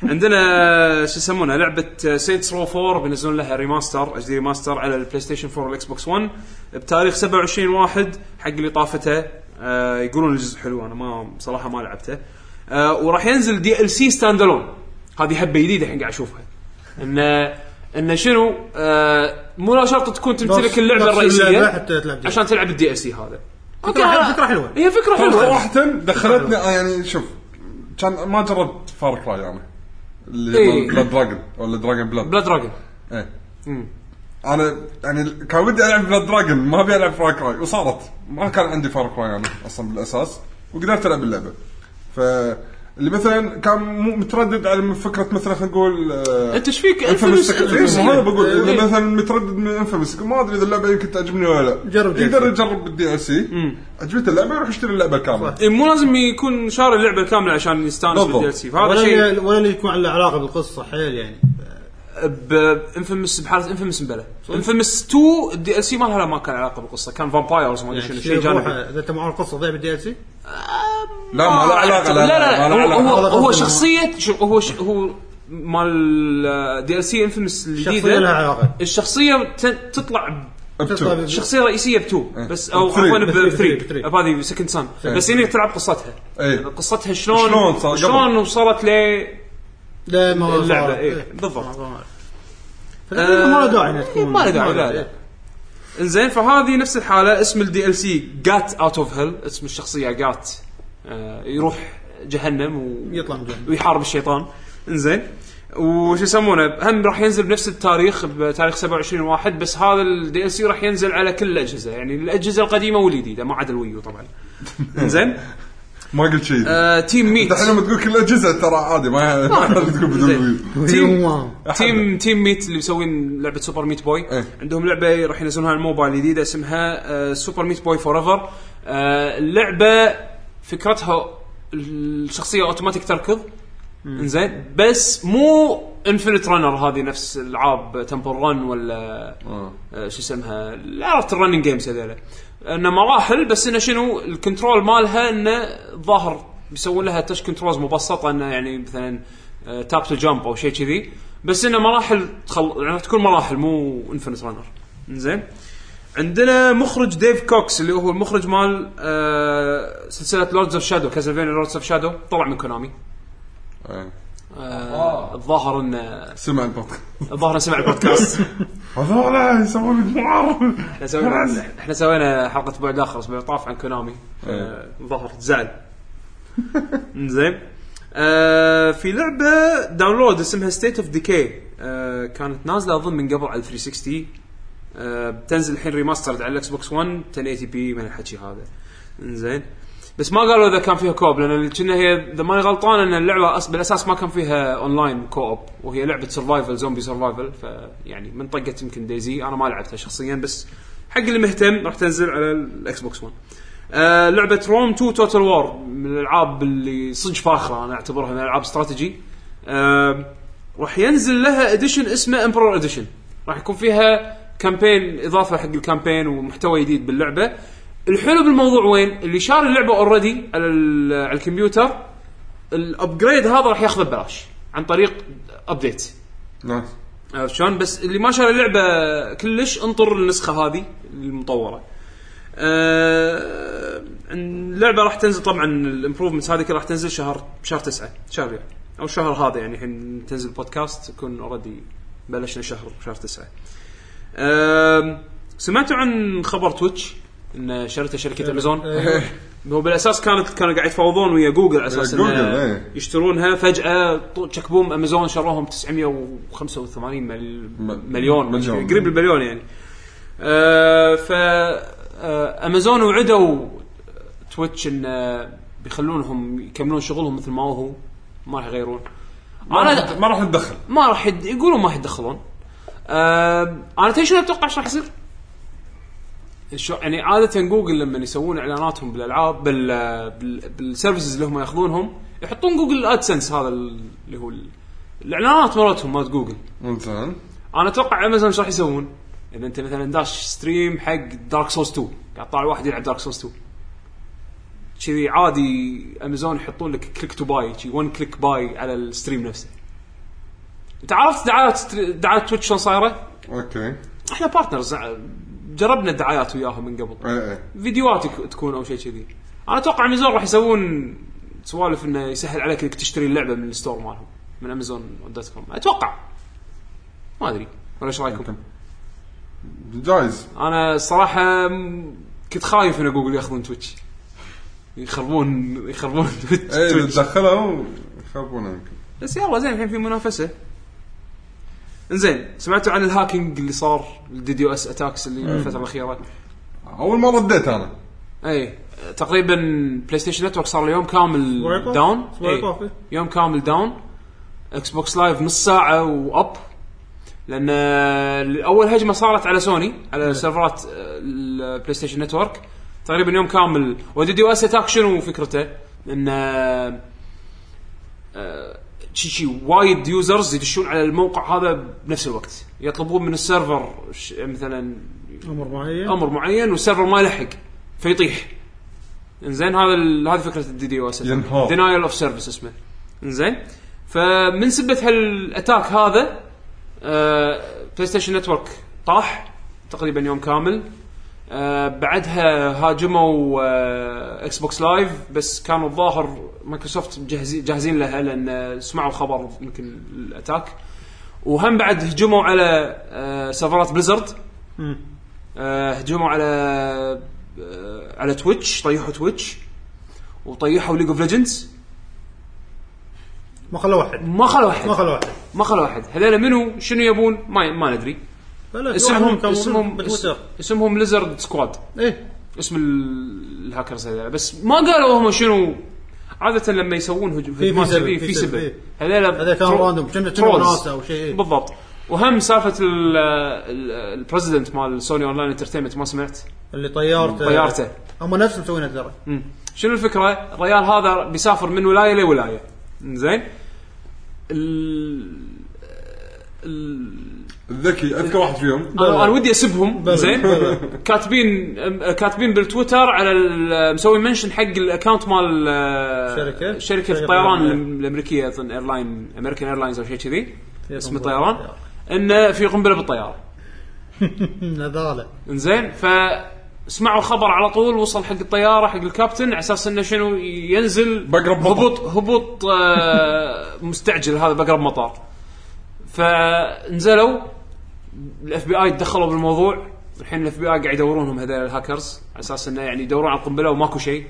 B: عندنا شو يسمونها لعبه سينتس رو 4 بينزلون لها ريماستر اتش دي ريماستر على البلاي ستيشن 4 والاكس بوكس 1 بتاريخ 27 واحد حق اللي طافته آه يقولون الجزء حلو انا ما بصراحه ما لعبته آه وراح ينزل دي ال سي ستاند الون هذه هبه جديده الحين قاعد اشوفها انه انه شنو آه مو لا شرط تكون تمتلك
C: نفس-
B: اللعبه
C: نفس اللعبة
B: الرئيسيه
C: حتى تلعب
B: عشان تلعب الدي اس سي هذا إيه،
C: فكرة حلوة- فكرة حلوة.
B: هي فكره حلوه
D: صراحه دخلتني آه، يعني شوف كان ما جربت فار كراي انا اللي
B: إيه.
D: بلاد دراجون ولا دراجون بلاد
B: بلاد دراجون
D: ايه انا يعني كان ودي العب بلاد دراجون ما ابي العب فار كراي وصارت ما كان عندي فار كراي انا اصلا بالاساس وقدرت العب اللعبه ف اللي مثلا كان مو متردد على فكره مثلا خلينا نقول آه،
B: انت ايش فيك
D: انفمس
B: Infamous- Infamous.
D: انا بقول
B: إيه.
D: اذا مثلا متردد من انفمس ما ادري اذا اللعبه يمكن تعجبني ولا لا
C: جرب
D: يقدر
C: DLC.
D: يجرب الدي ال سي عجبته اللعبه يروح يشتري اللعبه الكامله
B: إيه، مو لازم يكون شاري اللعبه الكامله عشان يستانس
D: بالضبط.
B: بالدي ال سي فهذا
C: ولا
B: شيء
C: اللي- ولا اللي يكون له علاقه بالقصه حيل يعني
B: بانفمس بحاله انفمس مبلى انفمس 2 الدي ال سي ما لها لا ما كان علاقه بالقصه كان فامبايرز ما ادري شنو
C: يعني
B: شيء
C: روحه
B: جانبي
C: اذا انت معاه القصه ضيع بالدي ال سي
D: لا ما له علاقه
B: آه، لا لا,
D: ما له
B: لا هو,
D: علاقه
B: هو,
C: هذا
B: هو
C: قصدي.
B: شخصيه شو- هو ش- هو مال دي ال سي انفمس
C: الشخصيه لها
B: الجديده
C: علاقه
B: الشخصيه ت- تطلع
D: أبتو.
C: طيب،
B: شخصيه رئيسيه بتو بس او
D: بثري.
B: عفوا
C: بثري، بثري،
B: بثري
C: بثري.
B: هذه سكند سان بس هنا تلعب قصتها
D: إيه.
B: قصتها شلون
D: شلون صار قبل.
B: شلون وصلت ل
C: لا ما إيه.
B: اللعبه
C: صارت.
B: اي بالضبط
C: فلازم آه، ما له داعي انها
B: إيه،
C: تكون
B: ما له داعي لا لا انزين فهذه نفس الحاله اسم الدي ال سي جات اوت اوف هيل اسم الشخصيه جات آه، يروح جهنم و...
C: يطلع من جهنم.
B: ويحارب الشيطان انزين وشو يسمونه هم راح ينزل بنفس التاريخ بتاريخ 27 واحد بس هذا الدي ال سي راح ينزل على كل الاجهزه يعني الاجهزه القديمه والجديده ما عدا الويو طبعا انزين
D: ما قلت شيء
B: آه، تيم ميت
D: انت الحين لما تقول كل اجهزه ترى عادي ما ما أحد تقول بدون
B: زين.
D: ويو
B: تيم
C: يوم.
B: تيم تيم ميت اللي مسوين لعبه سوبر ميت بوي
D: إيه.
B: عندهم لعبه راح ينزلونها على الموبايل جديده اسمها آه، سوبر ميت بوي آه، فور ايفر اللعبه فكرتها الشخصيه اوتوماتيك تركض انزين بس مو انفنت رانر هذه نفس العاب تمبل رن ولا
D: آه.
B: آه، شو اسمها عرفت الرننج جيمز هذول انه مراحل بس انه شنو الكنترول مالها انه ظاهر بيسوون لها تش كنترولز مبسطه انه يعني آه، مثلا تاب تو جامب او شيء كذي بس انه مراحل تخل... يعني تكون مراحل مو انفنت رانر زين عندنا مخرج ديف كوكس اللي هو المخرج مال آه سلسله لوردز اوف شادو كازلفينيا لوردز اوف شادو طلع من كونامي
D: إيه.
B: آه، الظاهر انه
D: سمع البطل
B: الظاهر إنه سمع البودكاست
D: هذول يسوون مجموعة
B: احنا سوينا احنا سوينا حلقه بعد اخر الاسبوع طاف عن كونامي آه، الظاهر زعل زين آه في لعبه داونلود اسمها ستيت اوف ديكي آه، كانت نازله اظن من قبل على 360 آه بتنزل الحين ريماسترد على الاكس بوكس 1 1080 بي من الحكي هذا انزين بس ما قالوا اذا كان فيها كوب لان اللي كنا هي اذا ماني غلطان ان اللعبه أص... بالاساس ما كان فيها اونلاين كوب وهي لعبه سرفايفل زومبي سرفايفل فيعني يعني من طقت يمكن ديزي انا ما لعبتها شخصيا بس حق اللي مهتم راح تنزل على الاكس بوكس 1 آه لعبه روم 2 توتال وور من الالعاب اللي صدق فاخره انا اعتبرها من العاب استراتيجي آه راح ينزل لها اديشن اسمه امبرور اديشن راح يكون فيها كامبين اضافه حق الكامبين ومحتوى جديد باللعبه الحلو بالموضوع وين اللي شار اللعبه اوريدي على, ال- على الكمبيوتر الابجريد هذا راح ياخذه ببلاش عن طريق ابديت
D: نايس
B: عرفت شلون بس اللي ما شاري اللعبه كلش انطر النسخه هذه المطوره آه اللعبه راح تنزل طبعا الامبروفمنتس هذه كلها راح تنزل شهر شهر تسعة شهر يعني. او الشهر هذا يعني الحين تنزل البودكاست يكون اوريدي بلشنا شهر شهر تسعة آه سمعتوا عن خبر تويتش ان شرته شركه امازون هو بالاساس كانت كانوا قاعد يتفاوضون ويا جوجل على اساس
D: جوجل،
B: انه
D: إيه. إيه.
B: يشترونها فجاه طو- تشك بوم امازون شروهم 985 مل...
D: م-
B: مليون
D: مليون.
B: قريب البليون يعني آه ف آه امازون وعدوا تويتش ان آه، بيخلونهم يكملون شغلهم مثل ما هو ما راح يغيرون انا
D: ما راح نتدخل
B: ما راح يد... يقولون ما راح يتدخلون آه انا تدري شنو اتوقع ايش راح يصير؟ شو يعني عاده جوجل لما يسوون اعلاناتهم بالالعاب بال بال- بالسيرفيسز اللي هم ياخذونهم يحطون جوجل ادسنس هذا اللي هو ال- الاعلانات مرتهم مالت جوجل
D: زين
B: انا اتوقع امازون ايش راح يسوون؟ اذا انت مثلا داش ستريم حق دارك سورس 2 قاعد طالع واحد يلعب دارك سورس 2 كذي عادي امازون يحطون لك كليك تو باي شي 1 كليك باي على الستريم نفسه انت عرفت دعايات ستري- دعايات تويتش شلون صايره؟
D: اوكي ايه
B: احنا بارتنرز جربنا الدعايات وياهم من قبل
D: ايه
B: فيديوهات يك- تكون او شيء كذي انا اتوقع امازون راح يسوون سوالف انه يسهل عليك انك تشتري اللعبه من الستور مالهم من امازون دوت كوم اتوقع ما ادري ولا ايش رايكم؟
D: جايز
B: انا الصراحه م- كنت خايف ان جوجل ياخذون تويتش يخربون يخربون تويتش,
D: ايه اذا
B: تويتش.
D: تدخلوا يخربونه يمكن
B: بس يلا زين الحين في منافسه انزين سمعتوا عن الهاكينج اللي صار الدي دي اس اتاكس اللي الفتره الاخيره
D: اول ما رديت انا
B: اي تقريبا بلاي ستيشن نتورك صار اليوم كامل
C: أسبوع يطاف.
B: داون
C: أسبوع
B: إي.
C: يطاف، إي.
B: يوم كامل داون اكس بوكس لايف نص ساعه واب لان آه، اول هجمه صارت على سوني على سيرفرات آه، البلاي ستيشن نتورك تقريبا يوم كامل ودي دي اس اتاك شنو فكرته؟ ان آه، آه، شي شي وايد يوزرز يدشون على الموقع هذا بنفس الوقت يطلبون من السيرفر ش- مثلا
C: امر معين
B: امر معين والسيرفر ما يلحق فيطيح انزين هذا ال- هذه فكره الدي دي او اس
D: ينهار.
B: دينايل اوف سيرفيس اسمه انزين فمن سبه هالاتاك هذا آه بلاي ستيشن نتورك طاح تقريبا يوم كامل آه بعدها هاجموا آه اكس بوكس لايف بس كانوا الظاهر مايكروسوفت جاهزين جاهزين لها لان سمعوا خبر يمكن الاتاك وهم بعد هجموا على آه سيرفرات بليزرد
C: مم.
B: آه، هجموا على آه، على تويتش طيحوا تويتش وطيحوا ليج اوف ليجندز
C: ما خلوا واحد
B: ما خلوا واحد
C: ما خلوا واحد
B: ما خلوا واحد هذول منو شنو يبون ما ما ندري
C: لا
B: اسمهم اسمهم
C: بالتويتر
B: اسمهم ليزرد سكواد
C: ايه
B: اسم ال- الهاكرز هذول بس ما قالوا هم شنو عادة لما يسوون هجوم
C: في- في
B: هجمات
C: سبب،
B: كذي
C: في
B: في
C: سبب،
B: سبب
C: إيه.
B: هذول
C: هذا كان
B: ترو-
C: راندوم كنا كنا
B: trolls.
C: وناسه او شيء إيه.
B: بالضبط وهم سالفه ال- ال- البريزدنت مال سوني اونلاين انترتينمنت ما سمعت
C: اللي طيارته
B: طيارته.
C: هم نفسهم مسوينها ترى
B: مم. شنو الفكره؟ الريال هذا بيسافر من ولايه لولايه. زين؟ ال... ال...
D: الذكي اذكى واحد فيهم
B: انا أنا ودي اسبهم
C: بلى.
B: زين
C: بلى.
B: كاتبين أم- كاتبين بالتويتر على ال- مسوي منشن حق الاكونت مال آه،
F: شركة.
B: شركه
F: شركة
B: الطيران
F: طيران.
B: الأم- الامريكيه اظن ايرلاين امريكان ايرلاينز او شيء كذي اسم
F: قنبلة
B: الطيران
F: بالطيارة.
B: انه في قنبله بالطياره
C: نذاله
B: انزين ف سمعوا خبر على طول وصل حق الطياره حق الكابتن على اساس انه شنو ينزل
D: بقرب مطار.
B: هبوط هبوط آه، مستعجل هذا بقرب مطار فنزلوا الاف بي اي تدخلوا بالموضوع الحين الاف بي اي قاعد يدورونهم هذول الهاكرز على اساس انه يعني يدورون على القنبله وماكو شيء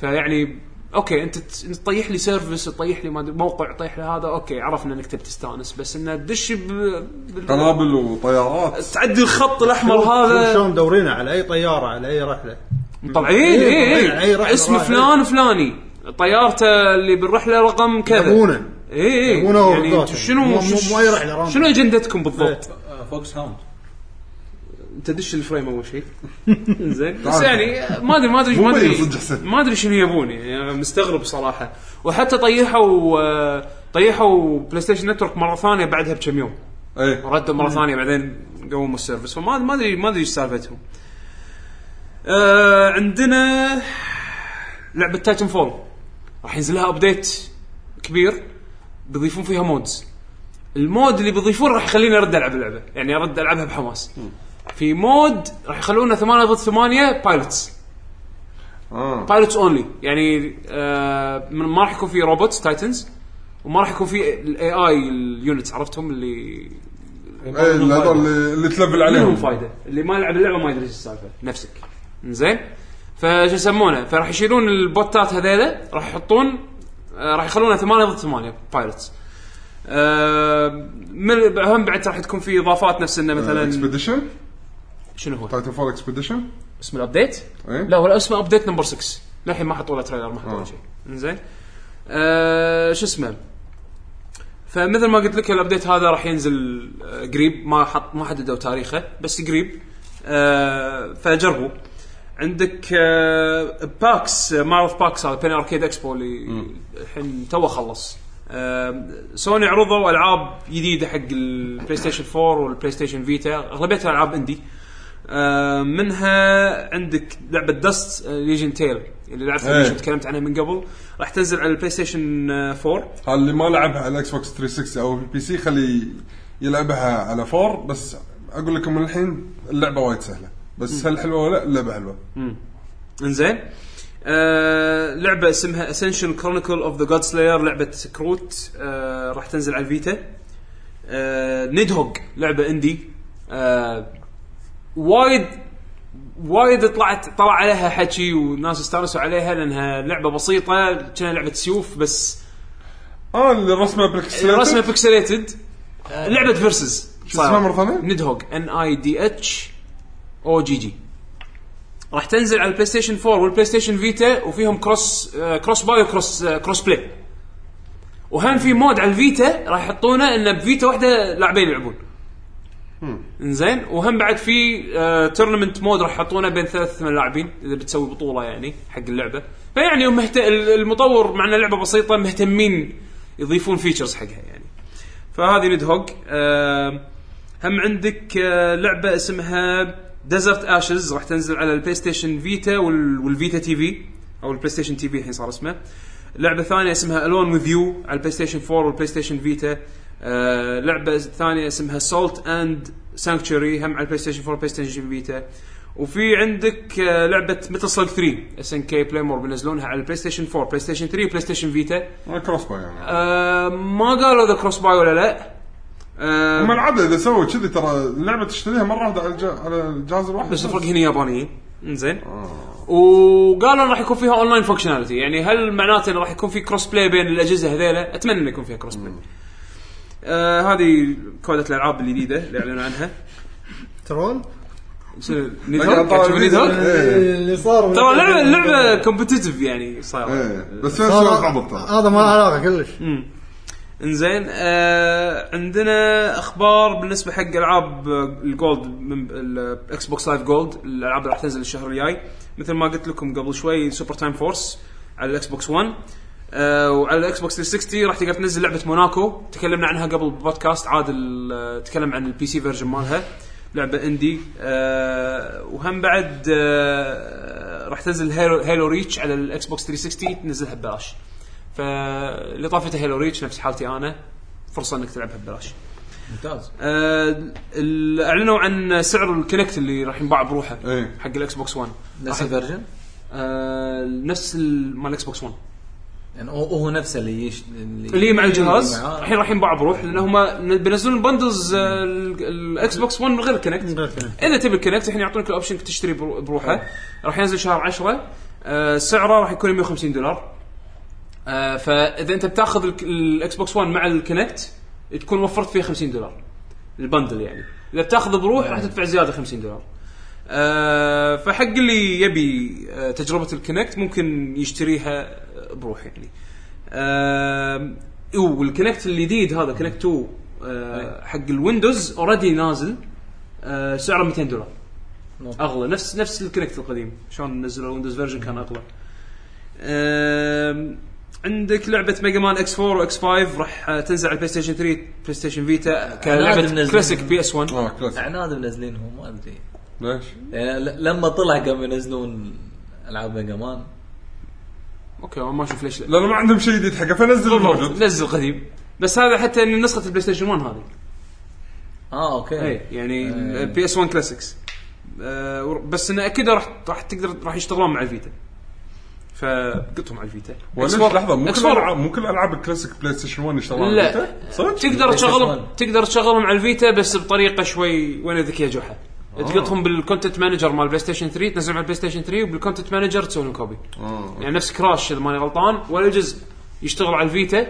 B: فيعني اوكي انت ت- تطيح لي سيرفس تطيح لي ما أدري موقع تطيح لي هذا اوكي عرفنا انك تبي تستانس بس انه تدش ب- بال-
D: قنابل وطيارات
B: تعدي الخط الاحمر هذا
F: شلون مدورينه على اي طياره على اي رحله
B: مطلعين
F: إيه،
B: اي
F: طبعاً، إيه، راح-
B: اي اسم
F: راح-
B: فلان فلاني طيارته اللي بالرحله رقم كذا
C: يبونه.
B: اي اي
C: يبونه
B: يعني
C: بالضبط.
B: انتوا شنو
C: مو- مو- مو أي رحلة، إيه. راندوم.
B: شنو اجندتكم بالضبط؟
E: فوكس هاوند
B: انت دش الفريم اول شيء زين بس يعني ما ادري ما ادري ما ادري
D: مبين صدق حسن.
B: ما ادري شنو يبون يعني أنا مستغرب صراحه وحتى طيحوا آه، طيحوا بلاي ستيشن نتورك مره ثانيه بعدها بكم يوم
D: اي
B: ردوا مره ثانيه بعدين قوموا السيرفس فما ما ادري ما ادري ايش سالفتهم. آه عندنا لعبه تايتن فول راح ينزل لها ابديت كبير بيضيفون فيها مودز. المود اللي بيضيفونه راح يخليني ارد العب اللعبه، يعني ارد العبها بحماس. في مود راح يخلونه 8 ضد 8 بايلوتس
D: اه
B: بايلوتس اونلي يعني آه من- ما راح يكون في روبوتس تايتنز وما راح يكون في الاي اي اليونتس عرفتهم اللي
D: اي اللي هذول إيه، اللي- اللي تلفل
B: لهم
D: عليهم
B: فايده اللي ما يلعب اللعبه ما يدري ايش السالفه نفسك زين فشو يسمونه فراح يشيلون البوتات هذيلا راح يحطون آه، راح يخلونها 8 ضد 8 بايلوتس آه من هم بعد راح تكون في اضافات نفس انه
D: آه،
B: مثلا
D: اكسبيديشن
B: شنو هو
D: تايتن فول اكسبيديشن
B: اسم الابديت؟
D: إيه.
B: لا ولا اسمه ابديت نمبر 6 للحين ما حطوا له تريلر ما حطوا له
D: آه.
B: شيء زين آه شو اسمه فمثل ما قلت لك الابديت هذا راح ينزل آه، قريب ما حط ما حددوا تاريخه بس قريب آه فجربوا عندك آه باكس آه، معرض باكس هذا بين اركيد اكسبو اللي الحين تو خلص آه سوني عرضوا العاب جديده حق البلاي ستيشن 4 والبلاي ستيشن فيتا اغلبيتها العاب اندي آه منها عندك لعبه دست ليجن تيل اللي لعبتها
D: إيه.
B: ليش تكلمت عنها من قبل راح تنزل على البلاي ستيشن آه، 4
D: اللي ما لعبها على الاكس بوكس 360 او البي سي خلي يلعبها على 4 بس اقول لكم من الحين اللعبه وايد سهله بس هل حلوه ولا لا؟ اللعبه حلوه
B: انزين آه لعبه اسمها اسنشن كرونيكل اوف ذا جاد سلاير لعبه كروت آه راح تنزل على الفيتا آه نيدهوج لعبه اندي آه وايد وايد طلعت طلع عليها حكي وناس استانسوا عليها لانها لعبه بسيطه كانها لعبه سيوف بس
D: اه اللي رسمه بالكسلات
B: رسمه بيكسليتد لعبه فيرسز
D: آه. شو اسمها مرة ثانية؟
B: ندهوج ان اي دي اتش او جي جي راح تنزل على البلاي ستيشن 4 والبلاي ستيشن فيتا وفيهم كروس آه، كروس باي وكروس آه، كروس بلاي وهم في مود على الفيتا راح يحطونه انه بفيتا واحده لاعبين يلعبون انزين وهم بعد في آه تورنمنت مود راح يحطونه بين ثلاث ثمان لاعبين اذا بتسوي بطوله يعني حق اللعبه فيعني هم مهت... المطور مع انها لعبه بسيطه مهتمين يضيفون فيتشرز حقها يعني فهذه ندهوج آه هم عندك آه لعبه اسمها ديزرت اشز راح تنزل على البلاي ستيشن فيتا وال... والفيتا تي في او البلاي ستيشن تي في الحين صار اسمه لعبه ثانيه اسمها الون وذ يو على البلاي ستيشن 4 والبلاي ستيشن فيتا آه لعبه ثانيه اسمها سولت اند سانكتشوري هم على البلاي ستيشن 4 والبلاي ستيشن فيتا وفي عندك آه لعبه متل سلاج 3 اس ان كي بلاي مور بينزلونها على البلاي ستيشن 4 بلاي ستيشن 3 بلاي ستيشن فيتا
D: آه، كروس باي يعني
B: آه ما قالوا اذا كروس باي ولا لا آه
D: هم العاده اذا سووا كذي ترى اللعبه تشتريها مره واحده على الج- على الجهاز الواحد
B: بس الفرق هنا يابانيين انزين وقالوا إن راح يكون فيها اونلاين فانكشناليتي يعني هل معناته انه راح يكون في كروس بلاي بين الاجهزه هذيلا اتمنى انه يكون فيها كروس بلاي آه هذه كودة الالعاب الجديده اللي اعلنوا عنها
C: ترول
B: شنو
D: قاعد
B: نيدهوج؟
D: أطالع
B: شوف
D: الفيديو.
C: طيب.
B: نيدهوج؟
D: إيه.
C: اللي صار
B: ترى اللعبه اللعبه كومبتتف يعني صايره
D: ايه بس هي سوالف عبط
C: هذا
D: ترى
C: هذا ما له علاقه كلش
B: انزين آه عندنا اخبار بالنسبه حق العاب آه، الجولد من الاكس بوكس لايف جولد الالعاب اللي راح تنزل الشهر الجاي مثل ما قلت لكم قبل شوي سوبر تايم فورس على الاكس بوكس 1 آه، وعلى الاكس بوكس 360 راح تقدر تنزل لعبه موناكو تكلمنا عنها قبل بودكاست عادل آه، تكلم عن البي سي فيرجن مالها لعبه اندي آه، وهم بعد آه، راح تنزل هيلو, هيلو ريتش على الاكس بوكس 360 تنزلها ببلاش فاللي طافته هيلو ريتش نفس حالتي انا فرصه انك تلعبها ببلاش
E: ممتاز
B: آه، ال- اعلنوا عن سعر الكونكت اللي راح ينباع بروحه
D: إيه.
B: حق الاكس بوكس 1
E: نفس الفيرجن
B: آه، نفس ال- مال الاكس بوكس 1
E: يعني هو هو نفسه اللي يش... اللي,
B: اللي مع الجهاز
E: اللي آه. معاه.
B: الحين راح ينباع بروح لان هم بينزلون آه، بندلز الاكس بوكس 1 من غير كونكت
C: غير كونكت.
B: اذا تبي الكونكت الحين يعطونك الاوبشن إنك تشتري برو- بروحه راح ينزل شهر 10 آه، سعره راح يكون 150 دولار آه، فاذا انت بتاخذ الك- الاكس بوكس 1 مع الكونكت تكون وفرت فيه 50 دولار البندل يعني اذا بتاخذه بروح راح تدفع زياده 50 دولار آه، فحق اللي يبي آه، تجربه الكونكت ممكن يشتريها آه، بروح يعني آم، أوه، والكونكت الجديد هذا كونكت 2 آه، حق الويندوز اوريدي نازل آه، سعره 200 دولار اغلى نفس نفس الكونكت القديم شلون نزلوا الويندوز فيرجن كان اغلى آم، عندك لعبه ميجا مان اكس 4 واكس 5 راح آه، تنزل على البلاي ستيشن 3 بلاي ستيشن فيتا
E: لازم
B: كلعبه
E: ننزل.
B: كلاسيك بي اس 1
D: اه كلاسيك
E: عناد منزلينهم ما ادري
D: ليش؟
E: يعني ل- لما طلع قاموا ينزلون العاب ميجا مان
B: اوكي ما اشوف ليش لا
D: لانه ما عندهم شيء جديد حقه فنزل الموجود
B: نزل قديم بس هذا حتى إن نسخه البلاي ستيشن 1 هذه
E: اه اوكي
B: اي يعني
E: آه.
B: البي اس 1 كلاسيكس آه، ور- بس انه اكيد راح راح تقدر راح يشتغلون مع الفيتا فقطهم على الفيتا
D: وليش
B: X Four-
D: لحظه مو
B: X
D: كل
B: Four-
D: الالعاب مو كل العاب الكلاسيك بلاي ستيشن 1 يشتغلون على
B: لا.
D: الفيتا؟ صدق؟
B: تقدر
E: One.
B: تشغلهم تقدر تشغلهم على الفيتا بس بطريقه شوي وين ذكيه جحا
D: آه.
B: تقطهم بالكونتنت مانجر مال بلاي ستيشن 3 تنزلهم على البلاي ستيشن 3 وبالكونتنت مانجر تسوي لهم كوبي
D: آه.
B: يعني نفس كراش اذا ماني غلطان ولا جزء يشتغل على الفيتا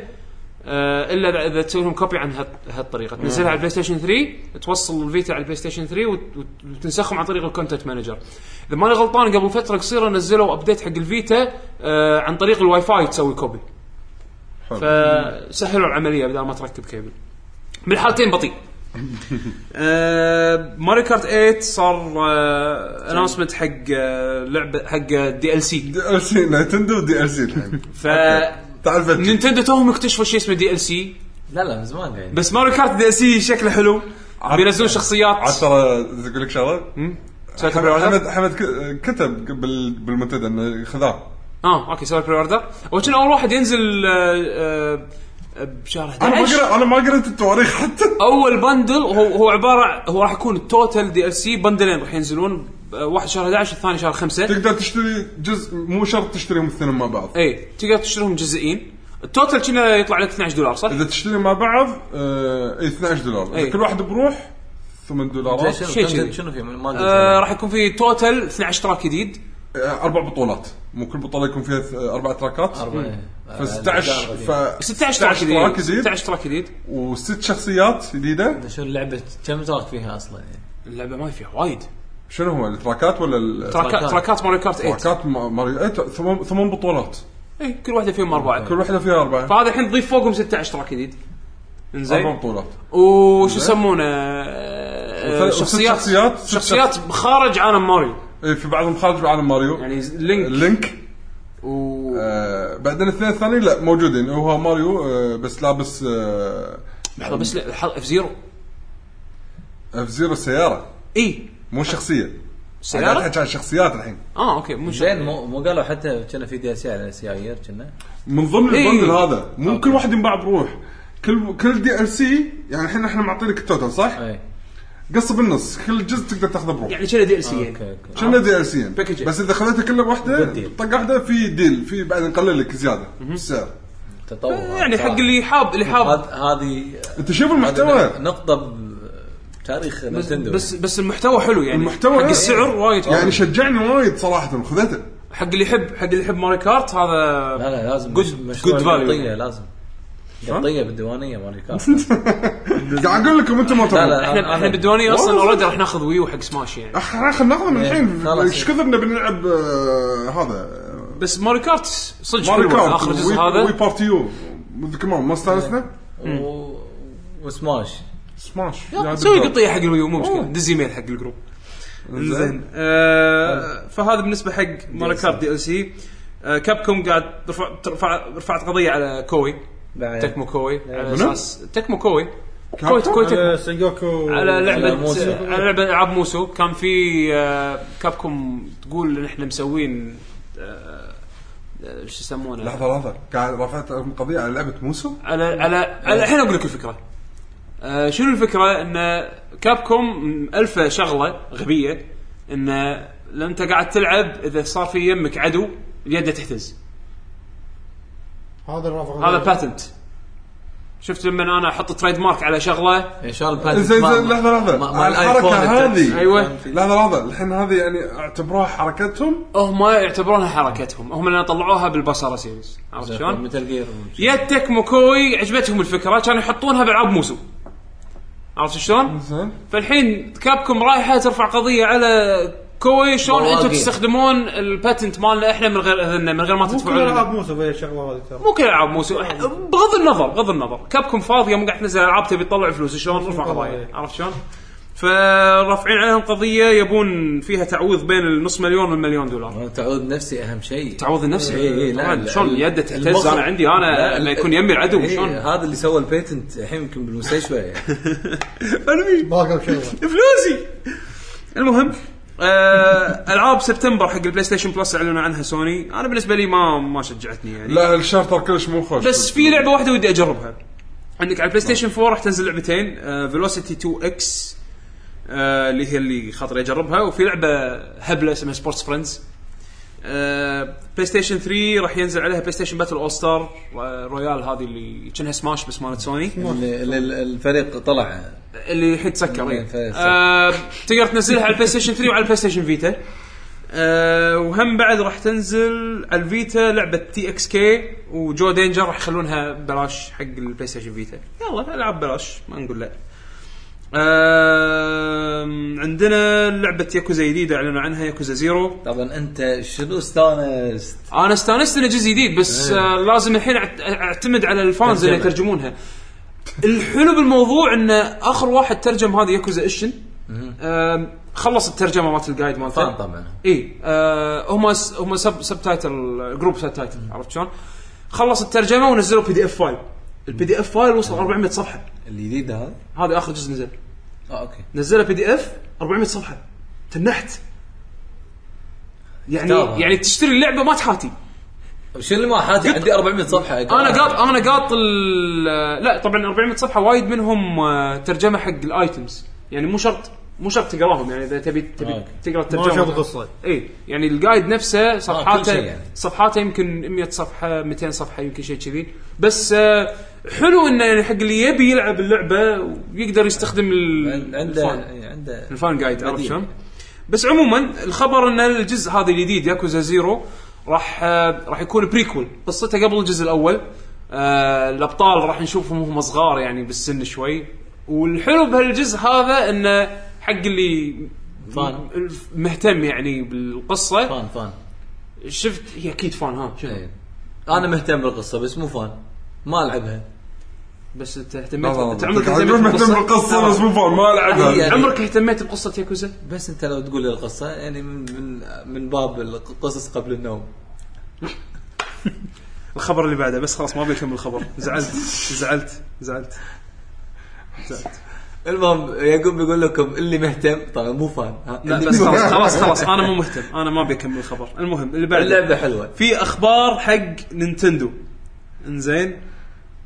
B: آه الا إذا- اذا تسوي لهم كوبي عن هالط-
D: آه.
B: هالطريقه تنزلها على البلاي ستيشن 3 توصل الفيتا على البلاي ستيشن 3 وت- وت- وتنسخهم عن طريق الكونتنت مانجر اذا ماني غلطان قبل فتره قصيره نزلوا ابديت حق الفيتا آه عن طريق الواي فاي تسوي كوبي
D: حلو.
B: فسهلوا العمليه بدل ما تركب كيبل بالحالتين بطيء آه ماري كارت 8 صار آه اناونسمنت حق آه لعبه حق دي ال سي
D: دي ال سي نتندو دي ال سي الحين
B: ف
D: تعال فكر.
B: نينتندو توهم اكتشفوا شيء اسمه دي ال سي
E: لا لا من زمان يعني
B: بس ماري كارت دي ال سي شكله حلو بينزلون شخصيات
D: عاد ترى اقول لك شغله
B: سويت بري
D: حمد
B: اوردر
D: حمد ك- كتب بال- بالمنتدى انه خذاه
B: اه اوكي سويت بري اوردر وكان اول واحد ينزل آه، آه، بشهر
D: انا ما
B: 11
D: قريت انا ما قريت التواريخ حتى
B: اول بندل هو هو عباره هو راح يكون التوتال دي ال سي بندلين راح ينزلون آه، واحد شهر 11 الثاني شهر 5
D: تقدر تشتري جزء مو شرط تشتريهم الاثنين مع بعض
B: اي إيه، تقدر تشتريهم جزئين التوتال كنا يطلع لك 12 دولار صح؟
D: اذا تشتري مع بعض آه إيه، 12 دولار
B: إيه.
D: إذا كل واحد بروح 8
E: زين
D: دولارات
E: شنو
B: شيء
E: شنو-
B: كذي.
E: شنو في
B: آه
E: ما قلت
B: راح يكون في توتال 12 تراك جديد
D: آه، اربع بطولات مو كل بطوله يكون فيها ث- اربع تراكات
E: أربعة.
B: إيه.
D: ف 16 ف
B: 16 تراك
D: تراك
B: جديد
D: جديد
B: 16 تراك جديد
D: وست شخصيات جديده
E: شنو لعبه كم تراك فيها اصلا يعني
B: اللعبه ما فيها وايد
D: شنو هو التراكات ولا ال-
B: تراكات تراكات ماريو كارت 8
D: تراكات ما- ماريو إيه، ثمان ثمان بطولات
B: اي إيه، كل واحده فيهم اربعه
D: كل واحده فيها اربعه
B: فهذا الحين تضيف فوقهم 16 تراك جديد
D: اربع
B: انزين
D: بطولات
B: وش يسمونه آه،
D: وثل- وست
B: شخصيات
D: شخصيات، ست
B: شخصيات خارج عالم ماريو
D: إيه، في بعضهم خارج عالم ماريو
B: يعني لينك
D: لينك
B: و
D: آه بعدين الاثنين الثانيين لا موجودين هو ماريو آه بس لابس آه،
B: لحظه بس اف زيرو
D: اف أه، زيرو السياره
B: اي
D: مو شخصيه
B: إيه. أه. سيارة؟
D: احكي عن الشخصيات الحين
B: اه اوكي مو شرط.
E: زين مو مو قالوا حتى كنا في دي اس على السيايير كنا
D: من ضمن
B: إيه.
D: البندل هذا مو كل واحد ينباع بروح كل كل دي ال سي يعني الحين احنا معطينك التوتال صح؟
E: اي
D: قصه بالنص كل جزء تقدر تاخذه بروح
B: أه. يعني كذا دي ال سي
E: اوكي
B: يعني.
E: اوكي
D: شنو دي ال سي
B: Package.
D: بس اذا خذيتها كله بواحده
E: بالديل.
D: طق واحده في ديل في بعد نقلل لك زياده السعر
E: تطور
B: يعني حق اللي حاب اللي حاب
E: طيب. هذا- هذه
D: انت شوف
E: هذه
D: المحتوى
E: نقطه بتاريخ نتندو
B: بس بس المحتوى حلو يعني
D: المحتوى
B: حق السعر وايد حلو.
D: يعني شجعني وايد صراحه خذيته
B: حق اللي يحب حق اللي يحب ماري كارت هذا
E: لا لا لازم
B: Good-
E: مشروع
B: good value.
E: قطيه لازم قطيه بالديوانيه مالي كارت
D: قاعد اقول لكم انتم ما
E: لا لا
D: تبون
E: أنا-
B: احنا احنا
E: أنا-
B: بالديوانيه اصلا
D: والله
B: اوريدي راح ناخذ ويو حق سماش يعني
D: اخ خلينا ناخذ من
E: إيه،
D: الحين
E: خلاص.
D: ايش كثر نبي نلعب آه، هذا
B: بس ماري كارت صدق
D: ماري
B: حلوه
D: كارت
B: اخر
D: وي-
B: جزء
D: وي
B: هذا
D: بارتي يو كمان ما استانسنا
E: و... وسماش
D: سماش
B: يلا،
D: يا
B: سوي
D: دكتور.
B: قطيه حق الويو مو مشكله دز ايميل حق الجروب
D: زين
B: زين آه فهذا بالنسبه حق ماري كارت دي ال سي كابكوم قاعد رفع ترفع- رفعت قضيه على كوي
E: إيه.
B: تكمو كوي على اساس تكمو كوي كوي كوي تكمو
F: على سنجوكو
B: على
E: على
B: لعبه
E: موسو.
B: على لعبه العاب موسو كان في آه، كابكوم تقول ان احنا مسوين آه، آه، شو يسمونه
D: لحظه لحظه قاعد رفعت قضيه على لعبه موسو
B: على على على الحين اقول لك الفكره آه شنو الفكره ان كابكوم الفه شغله غبيه ان لما انت قاعد تلعب اذا صار في يمك عدو يده تهتز
C: هذا الرافع
B: هذا باتنت شفت لما انا احط تريد مارك على شغله
E: ان شاء الله
D: زين زين لحظه لحظه على الحركه هذه
B: أيوة.
D: لحظه لحظه الحين هذه يعني اعتبروها حركتهم
B: هم يعتبروها حركتهم هم اللي طلعوها بالبصره سيريز عرفت شلون؟
E: مثل جير
B: يتك موكوي عجبتهم الفكره كانوا يحطونها بالعاب موسو عرفت شلون؟
D: زين
B: فالحين كابكم رايحه ترفع قضيه على كوي شلون
E: بواقي.
B: انتم تستخدمون الباتنت مالنا احنا من غير اذننا من غير ما
F: مو كل
B: تدفعون
F: العاب
B: لنا.
F: موسى فيها الشغله هذه ترى
B: مو كل العاب موسو بغض النظر بغض النظر كابكم فاضيه مو قاعد تنزل العاب تبي تطلع فلوس شلون ترفع قضايا عرفت شلون؟ فرافعين عليهم قضيه يبون فيها تعويض بين النص مليون والمليون دولار
E: تعود نفسي اهم شيء
B: تعوض النفسي
E: إيه، إيه، لا،
B: طبعاً،
E: لا،
B: شلون
E: ال-
B: يده تهتز
E: المخ-
B: انا عندي انا
E: لا،
B: لما
E: ال-
B: يكون يمي العدو
E: إيه،
B: شلون
E: هذا اللي سوى البيتنت الحين يمكن بالمستشفى
B: أنا
C: باقي بشغله
B: فلوسي المهم آه العاب سبتمبر حق البلاي ستيشن بلس اعلنوا عنها سوني انا بالنسبه لي ما ما شجعتني يعني
D: لا الشارتر كلش مو خوش
B: بس في لعبه واحده ودي اجربها عندك على البلاي ستيشن 4 راح تنزل لعبتين آه، فيلوسيتي 2 اكس آه، اللي هي اللي خاطري اجربها وفي لعبه هبله اسمها سبورتس فريندز بلاي ستيشن 3 راح ينزل عليها بلاي ستيشن باتل اول ستار رويال آه، هذه اللي كانها سماش بس مالت سوني
E: ال- ال- ال- الفريق طلع
B: اللي الحين تسكر إيه.
E: إيه، تسكر.
B: آه تقدر تنزلها على البلاي ستيشن 3 وعلى البلاي ستيشن فيتا آه وهم بعد راح تنزل على الفيتا لعبه تي اكس كي وجو دينجر راح يخلونها ببلاش حق البلاي ستيشن فيتا يلا العاب ببلاش ما نقول لا آم، عندنا لعبه ياكوزا جديده اعلنوا عنها ياكوزا زيرو
E: طبعا انت شنو استانست
B: انا استانست انه جزء جديد بس
E: إيه.
B: آه لازم الحين أعت- اعتمد على الفانز اللي
E: ترجمة.
B: يترجمونها الحلو بالموضوع انه اخر واحد ترجم هذا ياكوزا اشن آم، خلص الترجمه مالت الجايد مالته
E: فان طبعا
B: اي آه هم س- هم سب سب تايتل جروب سب تايتل عرفت شلون؟ خلص الترجمه ونزلوا بي دي اف فايل البي دي اف فايل وصل 400 صفحه
E: الجديد هذا
B: هذا اخر جزء نزل
E: اه اوكي
B: نزلها بي دي اف 400 صفحه تنحت يعني
E: كتابة.
B: يعني تشتري اللعبه ما تحاتي
E: شنو اللي ما حاجه عندي 400 صفحه
B: انا قاط انا قاط ال- لا طبعا 400 صفحه وايد منهم آه، ترجمه حق الايتمز يعني مو شرط مو شرط تقراهم يعني اذا تبي تبي
E: آه، أوكي.
B: تقرا الترجمه
F: ما شرط قصة.
B: اي يعني الجايد نفسه
E: كل
B: صفحاته
E: شيء
B: يعني.
E: يعني.
B: صفحاته يمكن 100 صفحه 200 صفحه يمكن شيء كذي بس آه، حلو انه يعني حق اللي يبي يلعب اللعبه ويقدر يستخدم ال-
E: عنده
B: الفان.
E: عنده
B: الفان جايد عرفت
E: بديل.
B: شلون؟ بس عموما الخبر ان الجزء هذا الجديد ياكوزا زيرو راح آه، راح يكون بريكول قصته قبل الجزء الاول آه الابطال راح نشوفهم وهم صغار يعني بالسن شوي والحلو بهالجزء هذا انه حق اللي
E: فان.
B: مهتم يعني بالقصه
E: فان فان
B: شفت هي اكيد فان ها شنو
E: إيه. انا مهتم بالقصه بس مو فان ما العبها
B: بس انت اهتميت
D: لحظة،
B: انت عمرك
D: قاعد
B: اهتميت
D: تقول مهتم
B: ترى.
D: بالقصه بس مو فاهم ما
E: هي-
D: العبها
E: يعني-
B: عمرك اهتميت بقصه ياكوزا؟
E: بس انت لو تقول لي القصه يعني من من من باب القصص قبل النوم
B: الخبر اللي بعده بس خلاص ما ابي اكمل الخبر زعلت زعلت زعلت
E: المهم يعقوب يقول لكم اللي مهتم طبعا مو فان ها
B: لا
E: اللي
B: بس
E: مهتم.
B: خلاص خلاص خلاص انا مو مهتم انا ما ابي اكمل الخبر المهم اللي بعده
E: اللعبه حلوه
B: في اخبار حق نينتندو انزين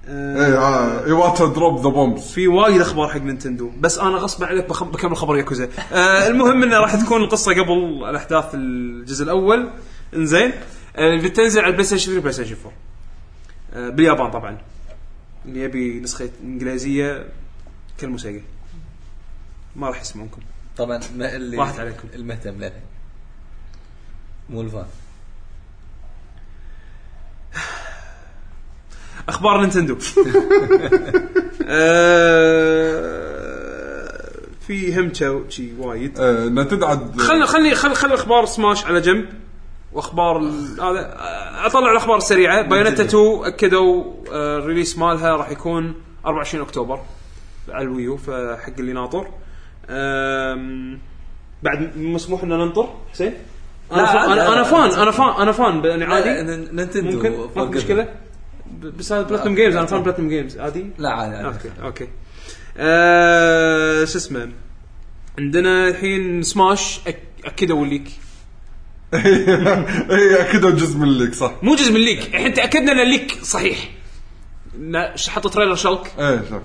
B: آه،
D: اي اه يواتا دروب ذا بومبس
B: في وايد اخبار حق نينتندو بس انا غصب عليك بخ- بكمل خبر ياكوزا آه المهم انه راح تكون القصه قبل الاحداث الجزء الاول انزين آه بتنزل على البلاي ستيشن 3 بلاي ستيشن 4 آه باليابان طبعا اللي يبي نسخه انجليزيه كلموا سيجا ما راح يسمعونكم
E: طبعا ما اللي
B: راحت عليكم.
E: المهتم لا لا. مو الفان
B: اخبار نينتندو آه، في همشة شي وايد
D: انها تدعد
B: خلنا خلني خل خل اخبار سماش على جنب واخبار ال- هذا آه، اطلع الاخبار السريعه بايونيتا 2 اكدوا آه، الريليس مالها راح يكون 24 اكتوبر على الويو فحق اللي ناطر آم، بعد مسموح ان ننطر حسين انا
E: لا،
B: فا-
E: عادي،
B: انا انا
E: عادي.
B: فان انا فان انا فان يعني
E: لا،
B: عادي
E: آه، ن- نينتندو
B: ممكن
E: فوق
B: ما في مشكله ب- بس هذا بلاتنم جيمز انا فان بلاتنم جيمز عادي
E: ال- لا عادي عادي
B: اوكي اوكي آه، شو اسمه عندنا الحين سماش أك- اكدوا الليك
D: E, اي اكيد جزء من الليك صح
B: مو جزء من الليك الحين تاكدنا ان الليك صحيح لا، ش- حطوا تريلر شلك
D: اي شوف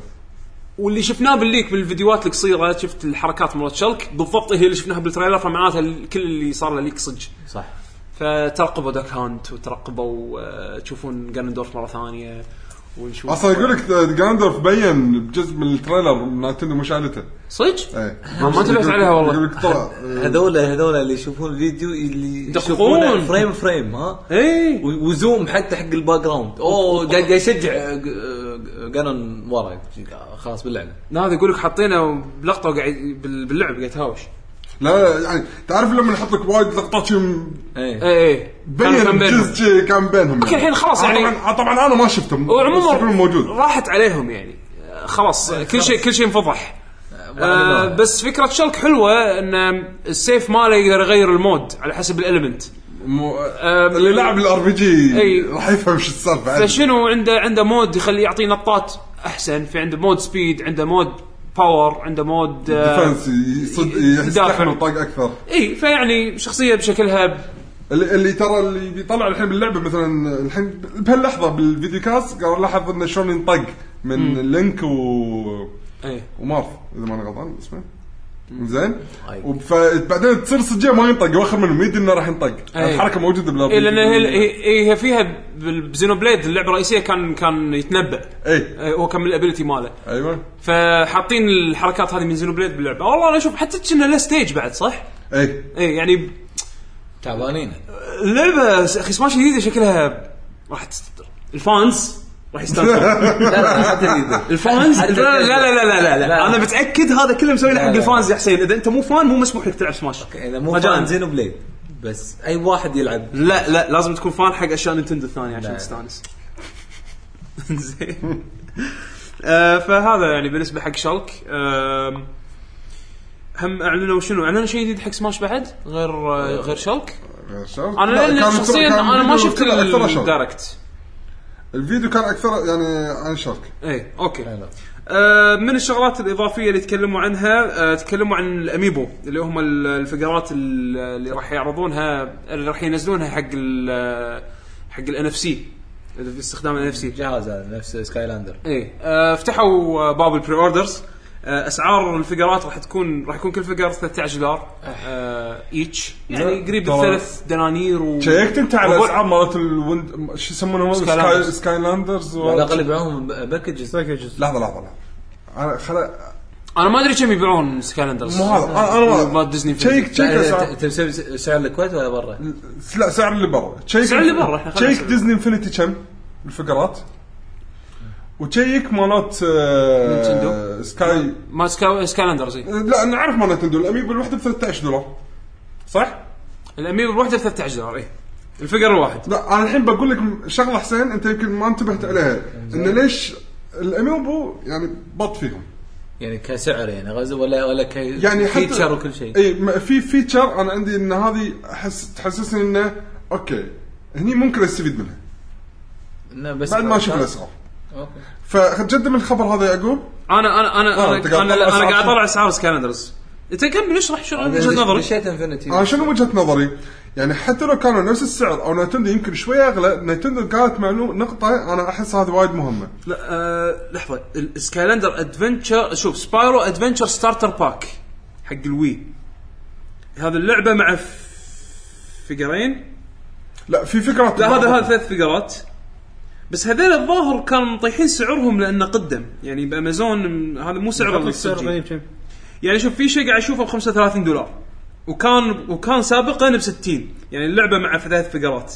B: واللي شفناه بالليك بالفيديوهات القصيره شفت الحركات مرات شلك بالضبط هي اللي شفناها بالتريلر فمعناتها ال- كل اللي صار له ليك صدق
E: صح
B: فترقبوا داك هانت وترقبوا آه، تشوفون جانندورف مره ثانيه ونشوف
D: اصلا يقول لك جاندرف بين بجزء من التريلر ناتندو مشعلته
B: صدق؟
D: اي
B: ما- ما انتبهت عليها والله.
D: إيه. يقول لك طلع
E: هذول هذول اللي يشوفون الفيديو اللي
B: يدققون.
E: يشوفونه فريم فريم ها
B: اي
E: و- وزوم حتى حق الباك جراوند اوه قاعد قاعد يشجع آه، قانون ورا خلاص باللعبه
B: لا هذا يقول لك حاطينه بلقطه وقاعد بال- باللعب قاعد يتهاوش
D: لا يعني تعرف لما يحط لك وايد لقطات شي م-
E: اي
B: اي اي إيه، كان- كان
D: إيه. بين
B: بينهم.
D: جزء شي كان بينهم
B: اوكي، الحين خلاص يعني-
D: طبعا طبعا انا ما شفته بس يقولون
B: وعموما
D: موجود إيه،
B: راحت عليهم يعني آه، خلاص كل شيء كل شيء انفضح آه بس فكره شلك حلوه ان السيف ماله يقدر يغير المود على حسب الالمنت
D: مو...
B: أم-
D: اللي لعب الار بي جي
B: أي.
D: راح يفهم شو السالفه عادي.
B: فشنو عنده عنده مود يخليه يعطيه نطات احسن في عنده مود سبيد عنده مود باور عنده مود آه
D: ديفنس يصد
B: يدافع.
D: يستحمل طاق اكثر
B: اي فيعني شخصيه بشكلها ب-
D: اللي, اللي ترى اللي بيطلع الحين باللعبه مثلا الحين بهاللحظه بالفيديو كاست قالوا لاحظ انه شلون ينطق من لينك و
B: اي
D: ومارث اذا ماني غلطان اسمه زين وبعدين تصير صجيه ما ينطق واخر منهم يدري انه راح ينطق
B: أي.
D: الحركه موجوده بالار
B: إيه لان هي- إيه، هي هي فيها بزينو بليد اللعبه الرئيسيه كان كان يتنبا
D: اي
B: آه، هو كان من الابيلتي ماله
D: ايوه
B: فحاطين الحركات هذه من زينو بليد باللعبه والله انا اشوف حتى كنا له ستيج بعد صح؟
D: اي
B: اي يعني
E: تعبانين
B: اللعبه س- اخي سماش جديده شكلها راح تستر الفانز راح يستانسون
E: لا لا حتى الجديد.
B: الفانز لا
E: حتى
B: لا لا لا لا, لا, لا.
E: لا.
B: انا متاكد هذا كله مسوي حق
E: لا.
B: الفانز يا حسين اذا انت مو فان مو مسموح لك تلعب سماش
E: اذا مو
B: مجاناً.
E: فان زينو بليد بس اي واحد يلعب
B: لا لا لازم تكون فان حق اشياء نينتندو الثانيه عشان
E: لا.
B: تستانس زين آه، فهذا يعني بالنسبه حق شالك آم، هم اعلنوا شنو اعلنوا شيء جديد حق سماش بعد غير آه، غير شالك انا لان شخصيا انا ما شفت
D: الدرك
B: الدايركت
D: الفيديو كان اكثر يعني عن شرك
B: اي
D: أيوة.
B: اوكي إيه، آه، من الشغلات الاضافيه اللي تكلموا عنها آه، تكلموا عن الاميبو اللي هم ال- الفقرات ال- اللي راح يعرضونها اللي راح ينزلونها حق ال- حق الان اف سي استخدام الان اف سي
E: جهاز هذا نفس سكاي لاندر
B: ايه آه، فتحوا آه، باب البري اوردرز آه، اسعار الفيجرات راح تكون راح يكون كل فيجر 13 دولار آه، ايتش يعني قريب
D: طبعاً.
B: الثلاث دنانير و
D: شيكت انت على
B: وبو-
D: الاسعار مالت الوند شو يسمونه
B: سكاي
D: سكاي
B: لاندرز.
D: سكاي لاندرز و-
E: على الاقل يبيعوهم باكجز
C: باكجز
D: لحظه لحظه لحظه انا خلا
B: انا ما ادري كم يبيعون سكالندرز
D: مو هذا انا انا ما-
B: مال ديزني فيلم.
D: شيك شيك اسعار-
E: انت مسوي سعر الكويت ولا برا؟
D: لا سعر اللي برا شيك
B: سعر اللي برا، إحنا خلينا
D: شيك
B: نسوي.
D: ديزني انفنتي كم الفقرات وشيك مالت آه،
B: نينتندو.
D: سكاي
B: مال سكا- سكالندرز إيه.
D: لا انا عارف مال نتندو الاميبو الوحده ب 13 دولار صح؟
B: الاميبو الوحده ب 13 دولار اي إيه. الفقر الواحد
D: لا انا الحين بقول لك شغله حسين انت يمكن ما انتبهت عليها ان ليش الاميبو يعني بط فيهم
E: يعني كسعر يعني غزه ولا ولا ك
D: يعني حتى
E: فيتشر وكل شيء
D: اي ما- في فيتشر انا عندي ان هذه أحس تحسسني انه اوكي هني ممكن استفيد منها
E: إنه بس
D: بعد ما اشوف الاسعار
E: أوكي.
D: فقدم الخبر هذا يا يعقوب
B: انا انا انا
D: آه،
B: انا
D: أنت قاعد
B: انا, أنا
D: تطلع
B: قاعد
D: أسعار.
B: اطلع اسعار سكالندرز انت كمل إيه، اشرح شو وجهه نظرك
E: دشيت انفنتي
D: انا شنو وجهه نظري؟ يعني حتى لو كانوا نفس السعر او نتندو يمكن شوي اغلى نتندو قالت معلومه نقطه انا احس هذه وايد مهمه
B: لا آه لحظه السكايلاندر ادفنتشر شوف سبايرو ادفنتشر ستارتر باك حق الوي هذا اللعبه مع ف- فيجرين
D: لا في فكره
B: لا هذا هذا ثلاث فيجرات بس هذول الظاهر كانوا مطيحين سعرهم لانه قدم يعني بامازون م- هذا مو سعر
C: سعر
B: السجل
C: غريب كم
B: يعني شوف في شيء قاعد اشوفه ب 35 دولار وكان وكان سابقا ب 60 يعني اللعبه مع ثلاث فيجرات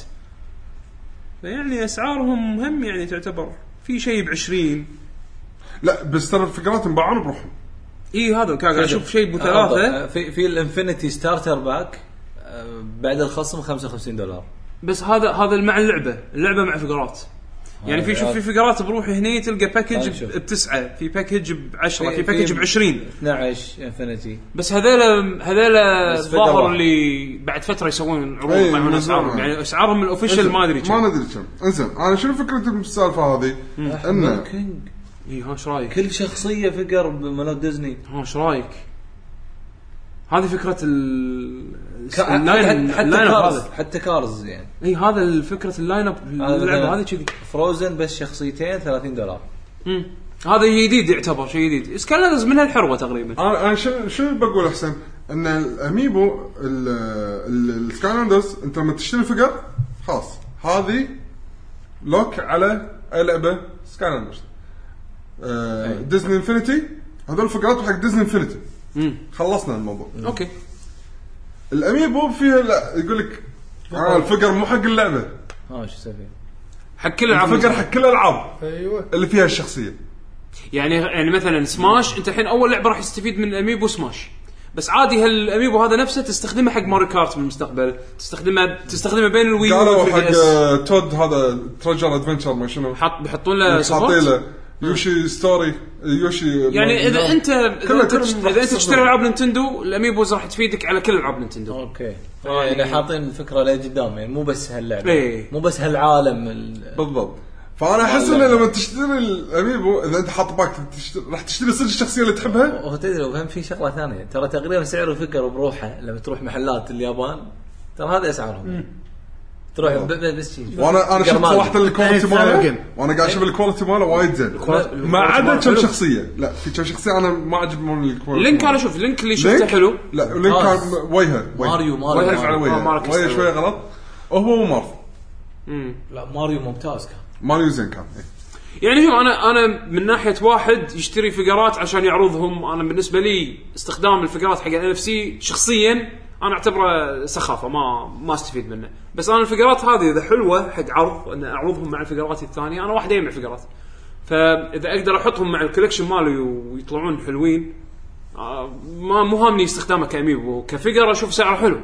B: فيعني اسعارهم هم يعني تعتبر في شيء ب 20
D: لا بس ترى الفكرات انباعون بروحهم
B: اي إيه، هذا كان قاعد اشوف شيء ب
E: آه،
B: ثلاثه
E: في في الانفنتي ستارتر باك آه، بعد الخصم 55 دولار
B: بس هذا هذا مع اللعبه اللعبه مع فقرات يعني في شوف في فقرات بروح هني تلقى
E: هذا
B: باكج
E: شوف.
B: بتسعه في باكج بعشره في باكج ب 20
E: 12 انفنتي
B: بس هذيلا هذيلا
E: بس فقرة
B: الظاهر
E: واحدة.
B: اللي بعد فتره يسوون عروض
D: إيه،
B: مع
D: من
B: اسعارهم
D: زمان.
B: يعني اسعارهم الاوفيشال ما ادري
D: ما
B: كم
D: ندري كم انزين انا شنو فكره السالفه هذه؟ انه
E: كينج
B: اي ها ايش رايك؟
E: كل شخصيه فقر بملوك ديزني
B: ها ايش رايك؟ هذه فكره ال
E: حتى
B: اللاين
E: حتى
B: اللاين أب
E: كارز
B: هذا
E: حتى كارز يعني
B: اي هذا الفكره اللاين اب اللعبه
E: مثلاً
B: هذه كذي
E: فروزن بس شخصيتين 30 دولار
B: مم. هذا جديد يعتبر شيء جديد سكالرز منها الحروه تقريبا
D: انا انا شنو شنو آه، بقول احسن؟ ان الاميبو السكايلاندرز انت لما تشتري الفقر خلاص هذه لوك على اي لعبه سكايلاندرز آه ديزني انفنتي هذول فقرات حق ديزني انفنتي
B: مم.
D: خلصنا الموضوع
B: اوكي
D: الاميبو فيها لا يقول لك آه الفقر مو حق اللعبه
E: ها آه، شو اسوي
B: حق كل العاب
D: الفقر حق كل الالعاب
C: أيوة.
F: ايوه
D: اللي فيها الشخصيه
B: يعني يعني مثلا سماش انت الحين اول لعبه راح يستفيد من الاميبو سماش بس عادي هالاميبو هذا نفسه تستخدمه حق ماري كارت بالمستقبل تستخدمه تستخدمه بين الوي
D: قالوا حق
B: والVS.
D: آه، تود هذا ترجر ادفنشر ما شنو
B: حط بيحطون له
D: حاطين
B: سبورت
D: له يوشي ستوري يوشي
B: يعني اذا انت
D: كله-
B: اذا انت
D: كله
B: تشت- اذا
D: راح
B: انت
D: تستخدمه.
B: تشتري العاب نينتندو الاميبوز راح تفيدك على كل العاب نينتندو
E: اوكي يعني حاطين الفكره لقدام يعني مو بس هاللعبه
B: إيه.
E: مو بس هالعالم ال-
D: بالضبط فانا احس انه لما تشتري الاميبو اذا انت حاط باك تشتري- راح تشتري صدق الشخصيه اللي تحبها
E: هو تدري وهم في شغله ثانيه ترى تقريبا سعر الفكر بروحه لما تروح محلات اليابان ترى هذا اسعارهم تروح ب- ب- بس شي
D: وانا انا شفت
E: قرمال.
D: صراحه الكواليتي
C: إيه،
D: ماله
C: جيم.
D: وانا قاعد اشوف الكواليتي ماله وايد زين ما عدا كم شخصيه لا في كم شخصيه انا ما عجبني الكواليتي
B: لينك انا
D: ماله.
B: شوف لينك اللي شفته
D: لينك
B: حلو
D: لا لينك
E: خلاص.
D: كان وجهه وجهه.
E: آه. ماريو- ماريو.
D: وجهه على
B: آه، ماريو
D: وجهه وجهه
B: كريستال.
D: شويه غلط هو ومارث
E: لا ماريو ممتاز كان
D: ماريو زين كان إيه.
B: يعني شوف انا انا من ناحيه واحد يشتري فقرات عشان يعرضهم انا بالنسبه لي استخدام الفقرات حق ال اف سي شخصيا انا اعتبره سخافه ما ما استفيد منه بس انا الفقرات هذه اذا حلوه حق عرض ان اعرضهم مع الفقرات الثانيه انا واحد يجمع فقرات فاذا اقدر احطهم مع الكولكشن مالي ويطلعون حلوين آه، ما مو هامني استخدامه كاميبو كفيجر اشوف سعره حلو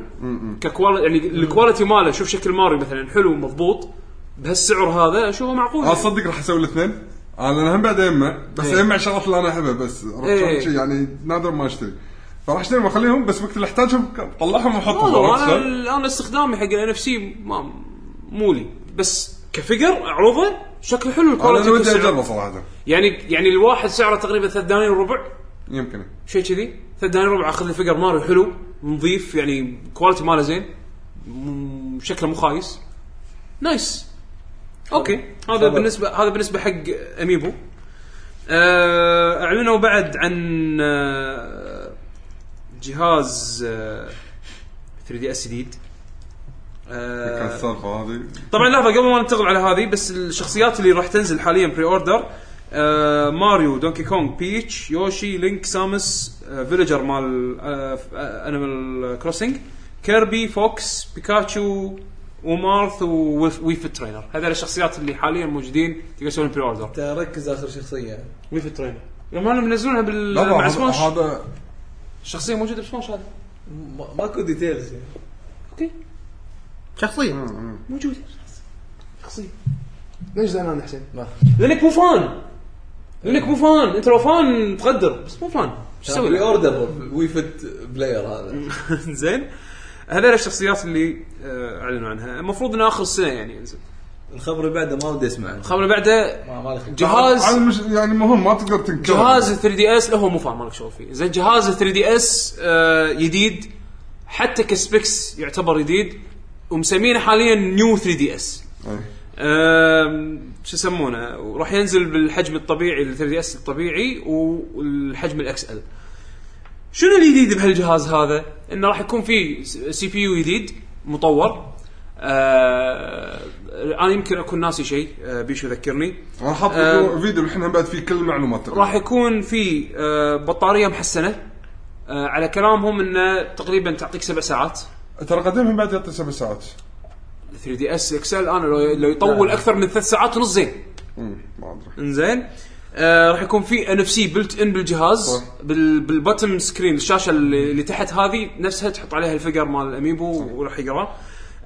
B: ككواليتي يعني الكواليتي ماله شوف شكل ماريو مثلا حلو مضبوط بهالسعر هذا اشوفه معقول
D: انا اصدق راح اسوي الاثنين انا انا هم بعد اجمع بس اجمع شغلات اللي انا احبها بس عرفت
B: إيه.
D: شي يعني نادر ما اشتري فراح اشتري واخليهم بس وقت اللي احتاجهم طلعهم واحطهم
B: والله
D: عرفت
B: انا
D: شلون؟
B: الان استخدامي حق الان اف سي ما مو لي بس كفقر اعرضه شكله حلو
D: انا
B: الكواليتي
D: ودي
B: والسعر.
D: اجربه صراحه
B: يعني يعني الواحد سعره تقريبا ثلاث دنانير وربع
D: يمكن
B: شيء كذي ثلاث دنانير وربع اخذ لي فقر ماريو حلو نظيف يعني كواليتي ماله زين م- شكله مو خايس نايس اوكي هذا
E: خبر.
B: بالنسبه هذا بالنسبه حق اميبو آه، اعلنوا بعد عن آه، جهاز 3 دي اس جديد آه،
D: كانت السالفه هذه
B: طبعا لحظه قبل ما ننتقل على هذه بس الشخصيات اللي راح تنزل حاليا بري اوردر آه ماريو دونكي كونغ بيتش يوشي لينك سامس آه فيلجر مال آه انيمال كروسنج كيربي فوكس بيكاتشو ومارث وويف ترينر هذول الشخصيات اللي حاليا موجودين تقدر تسوي بري اوردر
E: انت ركز اخر شخصيه
B: ويف ترينر يوم انا منزلونها بال
D: لا
B: مع
D: هذا-
B: سماش
D: هذا
B: الشخصيه موجوده بسماش هذه
E: ما- ماكو ديتيلز يعني
C: شخصيه
B: موجوده شخصيه ليش زعلان حسين؟ لانك مو
D: إيه.
B: فان لانك مو فان انت لو فان تقدر بس مو فان ايش تسوي؟
E: بري اوردر وي فت بلاير هذا
B: زين هذول الشخصيات اللي آه، اعلنوا عنها المفروض ان اخر السنه يعني ينزل
E: الخبر اللي بعده ما ودي اسمع عنه
B: الخبر اللي بعده
E: ما- ما لي خبر.
D: هذا
B: جهاز
D: مش يعني مهم ما تقدر تنكر
B: جهاز 3 دي اس هو مو فاهم مالك شغل فيه زين جهاز 3 دي اس جديد حتى كسبكس يعتبر جديد ومسمينه حاليا نيو 3 دي اس
D: إيه.
B: أم، شو يسمونه راح ينزل بالحجم الطبيعي ال 3 دي اس الطبيعي والحجم الاكس ال شنو الجديد بهالجهاز هذا؟ انه راح يكون في سي بي يو جديد مطور آه انا يمكن اكون ناسي شيء آه بيشو ذكرني
D: انا حاط
B: آه.
D: فيديو الحين هم بعد فيه كل المعلومات
B: راح يكون في آه بطاريه محسنه آه على كلامهم انه تقريبا تعطيك سبع ساعات
D: ترى قديمهم بعد يعطي سبع ساعات
B: 3 دي اس اكسل انا لو لو يطول اكثر من ثلاث ساعات ونص زين
D: مم، ما ادري
B: انزين آه راح يكون في ان اف سي بلت ان بالجهاز
D: صح.
B: بال بالبتم سكرين الشاشه اللي, اللي تحت هذه نفسها تحط عليها الفيجر مال الاميبو وراح يقرا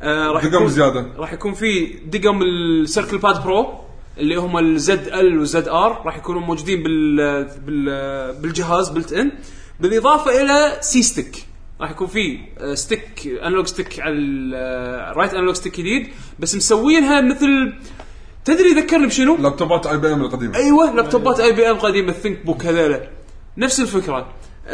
B: آه راح
D: دقم
B: يكون
D: زيادة.
B: راح يكون في دقم السيركل باد برو اللي هم الزد ال وزد ار راح يكونوا موجودين بال بال بالجهاز بلت ان بالاضافه الى سي ستيك راح يكون في آه، ستيك انلوج ستيك على آه، الرايت انلوج ستيك جديد بس مسوينها مثل تدري ذكرني بشنو؟
D: لابتوبات اي بي ام القديمه
B: ايوه لابتوبات اي بي ام قديمه الثينك بوك هذيلا نفس الفكره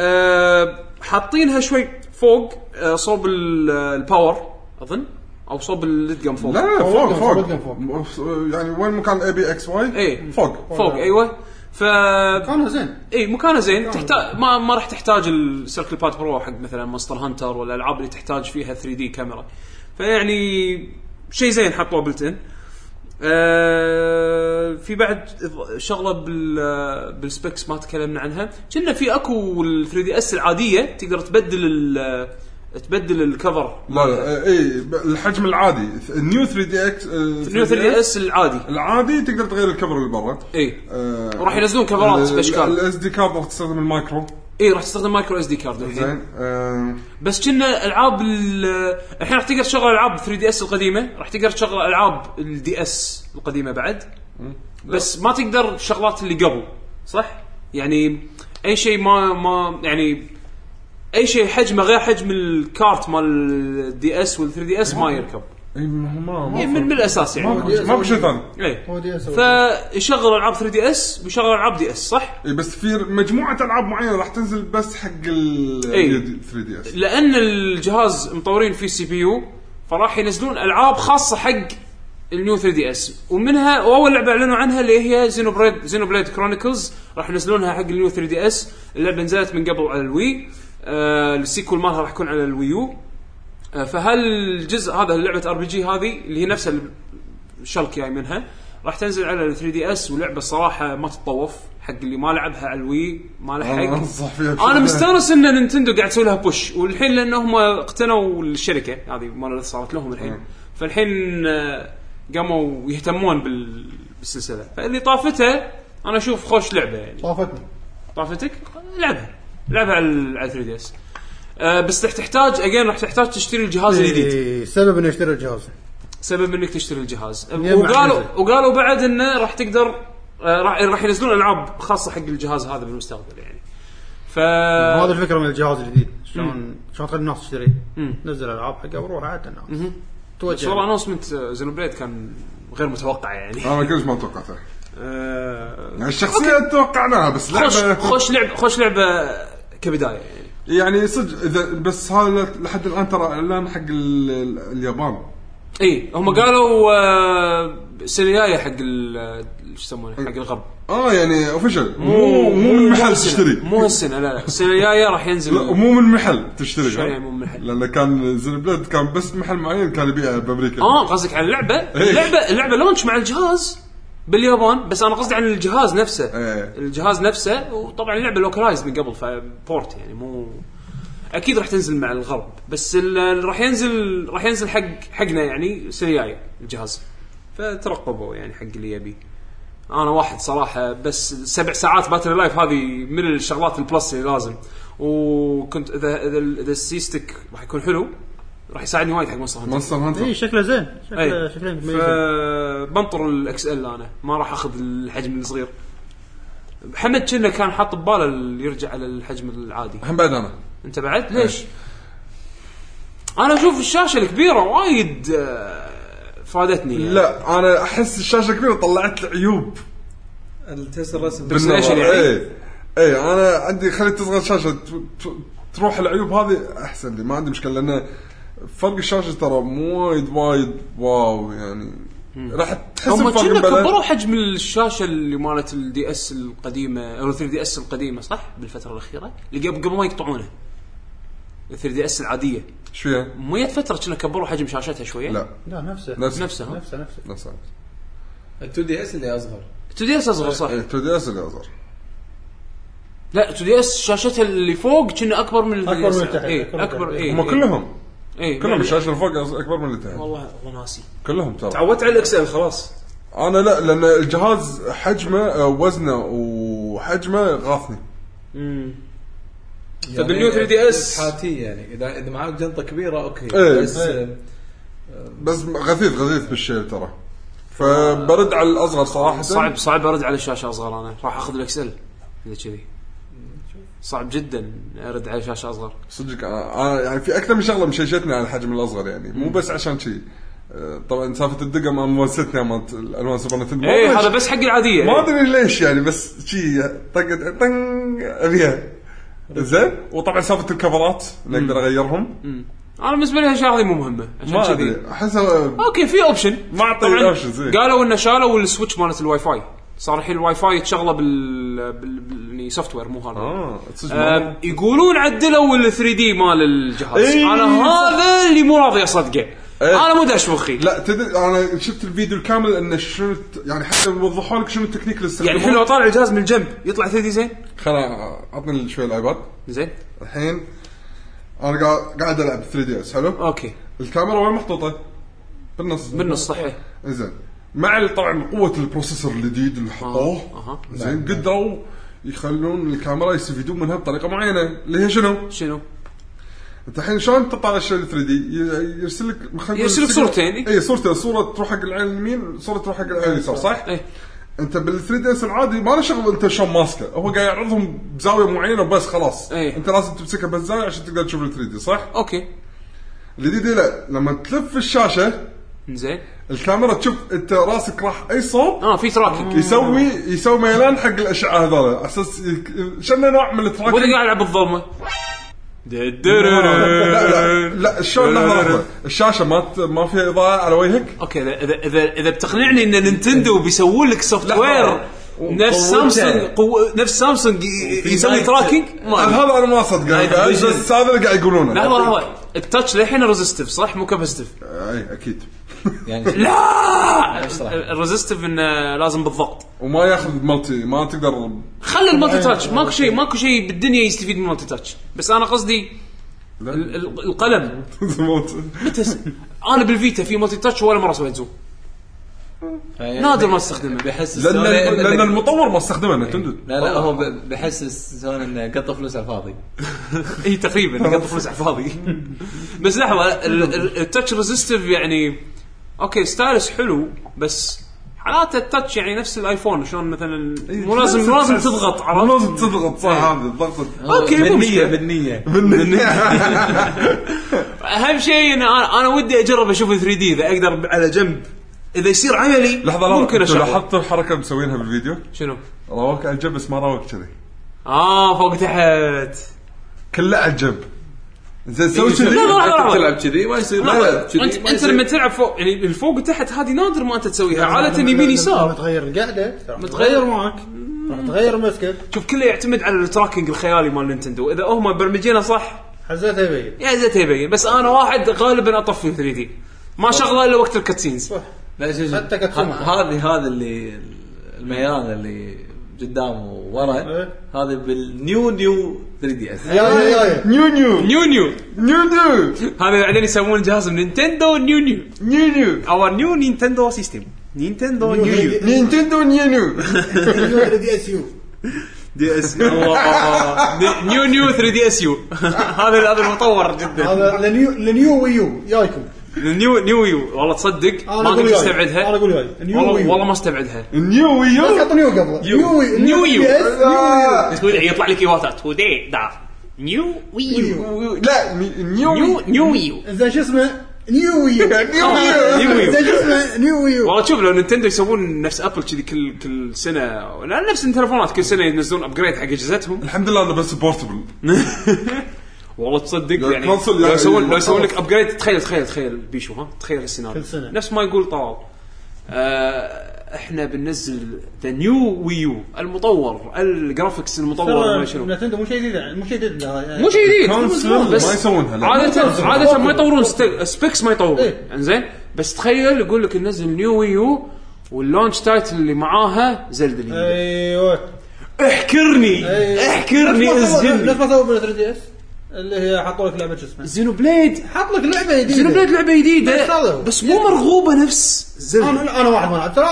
B: أه حاطينها شوي فوق أه صوب ال- الباور اظن او صوب الليدجم فوق
D: لا لا فوق
C: فوق،
D: فوق م- يعني وين مكان اي بي اكس
B: إيه.
D: واي فوق
B: فوق ايوه ف
C: كانوا زين
B: اي إيه، مكانه زين تحتاج ما ما راح تحتاج السيركل باد برو حق مثلا مونستر هانتر ولا الالعاب اللي تحتاج فيها 3 دي كاميرا فيعني شيء زين حطوه بلت ان آه في بعد إض- شغله بال بالسبكس ما تكلمنا عنها كنا في اكو ال 3 دي اس العاديه تقدر تبدل ال تبدل الكفر
D: لا لا اي الحجم العادي النيو 3 دي اكس
B: نيو 3 دي اس العادي إيه.
D: العادي تقدر تغير الكفر اللي برا
B: اي
D: آه.
B: وراح ينزلون كفرات بأشكال.
D: الاس دي كارد راح تستخدم المايكرو
B: اي إيه، راح تستخدم مايكرو اس دي كارد الحين
D: زين آه،
B: بس كنا العاب ال- الحين راح تقدر تشغل العاب 3 دي اس القديمه راح تقدر تشغل العاب الدي اس القديمه بعد بس ما تقدر الشغلات اللي قبل صح يعني اي شيء ما ما يعني اي شيء حجمه غير حجم الكارت مال الدي اس وال 3 دي اس ما يركب
D: اي ما ما
B: إيه، من من الاساس يعني
D: ما- ماكو شيء ثاني
B: ايه
C: هو دي اس
B: فيشغل العاب 3 دي اس ويشغل العاب دي اس صح؟
D: اي إيه، بس في مجموعه العاب معينه راح تنزل بس حق ال
B: إيه.
D: 3 دي اس
B: لان الجهاز مطورين فيه سي بي يو فراح ينزلون العاب خاصه حق النيو 3 دي اس ومنها واول لعبه اعلنوا عنها اللي هي زينو بريد زينو بليد كرونيكلز راح ينزلونها حق النيو 3 دي اس اللعبه نزلت من قبل على الوي آه السيكول مالها راح يكون على الويو آه فهل الجزء هذا لعبه ار بي جي هذه اللي هي نفسها الشلك يعني منها راح تنزل على ال 3 دي اس ولعبه صراحه ما تتطوف حق اللي ما لعبها على الوي ما لحق
D: انصح فيها
B: انا
D: بشدة.
B: مستانس ان نينتندو قاعد تسوي لها بوش والحين لان هم اقتنوا الشركه هذه مال صارت لهم الحين فالحين آه، قاموا يهتمون بال- بالسلسله فاللي طافته انا اشوف خوش لعبه يعني
C: طافتني
B: طافتك لعبها لعبها على 3 دي اس آه، بس راح تحتاج اجين راح تحتاج تشتري الجهاز الجديد
C: إيه، سبب انه اشتري الجهاز
B: سبب انك تشتري الجهاز
C: يجمع
B: وقالوا
C: نزل.
B: وقالوا بعد انه راح تقدر آه، راح راح ينزلون العاب خاصه حق الجهاز هذا بالمستقبل يعني ف آه.
C: هذا الفكره من الجهاز الجديد شلون شلون تخلي الناس تشتري
B: مم.
C: نزل العاب حقه وروح عاد الناس
B: بس والله
C: توجه
B: اناونسمنت زينوبليد كان غير متوقع يعني
D: انا كلش ما توقعته
B: آه،
D: يعني الشخصيه توقعناها بس
B: خوش
D: لعبه
B: خوش لعبه خوش لعبه كبدايه يعني
D: يعني صدق اذا بس هذا لحد الان ترى اعلان حق ال- ال- اليابان
B: اي إيه، هم قالوا آه، السنه الجايه حق ال- آه، شو يسمونه حق الغرب
D: اه يعني اوفيشال مو مو من محل
B: هالسنة.
D: تشتري
B: مو هالسنه لا لا السنه الجايه راح ينزل
D: لا مو من محل تشتري
B: شلون يعني مو من محل؟
D: لانه كان زين بلاد كان بس محل معين كان يبيع بامريكا
B: اه قصدك على اللعبه اللعبه اللعبه لونش مع الجهاز باليابان بس انا قصدي عن الجهاز نفسه
D: إيه.
B: الجهاز نفسه وطبعا اللعبه لوكلايز من قبل فبورت يعني مو اكيد راح تنزل مع الغرب بس ال- ال- راح ينزل راح ينزل حق حقنا يعني السنه الجايه الجهاز فترقبوا يعني حق اللي يبي انا واحد صراحه بس سبع ساعات باتري لايف هذه من الشغلات البلس اللي لازم وكنت اذا اذا اذا السيستك راح يكون حلو راح يساعدني وايد حق مونستر هانتر
D: مونستر هانتر
B: إيه.
C: اي إيه، شكله زين
B: أي.
C: شكله شكله مميز
B: فبنطر الاكس ال انا ما راح اخذ الحجم الصغير محمد كنا كان حاط بباله ال- يرجع على الحجم العادي
D: هم بعد انا
B: انت بعد ليش انا اشوف الشاشه الكبيره وايد آه، فادتني يعني.
D: لا انا احس الشاشه كبيره طلعت لي عيوب
E: التست الرسم
B: Presentation يعني؟
D: اي اي انا إيه، عندي خليت تصغر شاشه ت- ت- تروح العيوب هذه احسن لي ما عندي مشكله لان فرق الشاشه ترى مو وايد وايد واو يعني راح تحس
B: هم
D: بفرق
B: كنا
D: بلا-
B: كبروا حجم الشاشه اللي مالت الدي اس القديمه او 3 دي اس القديمه صح بالفتره الاخيره اللي قبل قبل ما يقطعونه 3 دي اس العاديه
D: ايش فيها؟
B: مو جت فتره كنا كبروا حجم شاشتها شويه
D: لا
C: لا نفسه
D: نفس
B: نفسها ها؟
C: نفسه نفسه
D: نفسها
E: 2 دي اس اللي اصغر
B: 2 دي اس اصغر صح
D: اي 2 دي اس اللي اصغر
B: لا 2 دي اس شاشتها اللي فوق كنا اكبر من
C: أكبر من
B: التحت
C: التحت، أكبر
B: اي
C: من
B: اكبر
C: التحت.
B: اي
D: هم كلهم
B: اي
D: كلهم الشاشه اللي فوق أص- اكبر من اللي تحت
B: إيه، يعني والله والله ناسي
D: كلهم ترى
E: تعودت على الاكس ال خلاص
D: انا لا لان الجهاز حجمه آه، وزنه وحجمه غاثني
B: فبالنيو
E: يعني
B: 3 دي اس
E: حاتي يعني اذا اذا معاك جنطه كبيره اوكي
D: إيه.
E: بس
D: بس غثيث غثيث بالشيء ترى فبرد على الاصغر صراحه
B: صعب صعب ارد على شاشه اصغر انا راح اخذ الاكسل اذا كذي صعب جدا ارد على شاشه اصغر
D: صدق انا أنا يعني في اكثر من شغله مشجتني على الحجم الاصغر يعني مو بس عشان شيء آه، طبعا سالفه الدقم انا مونستنا مالت الالوان سوبر نتندو
B: اي
D: ما أدري-
B: إيه، هذا بس حق العاديه
D: ما
B: إيه.
D: ادري ليش يعني بس شي طقت طنج ابيها زين وطبعا سالفه الكفرات اللي اقدر اغيرهم
B: انا بالنسبه لي هالاشياء هذه مو مهمه عشان
D: ما
B: كذي
D: ادري احسها
B: اوكي في اوبشن
D: ما أعطي
B: طبعاً
D: options، إيه.
B: قالوا انه شالوا السويتش مالت الواي فاي صار الحين الواي فاي يتشغله بال بال, بال... يعني سوفت وير مو هارد
D: اه صدق
B: آه
D: ما-
B: يقولون عدلوا ال 3 دي مال الجهاز
D: إي،
B: انا هذا اللي مو راضي اصدقه انا مو داش مخي
D: إيه. لا تدري انا شفت الفيديو الكامل انه شنو الت- يعني حتى وضحوا لك شنو التكنيك اللي
B: يعني الحين لو طالع الجهاز من الجنب يطلع 3 دي زين
D: خل عطني شوي الايباد
B: زين
D: الحين انا قاعد قاعد العب 3 دي اس حلو
B: اوكي
D: الكاميرا وين محطوطه؟ بالنص
B: آه. بالنص صحيح
D: زين مع ال- طبعا قوه البروسيسور الجديد اللي حطوه
B: أها.
D: زين قدروا يخلون الكاميرا يستفيدون منها بطريقه معينه اللي هي شنو؟
B: شنو؟
D: انت الحين شلون تطلع الشيء 3 دي؟ يرسل لك
B: يرسل لك صورتين.
D: اي إيه، صورتين صوره تروح حق العين اليمين صوره تروح حق العين اليسار صح؟
B: ايه
D: انت بال 3 دي اس العادي ما له شغل انت شلون ماسكه هو قاعد يعرضهم بزاويه معينه وبس خلاص
B: ايه.
D: انت لازم تمسكها بس زاويه عشان تقدر تشوف ال 3 دي صح؟
B: اوكي
D: الجديد لا لما تلف الشاشه
B: زين
D: الكاميرا تشوف انت راسك راح اي صوب
B: اه في تراكنج
D: يسوي يسوي ميلان حق الاشعه هذول على اساس يك- شنو نوع من التراك
B: وانا قاعد العب بالضلمه
D: لا لا لا شلون لحظه
B: آه.
D: لحظه الشاشه ما ت- ما فيها اضاءه على وجهك
B: اوكي اذا اذا اذا, إذا بتقنعني ان نينتندو بيسوون لك سوفت
D: لا،
B: وير
D: لا.
B: نفس
E: وقوته.
B: سامسونج قو... نفس سامسونج ي- يسوي
E: نايت.
B: تراكنج ما أدري.
D: هذا انا ما اصدق
B: نايت
D: أنا
B: فيجن.
D: بس هذا اللي قاعد يقولونه
B: لحظه لحظه التاتش للحين ريزستيف صح مو كاباسيتيف
D: اي اكيد
E: يعني
B: لا
E: صراحة.
B: الريزستيف انه لازم بالضغط
D: وما ياخذ مالتي ما تقدر
B: خلي المالتي تاتش ماكو شيء ماكو شيء بالدنيا يستفيد من المالتي تاتش بس انا قصدي
D: لا.
B: ال- ال- القلم
D: تموت.
B: تس... انا بالفيتا في مالتي تاتش ولا مره سويت زوم نادر ما استخدمه
E: بحس
D: لان
E: السوني إن-
B: يعني-
D: لان المطور ما استخدمه نتندو
E: لا لا هو ب- بحس السوني انه قط فلوس على الفاضي
B: اي تقريبا قط فلوس على الفاضي بس لحظه ال- ال- التاتش ريزستيف يعني اوكي ستايلس حلو بس حالات التاتش يعني نفس الايفون شلون مثلا مو لازم مو لازم تضغط إيه.
D: مو
B: عرفت
D: لازم تضغط صح هذا الضغط
B: اوكي مو
E: بالنية
B: مشكله
E: بالنية
B: اهم شيء ان انا انا ودي اجرب اشوف 3 دي اذا اقدر على جنب اذا يصير عملي
D: لحظه لحظه
B: ممكن
D: ممكن
B: اشوف
D: لاحظت الحركه مسوينها بالفيديو
B: شنو؟
D: راوك على الجنب بس ما راوك كذي
B: اه فوق تحت
D: كله على الجنب زين سوي
B: إيه، لا، لا،
D: كذي
B: لا. لحظة.
E: تلعب كذي ما يصير تلعب كذي،
B: انت
E: ما
B: انت
E: يصير.
B: لما تلعب فوق يعني الفوق وتحت هذه نادر ما انت تسويها عاده
C: لما-
B: يمين
C: لما-
B: يسار
C: لما تغير القعده ترى
B: متغير
C: معك راح تغير مسكه
B: شوف كله يعتمد على التراكنج الخيالي مال نينتندو اذا هم برمجينه صح
C: حزتها يبين
B: يا زيت يبين بس انا واحد غالبا اطفي 3 دي ما شغله الا وقت الكاتسينز
E: لا شوف شوف.
C: حتى كاتسوما.
E: ه- هذه هذا اللي الميلان اللي قدامه ورا
C: إيه.
E: هذا بالنيو نيو 3 دي اس
C: يا يا يا
D: نيو نيو
B: نيو نيو
D: نيو نيو
B: هذا بعدين يسمون جهاز من نينتندو نيو نيو
D: نيو نيو
B: اور نيو نينتندو سيستم نينتندو نيو يو
D: نينتندو نيو نيو
C: دي اس يو
B: دي اس نيو نيو 3 دي اس يو هذا هذا المطور جدا
C: هذا لنيو لنيو ويو ياكم
B: نيو نيو يو والله تصدق
C: أنا
B: ما
C: أقول
B: قدرت
C: ياي.
B: استبعدها
C: أنا أقول ياي. نيو
B: والله
C: ويو.
B: والله ما استبعدها
D: نيو ويو
C: حط نيو قبله نيو
B: نيو يو.
C: يو
B: تقول يطلع لك ايواتا تودي دا نيو ويو
D: لا ني- نيو
B: نيو
D: نيو
B: نيو يو
C: زين شو اسمه نيو ويو
D: نيو
B: نيو يو
C: زين شو اسمه نيو ويو
B: والله شوف لو نينتندو يسوون نفس ابل كذي كل كل سنه لا نفس التلفونات كل سنه ينزلون ابجريد حق اجهزتهم
D: الحمد لله انه بس بورتبل
B: والله تصدق
D: يعني
B: يعني
D: كونسول
B: لو
D: يعني
B: يسوون لو
D: خلاص.
B: يسوون لك ابجريد تخيل تخيل تخيل بيشو ها تخيل السيناريو
C: كل سنة.
B: نفس ما يقول طلال آه، احنا بننزل ذا نيو ويو المطور الجرافكس المطور ما شنو
C: نتندو مو شيء جديد مو شيء جديد
B: مو شيء
D: كونسول
B: جديد
D: ما
B: بس
D: يسوونها لا
B: عادة عادة ما يطورون ست- سبيكس ما يطورون
C: إيه.
B: انزين بس تخيل يقول لك ننزل نيو ويو واللونش تايتل اللي معاها زلد الجديدة
C: ايوه
B: احكرني
C: أيوه.
B: احكرني
C: نفس ما سووا- نفس
B: اسجني
C: ما سووا بال 3 دي اس اللي هي حطوا لك لعبه شو اسمها
B: زينو بليد
C: حط لك لعبه جديده
B: زينو بليد لعبة
C: بس هذا
B: جديدة
C: هو.
B: بس مو مرغوبة نفس زلد
C: انا انا واحد ما لعب ترى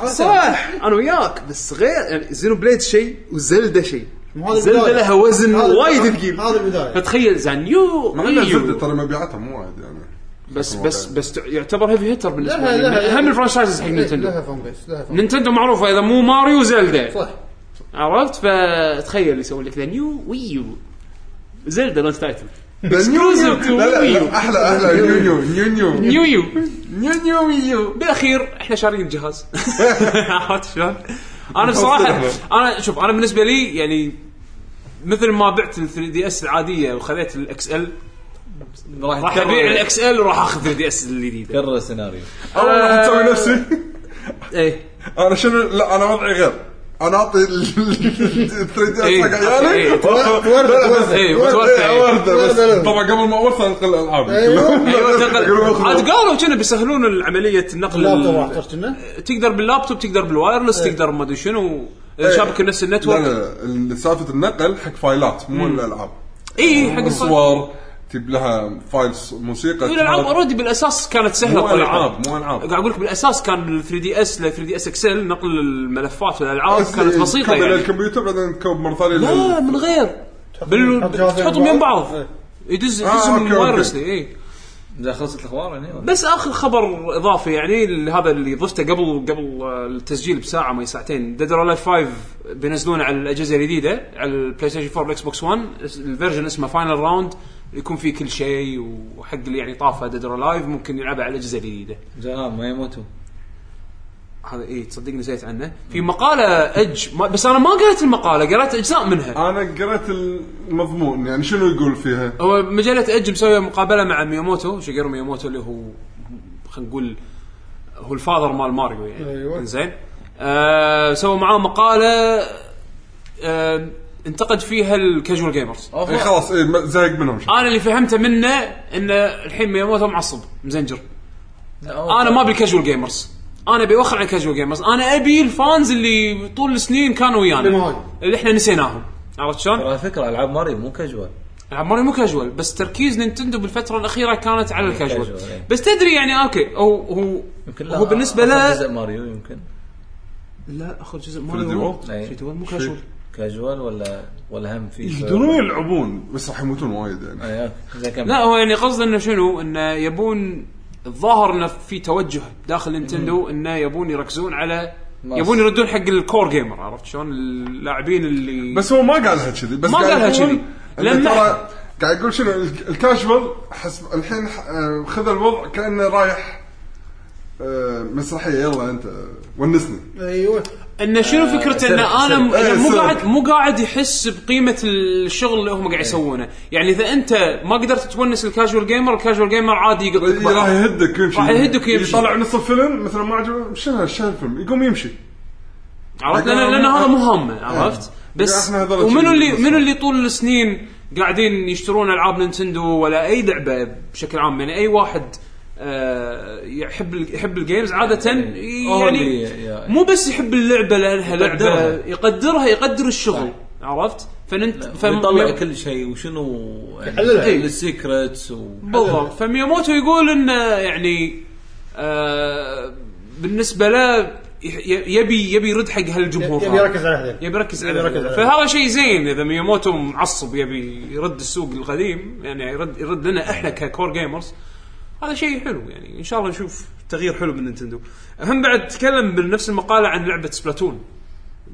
C: أنا-
B: صح انا وياك بس غير يعني زينو بليد شيء وزلده شيء
C: مو هذا
B: زلده
C: البداية.
B: لها وزن
C: هذا-
B: وايد ثقيل
C: هذا البدايه
B: فتخيل زان يو
D: ما عندنا
B: ويو.
D: زبده ترى مبيعاتها مو وايد يعني
B: بس بس بس تع- يعتبر هيفي هيتر بالنسبه لي من اهم الفرانشايزز حق نينتندو
C: إيه، لها فان بيس لها فان
B: نينتندو معروفه اذا مو ماريو زلدا
C: صح
B: عرفت فتخيل يسوي لك ذا نيو ويو زلدا لونش تايتل Exclusive to
D: لا
B: Wii U.
D: لا احلى احلى نيو نيو نيو نيو
B: نيو يو
D: نيو نيو يو
B: بالاخير احنا شارين الجهاز عرفت شلون؟ انا بصراحه انا شوف انا بالنسبه لي يعني مثل ما بعت ال 3 دي اس العاديه وخذيت الاكس ال راح
E: يتكرر-
B: ابيع الاكس ال وراح اخذ 3 دي اس الجديده
E: كرر السيناريو
D: انا
B: آه.
D: راح اسوي نفسي
B: ايه
D: انا شنو لا انا وضعي غير انا اعطي ال 3 دي
B: إيه.
D: اس حق
B: إيه.
D: عيالي
B: إيه، وتورثه، إيه.
D: ورده بس
C: ورثة.
D: طبعا قبل ما اورثه انقل الالعاب
B: أيوة، تقل- عاد
D: عاد
B: قالوا كنا بيسهلون عمليه النقل
C: لا
B: ال-
C: طبعا احترت كنا
B: تقدر باللابتوب تقدر بالوايرلس تقدر ما ادري شنو شابكه نفس
D: إيه. لا
B: النتورك
D: لا لا، سالفه النقل حق فايلات مو الالعاب
B: اي إيه، حق الصور
D: صور تجيب لها فايلز موسيقى
B: الالعاب اوريدي بالاساس كانت سهله
D: مو
B: الطريقة.
D: ألعاب، مو ألعاب.
B: قاعد اقول لك بالاساس كان ال 3 دي اس ل 3 دي اس اكسل نقل الملفات والالعاب
D: بس
B: كانت بسيطه
D: تكبل
B: يعني
D: إيه، الكمبيوتر بعدين تكب مره ثانيه
B: لا
D: لل-
B: من غير بال...
C: تحط جهازين
B: تحطهم يم
C: بعض.
B: بعض
C: إيه.
B: يدز
D: آه،
B: يدزهم
D: أوكي، أوكي.
B: وايرلسلي اي
E: اذا خلصت الاخبار هني ولا؟
B: بس اخر خبر اضافي يعني ال- هذا اللي ضفته قبل قبل آه، التسجيل بساعه ما هي ساعتين ديد اور 5 بينزلونه على الاجهزه الجديده على البلاي ستيشن 4 والاكس بوكس 1 اس- الفيرجن اسمه فاينل راوند يكون فيه كل شيء وحق اللي يعني طافه ديد اور لايف ممكن يلعبها على الاجهزه الجديده
E: جهام ما يموتون
B: هذا اي تصدق نسيت عنه في مقاله اج ما بس انا ما قريت المقاله قريت اجزاء منها
D: انا قريت المضمون يعني شنو يقول فيها
B: هو مجله اج مسويه مقابله مع مياموتو شيجيرو مياموتو اللي هو خلينا نقول هو الفاذر مال ماريو يعني
C: أيوة.
B: زين آه سووا معاه مقاله آه انتقد فيها الكاجوال جيمرز
E: آه.
D: اي إيه، خلاص اي ما- زهق منهم شيء
B: انا اللي فهمته منه ان الحين مياموتو معصب مزنجر انا ما ابي الكاجوال جيمرز انا ابي اوخر عن الكاجوال جيمرز انا ابي الفانز اللي طول السنين كانوا
C: اللي
B: ويانا
C: معاي.
B: اللي احنا نسيناهم عرفت شلون؟
E: ترى على فكره العاب ماريو مو كاجوال
B: العاب ماريو مو كاجوال بس تركيز نينتندو بالفتره الاخيره كانت على الكاجوال
E: الكاجوال، إيه.
B: بس تدري يعني اوكي هو هو
E: يمكن لا
B: هو بالنسبه
E: آخر
B: له
E: جزء ماريو يمكن
B: لا اخذ جزء
D: فريدي
B: ماريو
D: وولد؟
E: إيه.
B: فريدي وولد مو كاجوال
E: كاجوال ولا ولا هم في
D: يقدرون يلعبون بس راح يموتون وايد يعني
E: أي، أوكي. زي كم
B: لا هو يعني قصده انه شنو انه يبون الظاهر انه في توجه داخل نينتندو انه يبون يركزون على
E: ماس.
B: يبون يردون حق الكور جيمر عرفت شلون اللاعبين اللي
D: بس هو ما قالها كذي بس
B: ما
D: قاعد
B: قالها
D: يقول
B: كذي.
D: إنه
B: لما-
D: ترى قاعد يقول شنو الك- الكاجوال حسب الحين ح- آه، خذ الوضع كانه رايح آه، مسرحيه يلا انت آه، ونسني
C: ايوه
B: انه شنو فكرته ان
E: سرق-
B: انا م-
D: سرق.
B: إنه
D: إيه،
B: مو
D: سرق.
B: قاعد مو قاعد يحس بقيمه الشغل اللي هم قاعد يسوونه، يعني اذا انت ما قدرت تونس الكاجوال جيمر، الكاجوال جيمر عادي يقطعك
D: إيه، راح
B: بقى.
D: يهدك يمشي
B: راح يهدك يمشي.
D: يطلع نص الفيلم مثلا ما عجبه شنو شنو الفيلم يقوم يمشي
B: عرفت لان لان هذا مو همه عرفت؟ بس
D: إحنا هذول
B: ومنو اللي
D: بس.
B: منو اللي طول السنين قاعدين يشترون العاب نينتندو ولا اي لعبه بشكل عام يعني اي واحد آه، يحب ال- يحب الجيمز عاده
E: هو
B: يعني
E: اللي- يا-
B: مو بس يحب اللعبه لانها لعبه
E: يقدرها.
B: يقدرها يقدر الشغل عرفت؟ فننت فم-
E: يطلع كل شيء وشنو
C: يحللها.
E: يعني السيكرتس و
B: بالضبط فمياموتو يقول انه يعني آه بالنسبه له يح- ي- يبي يبي يرد حق هالجمهور
C: يبي
B: هذا.
C: يركز على هذيل
B: يبي يركز على
C: يبي يركز
B: هذا.
C: على
B: فهذا شيء زين اذا مياموتو معصب يبي يرد السوق القديم يعني يرد يرد لنا احنا ككور جيمرز هذا شيء حلو يعني ان شاء الله نشوف تغيير حلو من نينتندو هم بعد تكلم بنفس المقاله عن لعبه سبلاتون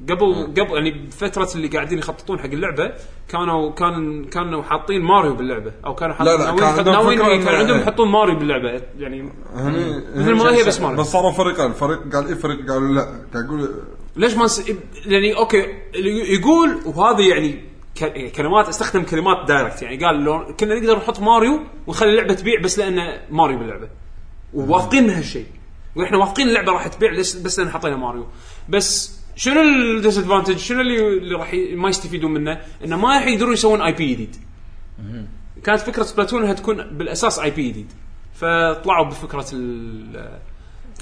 D: نعم.
B: قبل قبل يعني بفتره اللي قاعدين يخططون حق اللعبه كانوا كان كانوا حاطين ماريو باللعبه او كانوا حاطين
D: لا، لا، كان عندهم
B: ناويين
D: فكرة إنه-
B: كان عندهم يحطون ماريو باللعبه يعني
D: هني
B: مثل ما هي بس ماريو.
D: بس صاروا فريقين فريق قال اي فريق قالوا لا قاعد يقول
B: ليش ما نس... يعني اوكي اللي يقول وهذه يعني ك... يعني كلمات استخدم كلمات دايركت يعني قال لو كنا نقدر نحط ماريو ونخلي اللعبه تبيع بس لان ماريو باللعبه وواثقين من هالشيء واحنا واثقين اللعبه راح تبيع لس- بس لان حطينا ماريو بس شنو الديس ادفانتج شنو اللي اللي راح ي... ما يستفيدون منه انه ما راح يقدرون يسوون اي بي جديد كانت فكره سبلاتون انها تكون بالاساس اي بي جديد فطلعوا بفكره ال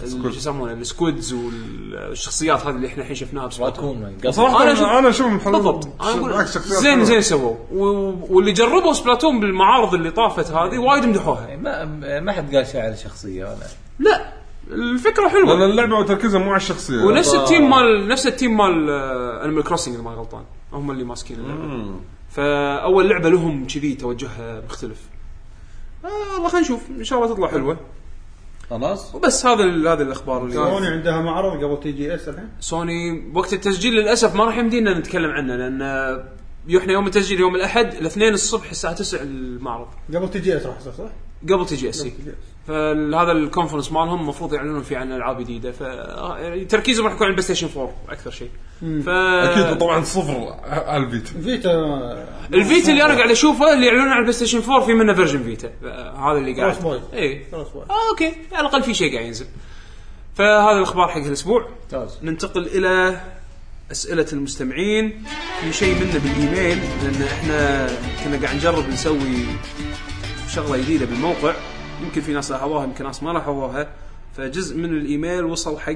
B: ال- شو يسمونه السكودز والشخصيات هذه اللي احنا الحين شفناها بسبلاتون
E: راكون
D: صراحه
B: أنا أشوف-
D: انا اشوف محل-
B: بالضبط انا اقول
D: بالعكس شخصيات
B: زين
D: حلوة.
B: زين سووا و- واللي جربوا سبلاتون بالمعارض اللي طافت هذه وايد مدحوها
E: ما ما حد قال شيء على شخصيه ولا
B: لا الفكره
D: لان
B: حلوه
D: اللعبه وتركيزها مو على الشخصيه
B: ونفس التيم مال نفس التيم مال آه، انيمال كروسنج اذا ما غلطان هم اللي ماسكين اللعبه فاول لعبه لهم كذي توجهها مختلف آه الله خلينا نشوف ان شاء الله تطلع حلوه
E: خلاص
B: وبس هذا ال- هذا الاخبار
C: سوني
B: اللي
C: عندها معرض قبل تي جي اس الحين
B: سوني وقت التسجيل للاسف ما راح يمدينا نتكلم عنه لان آه، يحنا يوم التسجيل يوم الاحد الاثنين الصبح الساعه 9 المعرض
C: قبل تي جي اس راح يصير صح؟
B: قبل تي جي اس
C: قبل TGS.
B: فهذا الكونفرنس مالهم المفروض يعلنون فيه عن العاب جديده ف يعني تركيزهم راح يكون على البلاي ستيشن 4 اكثر شيء ف
D: اكيد طبعا صفر على الفيتا
C: فيتا
B: الفيتا اللي انا قاعد اشوفه اللي يعلنون عن البلاي ستيشن 4 في منه فيرجن فيتا هذا اللي قاعد
C: Cross boy.
B: اي
C: خلاص واحد.
B: آه اوكي على الاقل في شيء قاعد ينزل فهذا الاخبار حق الاسبوع
E: ممتاز
B: ننتقل الى اسئله المستمعين في شيء منه بالايميل لان احنا كنا قاعد نجرب نسوي شغله جديده بالموقع يمكن في ناس لاحظوها يمكن ناس ما لاحظوها فجزء من الايميل وصل حق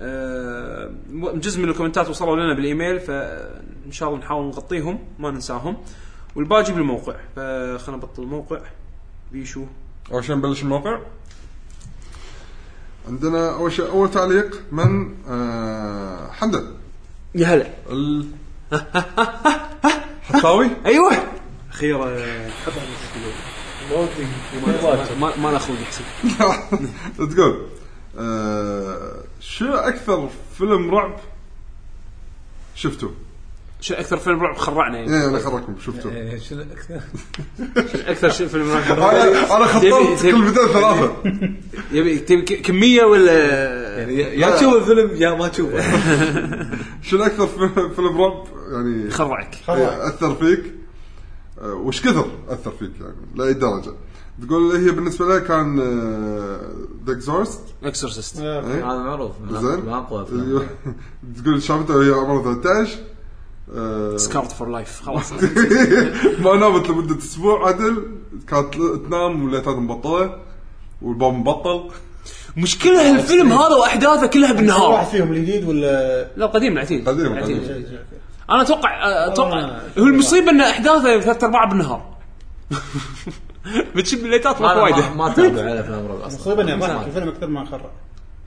B: آه، جزء من الكومنتات وصلوا لنا بالايميل فان شاء الله نحاول نغطيهم ما ننساهم والباقي بالموقع فخلنا نبطل الموقع بيشو
D: اول شيء نبلش الموقع عندنا اول شيء اول تعليق من آه حمد
B: يا هلا
D: ال حطاوي
B: ايوه اخيرا ما- آه، ما ما ناخذ يحسب
D: تقول آه Uh, شو اكثر فيلم رعب شفته؟
B: شو اكثر فيلم رعب خرعنا يعني
D: ايه انا خرجكم شفته
E: إيه، شنو اكثر
B: اكثر شيء فيلم رعب خرعنا.
D: انا انا خطرت
B: تبي-
D: كلمتين ثلاثه
B: يبي تبي ك- كميه ولا
E: يعني يا تشوف الفيلم يا ما تشوفه
D: شنو اكثر في- فيلم رعب يعني
B: خرعك
D: إيه، اثر فيك آه، وش كثر اثر فيك يعني لاي درجه تقول هي بالنسبه لها كان آه، ذا اكزورست
B: اكسورسيست
C: آه.
E: هذا معروف من أقوى-
D: إيه؟ زين
E: من اقوى أفلام.
D: أيوه. تقول شافته وهي عمرها 13 آه،
B: سكارت فور لايف خلاص
D: ما نامت لمده اسبوع عدل كانت تنام والليتات مبطله والباب مبطل
B: مشكله الفيلم هذا واحداثه كلها
C: واحد
B: بالنهار
C: فيهم الجديد ولا
B: لا قديم العتيد
D: قديم،
B: العتيد.
D: قديم.
B: انا اتوقع اتوقع
C: آه.
B: هو المصيبه ان احداثه ثلاث ارباع بالنهار بتشب الليتات ماكو
E: أنا
B: وايده
E: ما ما تابع على افلام رعب اصلا
C: مصيبه اني ضحك الفيلم اكثر ما خرع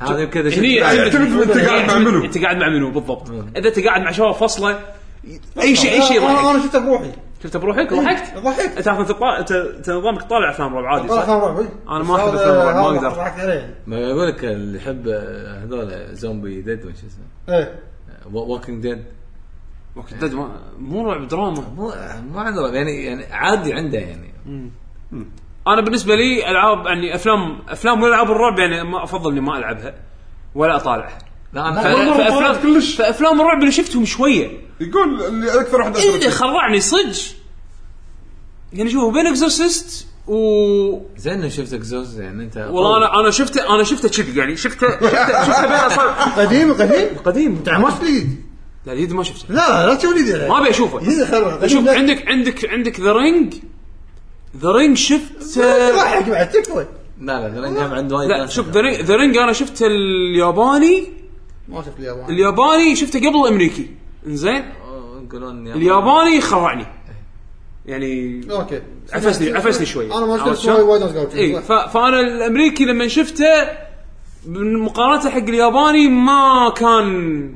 E: هذا يمكن إذا
B: هني
E: شفت-
D: يعتمد انت قاعد مع منو.
B: انت قاعد مع منو بالضبط اذا انت قاعد مع شباب فصله اي شيء اي شيء
C: أنا- انا
B: يضحك
C: أنا شفته بروحي
B: شفت بروحك ضحكت
C: ضحكت
B: انت أصلاً تطلع- انت انت نظامك طالع افلام رعب عادي
C: طلع
B: صح؟
C: كان روحي
B: أنا ما أحب الفيلم الرعب، ما أقدر.
C: ضحكت عليه
E: ما اقول لك اللي يحب آه، هذول زومبي ديد وش اسمه
C: ايه
E: ووكينج ديد
B: أوكي، دد ما- مو رعب دراما
E: مو ما عنده رعب، يعني يعني عادي عنده يعني
B: انا بالنسبه لي العاب يعني افلام افلام والعاب الرعب يعني ما افضل اني ما العبها ولا اطالعها
E: لا
B: ف-
E: انا
B: فافلام
D: كلش.
B: فافلام الرعب اللي شفتهم شويه
D: يقول اللي اكثر واحد اثر
B: إيه،
D: فيك
B: خرعني صدق يعني شوف بين اكزورسيست و
E: زين إنه شفتك زوز يعني انت
B: والله انا انا شفته انا شفته كذي يعني شفته شفته شفته بين اصابع
C: قديم قديم
B: قديم
C: تعال ما شفت الجديد
B: لا اليد ما شفته
C: لا لا تشوف الجديد
B: ما ابي اشوفه
C: جديد خرع قديم
B: شوف
C: لا.
B: عندك عندك عندك ذا رينج ذا رينج شفت
C: ضحك بعد تكفى
E: لا لا لا جاب عنده وايد
B: لا
E: ناس
B: شوف
E: يفهم.
B: ذا رينج انا شفت الياباني
C: ما شفت اليابان
B: الياباني شفته قبل الامريكي انزين
E: أوه، يقولون يا-
B: الياباني خرعني يعني
C: اوكي
B: عفسني عفسني شوي إيه.
C: انا ما
B: عرفت
C: شفت
B: شلون؟
C: وايد وايد ناس قالوا كذي.
B: اي ف- فانا الامريكي لما شفته من مقارنته حق الياباني ما كان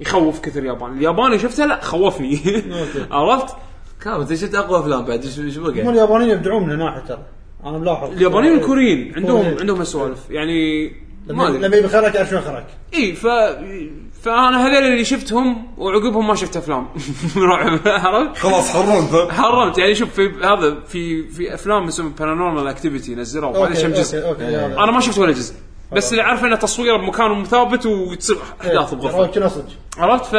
B: يخوف كثر الياباني، الياباني شفته لا خوفني عرفت؟
E: كامل انت شفت اقوى افلام بعد ايش ايش
C: هم
E: بقى؟
C: اليابانيين يبدعون من هناك ترى انا ملاحظ
B: اليابانيين والكوريين عندهم
C: كوريين.
B: عندهم هالسوالف يعني ما
C: طيب. لما
B: ادري
C: لما يبي خرك اعرف شلون خرك
B: اي ف فانا هذول اللي شفتهم وعقبهم ما شفت افلام رعب عرفت؟
D: خلاص حرمته
B: حرمت يعني شوف في هذا في في افلام اسمها بارانورمال اكتيفيتي نزلوها وهذا كم جزء
C: اوكي اوكي
E: إيه.
B: انا ما شفت ولا جزء بس اللي عارفه انه تصويره بمكان ثابت وتصير
C: إيه.
B: احداث بغرفه
C: كنا صدق
B: عرفت ف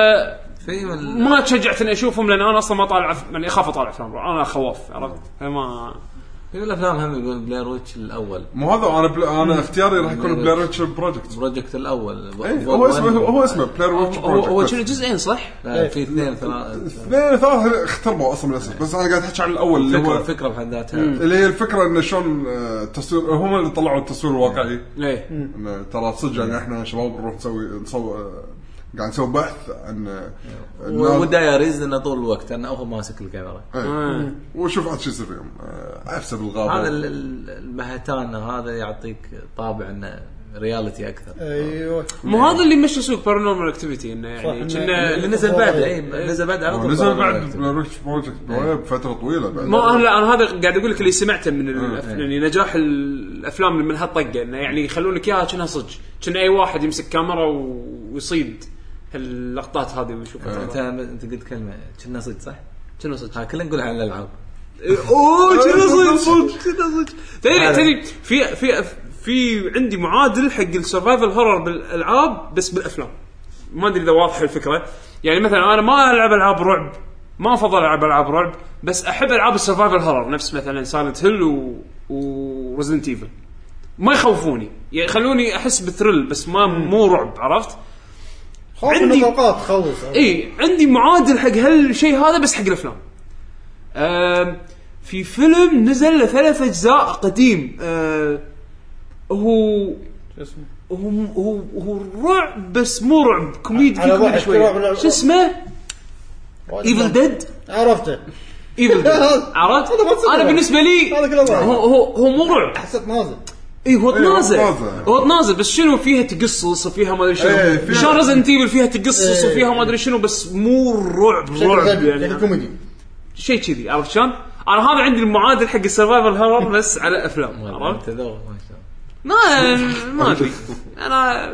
E: في من
B: ما تشجعت اني اشوفهم لان انا اصلا ما طالع ف- يعني اخاف اطالع افلام رعب. انا خواف عرفت فما
E: في من الافلام هم يقول بلاير ويتش الاول
D: مو هذا انا بل... انا اختياري راح يكون بلاير ويتش بروجكت
E: بروجكت الاول
D: إيه، هو اسمه هو اسمه إيه. بلاير ويتش
B: هو هو شنو
D: بروجكت
B: جزئين صح؟
E: لا، في اثنين ثلاث
D: اثنين ثلاثة اختربوا اصلا من الاسم بس انا قاعد احكي عن الاول اللي
E: فكره
D: هو إيه.
E: فكره بحد ذاتها
D: اللي هي الفكرة انه شلون آه، التصوير هم اللي طلعوا التصوير الواقعي
B: ايه
D: إنه ترى صدق يعني احنا شباب نروح نسوي نصور آه، قاعد نسوي بحث عن آه، الناس-
E: والدايريز انه طول الوقت انا هو ماسك الكاميرا
D: إيه. وشوف عاد شو يصير فيهم آه، عفسه بالغابه
E: هذا ال- ال- المهتان هذا يعطيك طابع انه رياليتي اكثر
D: إيه.
C: ايوه
B: مو هذا اللي مشى سوق بارانورمال اكتيفيتي انه يعني
C: صح، إنه-
B: كنا
E: اللي نزل بعد اي نزل بعد على طول
D: إيه. نزل بعد
E: Paranormal Activity.
D: ريتش بروجكت
B: إيه.
D: بفتره طويله بعد
B: ما أنا- لا انا هذا قاعد اقول لك اللي سمعته من
C: آه،
B: الأف...
E: إيه.
B: يعني نجاح الافلام من هالطقه انه يعني يخلون لك اياها كأنها صدق كأن اي واحد يمسك كاميرا و- ويصيد اللقطات هذه
C: آه.
B: ويشوفها
E: انت انت قلت كلمه كنا صدق صح؟
B: كأنها صدق
E: ها كلنا نقول عن الالعاب
B: اوه كذا
D: كنا
B: صدق كذا صدق تدري
E: هذا.
B: تدري في في في عندي معادل حق السرفايفل هورر بالالعاب بس بالافلام ما ادري اذا واضحه الفكره يعني مثلا انا ما العب العاب رعب ما افضل العب العاب رعب بس احب العاب السرفايفل هورر نفس مثلا سايلنت هيل و... ورزنت ايفل ما يخوفوني يعني يخلوني احس بثريل بس ما مو رعب عرفت؟
C: خوف
B: عندي- إيه،
C: النطاقات خوف
B: اي عندي معادل حق هالشيء هذا بس حق الافلام. آم، في فيلم نزل له ثلاث اجزاء قديم آه، هو
C: شو اسمه
B: هو هو هو رعب بس مو رعب كوميدي
C: على
B: في كوميدي
C: واحد رعب
B: شويه
C: رعب.
B: شو اسمه؟ ايفل ديد
C: عرفته
B: ايفل ديد عرفت؟
C: هذا ما تصدق.
B: انا بالنسبه لي
C: هذا كله رعب.
B: هو هو هو مو رعب
C: حسيت نازل
B: اي هو
D: إيه، هو
B: تنازل
D: تنازل.
B: هو تنازل بس شنو فيها تقصص وفيها ما ادري
D: إيه،
B: شنو
D: فيها-
B: شلون ريزنت ايفل فيها تقصص
C: إيه.
B: وفيها ما ادري شنو بس مو رعب رعب
C: غبي،
B: يعني
C: شكل كوميدي
B: شيء كذي عرفت شلون؟ انا هذا عندي المعادل حق السرفايفل هورر بس على افلام عرفت؟
E: انت ذوق ما شاء الله
B: ما ما ادري انا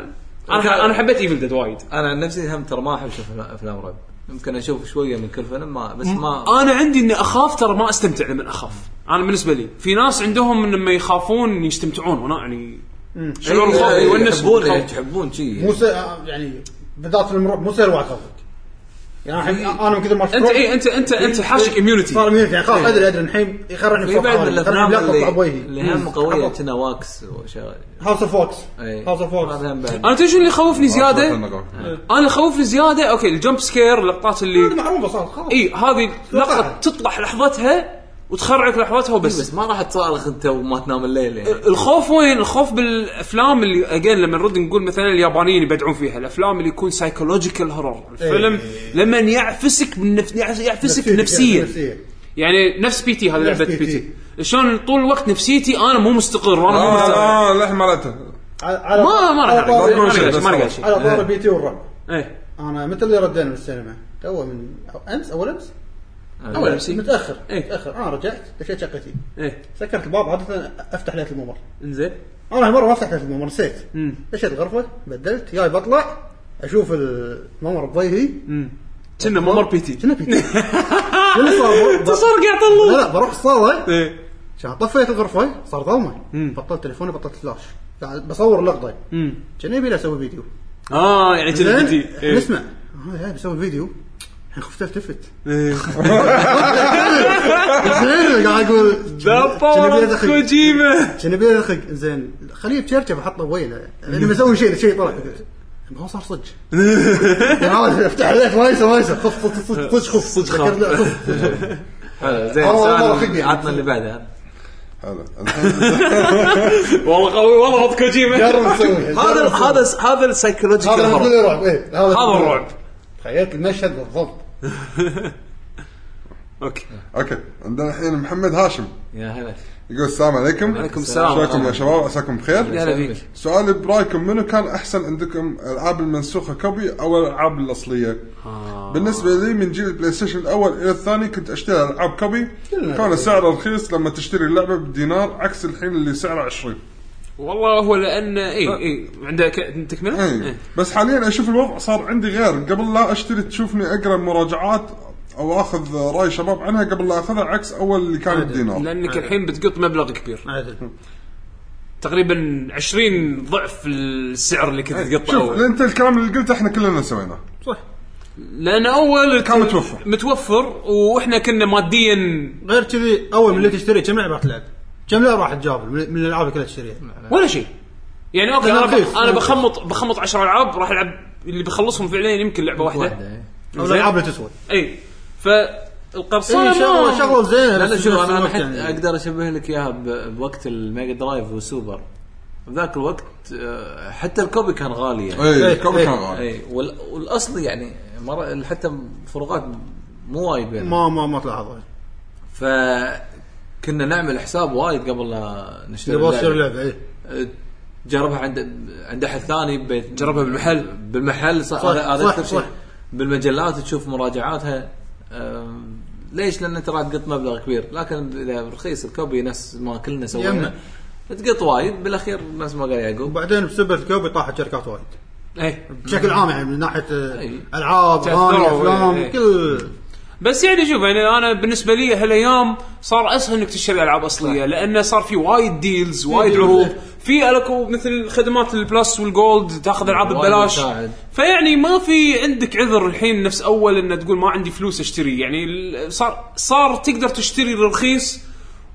B: انا ح- انا حبيت ايفل ديد وايد
E: انا عن نفسي هم ترى ما احب اشوف افلام رعب يمكن اشوف شويه من كل فيلم ما بس ما إيه،
B: انا عندي اني اخاف ترى ما استمتع لما اخاف انا بالنسبه لي في ناس عندهم إن لما يخافون يستمتعون وانا يعني شعور
E: إيه،
B: الخوف
E: إيه،
B: يونس
E: يحبون
B: بالخوف.
E: إيه، يحبون
C: مو
E: شيء
C: س- يعني بالذات فيلم الرعب مو سهل واحد خوفك يعني أحد-
B: إيه.
C: انا من كثر ما
B: انت اي انت انت انت حاشك
C: صار
B: اميونيتي
C: ميوت يعني خلاص
E: إيه.
C: ادري ادري الحين يخرعني
E: في بعض من الافلام اللي اللي هم
C: هم
E: قويه كنا واكس وشغل
C: هاوس اوف فوكس
E: إيه.
C: هاوس اوف فوكس
E: هذا هم بعد
B: انا تدري شنو اللي يخوفني زياده؟
D: إيه.
B: انا اللي يخوفني زياده اوكي الجمب سكير اللقطات
C: هذه
B: اللي
C: معروفه صارت خلاص
B: اي هذه لقطه
C: توقعها.
B: تطلع لحظتها وتخرعك لحظتها
E: بس,
B: وبس
E: بس ما راح تصارخ انت وما تنام الليل يعني
B: الخوف وين؟ الخوف بالافلام اللي اجين لما نرد نقول مثلا اليابانيين يبدعون فيها، الافلام اللي يكون سايكولوجيكال هورر، الفيلم لما يعفسك من نف... يعف- يعفسك نفسيا يعني نفس بي تي هذه
C: نفس
B: لعبه بي
C: PT.
B: تي شلون طول الوقت نفسيتي انا مو مستقر وانا مو مستقر
D: اه لا ما لعبته
C: على
B: ما ما راح
C: على
B: أعرف،
D: طاري-
B: آه. ما راح
D: طاري-
B: أعرف، ما راح أعرف شيء.
C: على طار البي تي والرعب
B: إيه.
C: انا متى اللي ردينا من السينما؟ تو من أو امس اول امس؟ اول امس متاخر
B: إيه.
C: متاخر انا رجعت دشيت شقتي
B: ايه
C: سكرت الباب عاده افتح ليت الممر
B: انزين
C: انا هالمره ما فتحت الممر نسيت
B: مم.
C: دشيت غرفه بدلت جاي بطلع اشوف الممر بضيهي
B: كنا ممر بي تي
C: كنا بيتي شنو صار؟ ب-
B: تصور قاعد
C: لا
B: طلع
C: لا بروح الصاله
B: ايه
C: شا- طفيت الغرفه صار ظلمه بطلت تليفوني بطلت فلاش قاعد بصور لقطه
B: مم.
C: كان يبي لي اسوي فيديو
B: اه يعني كنا
C: زين
B: بي تي
C: إحنا
B: إيه.
C: نسمع آه، هذا جاي بيسوي فيديو الحين خفت التفت
B: إيه.
C: زين قاعد اقول
B: ذا باور أوف كوجيما
C: كان ابي اضحك زين خليه بشبشب احطه بوينه يعني لما اسوي شيء شيء طلع ما هو صار صدق يعني هذا افتح عليك ما يسوى ما يسوى خف صدق صدق صدق خف صدق
B: خف.
C: خف
E: حلو زين
C: والله مرة
E: سؤال
C: خقني.
E: عطنا اللي بعده
D: هلا الحين
B: والله قوي والله وضع كوجيما
C: جرب نسويها
E: هذا هذا هذا السايكولوجيكال
C: هذا
E: هورر.
C: نقول رعب إيه، هذا
B: هذا الرعب
C: تخيلت المشهد بالضبط
B: اوكي
D: اوكي عندنا الحين محمد هاشم
E: يا هلا
D: يقول السلام عليكم
B: وعليكم السلام.
D: شلونكم يا شباب عساكم
B: يا
D: بخير
B: هلا فيك
D: سؤالي برايكم منو كان احسن عندكم العاب المنسوخه كوبي او الالعاب الاصليه؟
C: آه.
D: بالنسبه لي من جيل البلاي ستيشن الاول الى الثاني كنت اشتري العاب كوبي كان سعره رخيص لما تشتري اللعبه بدينار عكس الحين اللي سعره 20
B: والله هو لان اي اي عندك تكمله؟
D: اي
B: إيه.
D: بس حاليا اشوف الوضع صار عندي غير قبل لا اشتري تشوفني اقرا مراجعات او اخذ راي شباب عنها قبل لا اخذها عكس اول اللي كان بدينار
B: لانك الحين بتقط مبلغ كبير
C: عدل تقريبا
B: تقريبا 20 ضعف السعر اللي كنت تقطعه
D: شوف
B: اول
D: انت الكلام اللي قلته احنا كلنا سويناه
B: لان اول
C: إيه.
D: كان متوفر.
B: متوفر واحنا كنا ماديا
C: غير كذي اول من اللي تشتري كم لعبه راح تلعب؟ كم لعبه راح تجاب من من الالعاب اللي كلها تشتريها؟
B: ولا شيء يعني اوكي انا
C: رخيص.
B: انا بخمط بخمط 10 العاب راح العب اللي بخلصهم فعليا يمكن لعبه
E: واحده
B: واحده
E: إيه.
C: او الالعاب اللي تسوى
B: اي فالقرصنه
C: إيه، شغله
B: ما-
C: شغله زينه
E: لا لا
C: بس
E: شوف
C: نفس
E: انا انا
C: الوقت
E: حتى
C: يعني.
E: اقدر اشبه لك اياها ب- بوقت الميجا درايف والسوبر بذاك الوقت آه، حتى الكوبي كان غالي يعني
D: اي
C: إيه،
D: الكوبي
C: إيه.
D: كان غالي
E: اي وال- والاصل يعني مرة حتى فروقات مو وايد بينهم
C: ما ما ما تلاحظها
E: فكنا نعمل حساب وايد قبل لا نشتري
C: تبغى تصير
E: اللعبة.
C: لعبه اي
E: أه، جربها عند عند احد ثاني بيت- جربها بالمحل بالمحل صح
C: صح،
E: هذا هذا
C: صح،
E: اكثر
C: صح.
E: شيء بالمجلات تشوف مراجعاتها أم، ليش؟ لان انت راح تقط مبلغ كبير لكن اذا رخيص الكوبي نفس ما كلنا سوينا
C: يمه.
E: تقط وايد بالاخير نفس ما قال يعقوب
C: وبعدين بسبب الكوبي طاحت شركات وايد
B: ايه
C: بشكل عام يعني من ناحيه
E: أي.
C: آه، العاب
B: تأثروا،
C: اغاني
B: إيه.
C: افلام كل
B: بس يعني شوف يعني انا بالنسبه لي هالايام صار اسهل انك تشتري العاب اصليه لانه صار في وايد ديلز وايد
C: ديلز،
B: عروض
C: إيه.
B: في الكو مثل خدمات البلس والجولد تاخذ العاب
E: وايد
B: ببلاش
E: مساعد.
B: فيعني ما في عندك عذر الحين نفس اول ان تقول ما عندي فلوس اشتري يعني ال- صار صار تقدر تشتري الرخيص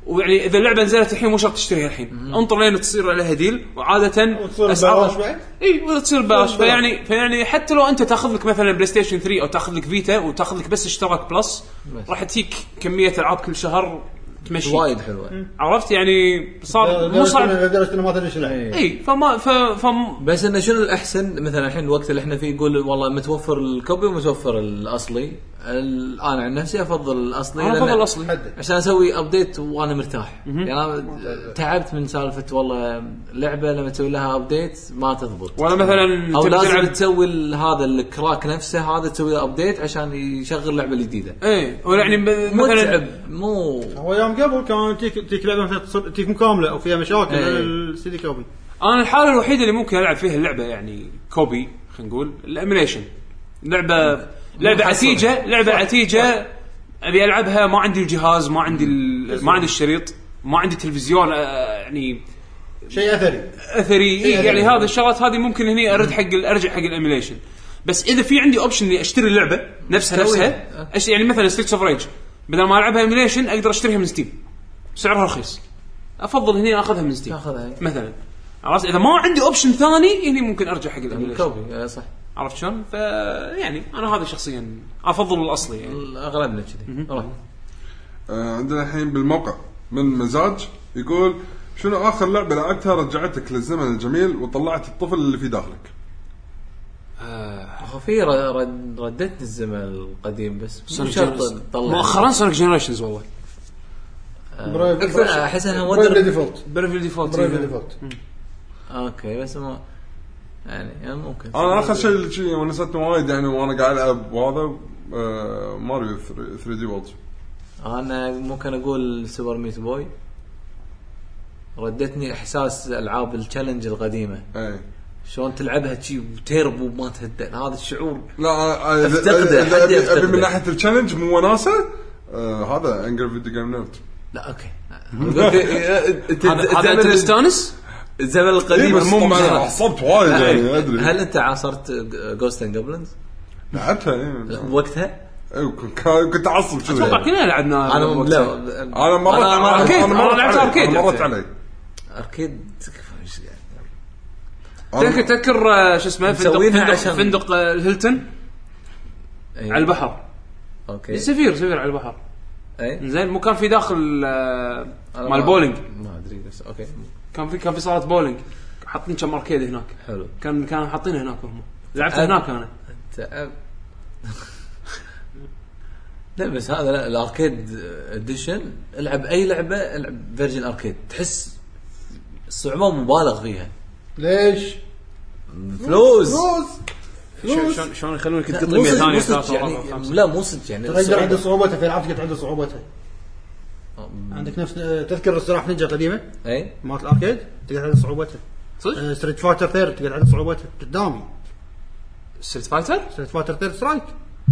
B: ويعني اذا اللعبه نزلت الحين مو شرط تشتريها الحين انطر لين تصير عليها ديل وعاده
F: وتصير
B: أسعارها-
F: ببلاش بعد؟
B: اي وتصير إيه، ببلاش فيعني فيعني حتى لو انت تاخذ لك مثلا بلاي ستيشن 3 او تاخذ لك فيتا وتاخذ لك بس اشتراك بلس راح تجيك كميه العاب كل شهر تمشي
E: وايد حلوه
B: عرفت يعني صار مو صعب
C: لدرجه انه ما تدري شو
E: إيه.
C: لعب.
B: اي فما ف فم
E: بس انه شنو الاحسن مثلا الحين الوقت اللي احنا فيه يقول والله متوفر الكوبي ومتوفر الاصلي ال- انا عن نفسي افضل الاصلي
B: انا
E: لأن-
B: افضل الاصلي
C: حدد
E: عشان اسوي ابديت وانا مرتاح يعني انا تعبت من سالفه والله لعبه لما تسوي لها ابديت ما تضبط
B: ولا مثلا
E: او
B: تبي
E: لازم
B: تلعب-
E: تسوي ال- هذا الكراك نفسه هذا تسوي له ابديت عشان يشغل اللعبه الجديده
B: اي ولا يعني ب- مثلا
E: متعب مو
F: هو يوم قبل كان تيك تيك لعبه مثلا تصير- تيك مكامله او فيها مشاكل
E: إيه.
F: السي دي كوبي
B: انا الحاله الوحيده اللي ممكن العب فيها اللعبه يعني كوبي خلينا نقول الاميليشن لعبه لعبه
E: محصلة.
B: عتيجه لعبه عتيجه ابي العبها ما عندي الجهاز ما عندي ال- ما عندي الشريط ما عندي تلفزيون آه، يعني
C: شيء اثري
B: اثري إيه
C: إيه،
B: يعني
C: أثري.
B: هذه الشغلات هذه ممكن هني ارد حق ال- ارجع حق الاميليشن بس اذا في عندي اوبشن اني اشتري اللعبه نفسها
E: تسويها.
B: نفسها أش- يعني مثلا ستريتس اوف ريج بدل ما العبها اميليشن اقدر اشتريها من ستيم سعرها رخيص افضل هني اخذها من ستيم
E: تاخذها
B: مثلا عرفت اذا ما عندي اوبشن ثاني هني ممكن ارجع حق الاميليشن
E: الكوبي آه، صح
B: عرفت شلون؟ ف يعني انا هذا شخصيا افضل الاصلي يعني
E: اغلبنا كذي والله.
D: آه، عندنا الحين بالموقع من مزاج يقول شنو اخر لعبه لعبتها رجعتك للزمن الجميل وطلعت الطفل اللي في داخلك؟
E: أخو في ر- رد- ردتني الزمن القديم بس مو شرط تطلع
B: مؤخرا سونيك جنريشنز والله
E: اكثر احس انها
C: بريف
E: مودرن
C: ديفولت
B: بريفل ديفولت
E: إيه.
C: بريف ديفولت
E: اوكي بس ما يعني يعني ممكن
D: انا اخر شيء اللي شي ونستني وايد يعني وانا قاعد العب وهذا آه، ماريو 3 دي وولد
E: انا ممكن اقول سوبر ميت بوي ردتني احساس العاب التشالنج القديمه
D: اي
E: شلون تلعبها شي وتيربو ما تهدأ هذا الشعور
D: لا آه، إذا-
E: أفتقده،
D: إذا
E: حد
D: أبي- ابي
E: يفتقده.
D: من ناحيه التشالنج مو وناسه آه، هذا انجر فيديو جيم نيرد
E: لا اوكي قلت- أنت-
B: هذا هذا
E: أنت-
B: انت مستانس؟
E: إيه. الزمن القديم
D: إيه، بس
E: مو
D: طبعاً أنا
E: مجرد.
D: عصبت وايد يعني ادري
E: هل انت عاصرت جوست اند جوبلنز
D: لعبتها يعني
E: وقتها؟
D: أيوة، كنت- كنت اعصب كذي
B: اتوقع
D: يعني.
B: كلنا لعبنا
E: انا
B: وقتها.
E: لا
D: انا مرت
E: أنا- أنا
D: أنا-
E: أركيد.
D: أنا مرت
B: أنا لعبت
D: علي.
B: أركيد
D: أنا مرت
B: لعبتها.
D: علي
E: اركيد إيش يعني.
B: تذكر تذكر آه، شو اسمه فندق
E: مسوينها
B: فندق,
E: عشان-
B: فندق آه، الهيلتون
E: أي.
B: على البحر
E: اوكي
B: سفير سفير على البحر
E: اي
B: زين مو كان في داخل آه،
E: أنا
B: مال
E: ما-
B: بولينج
E: ما ادري بس اوكي
B: كان في كان في صاله بولينج حاطين كم اركيد هناك
E: حلو
B: كان كانوا حاطينه هناك هم لعبت
E: أه.
B: هناك انا
E: تعب لا بس هذا لا الاركيد اديشن العب اي لعبه العب فيرجن اركيد تحس الصعوبه مبالغ فيها
C: ليش؟
E: فلوس
C: فلوس
B: شلون-
C: فلوس
B: شلون شلون يخلونك
E: لا،
B: تقط
E: مو
B: مية
E: صدق-
B: ثانيه
E: مو صدق
B: ثلاثة
E: يعني-
B: أربعة خمسة
E: لا مو صدق يعني
C: تقدر عنده
E: الصعوبة-
C: صعوبته في العاب تقدر عنده صعوبته عندك نفس آه، تذكر السلاح نينجا القديمه
E: اي
C: مالت الاركيد تقدر عنده صعوبته
B: صدق
C: ستريت فايتر ثيرد تقدر عنده صعوبته قدامي
B: ستريت فايتر
C: ستريت فايتر ثيرد سترايك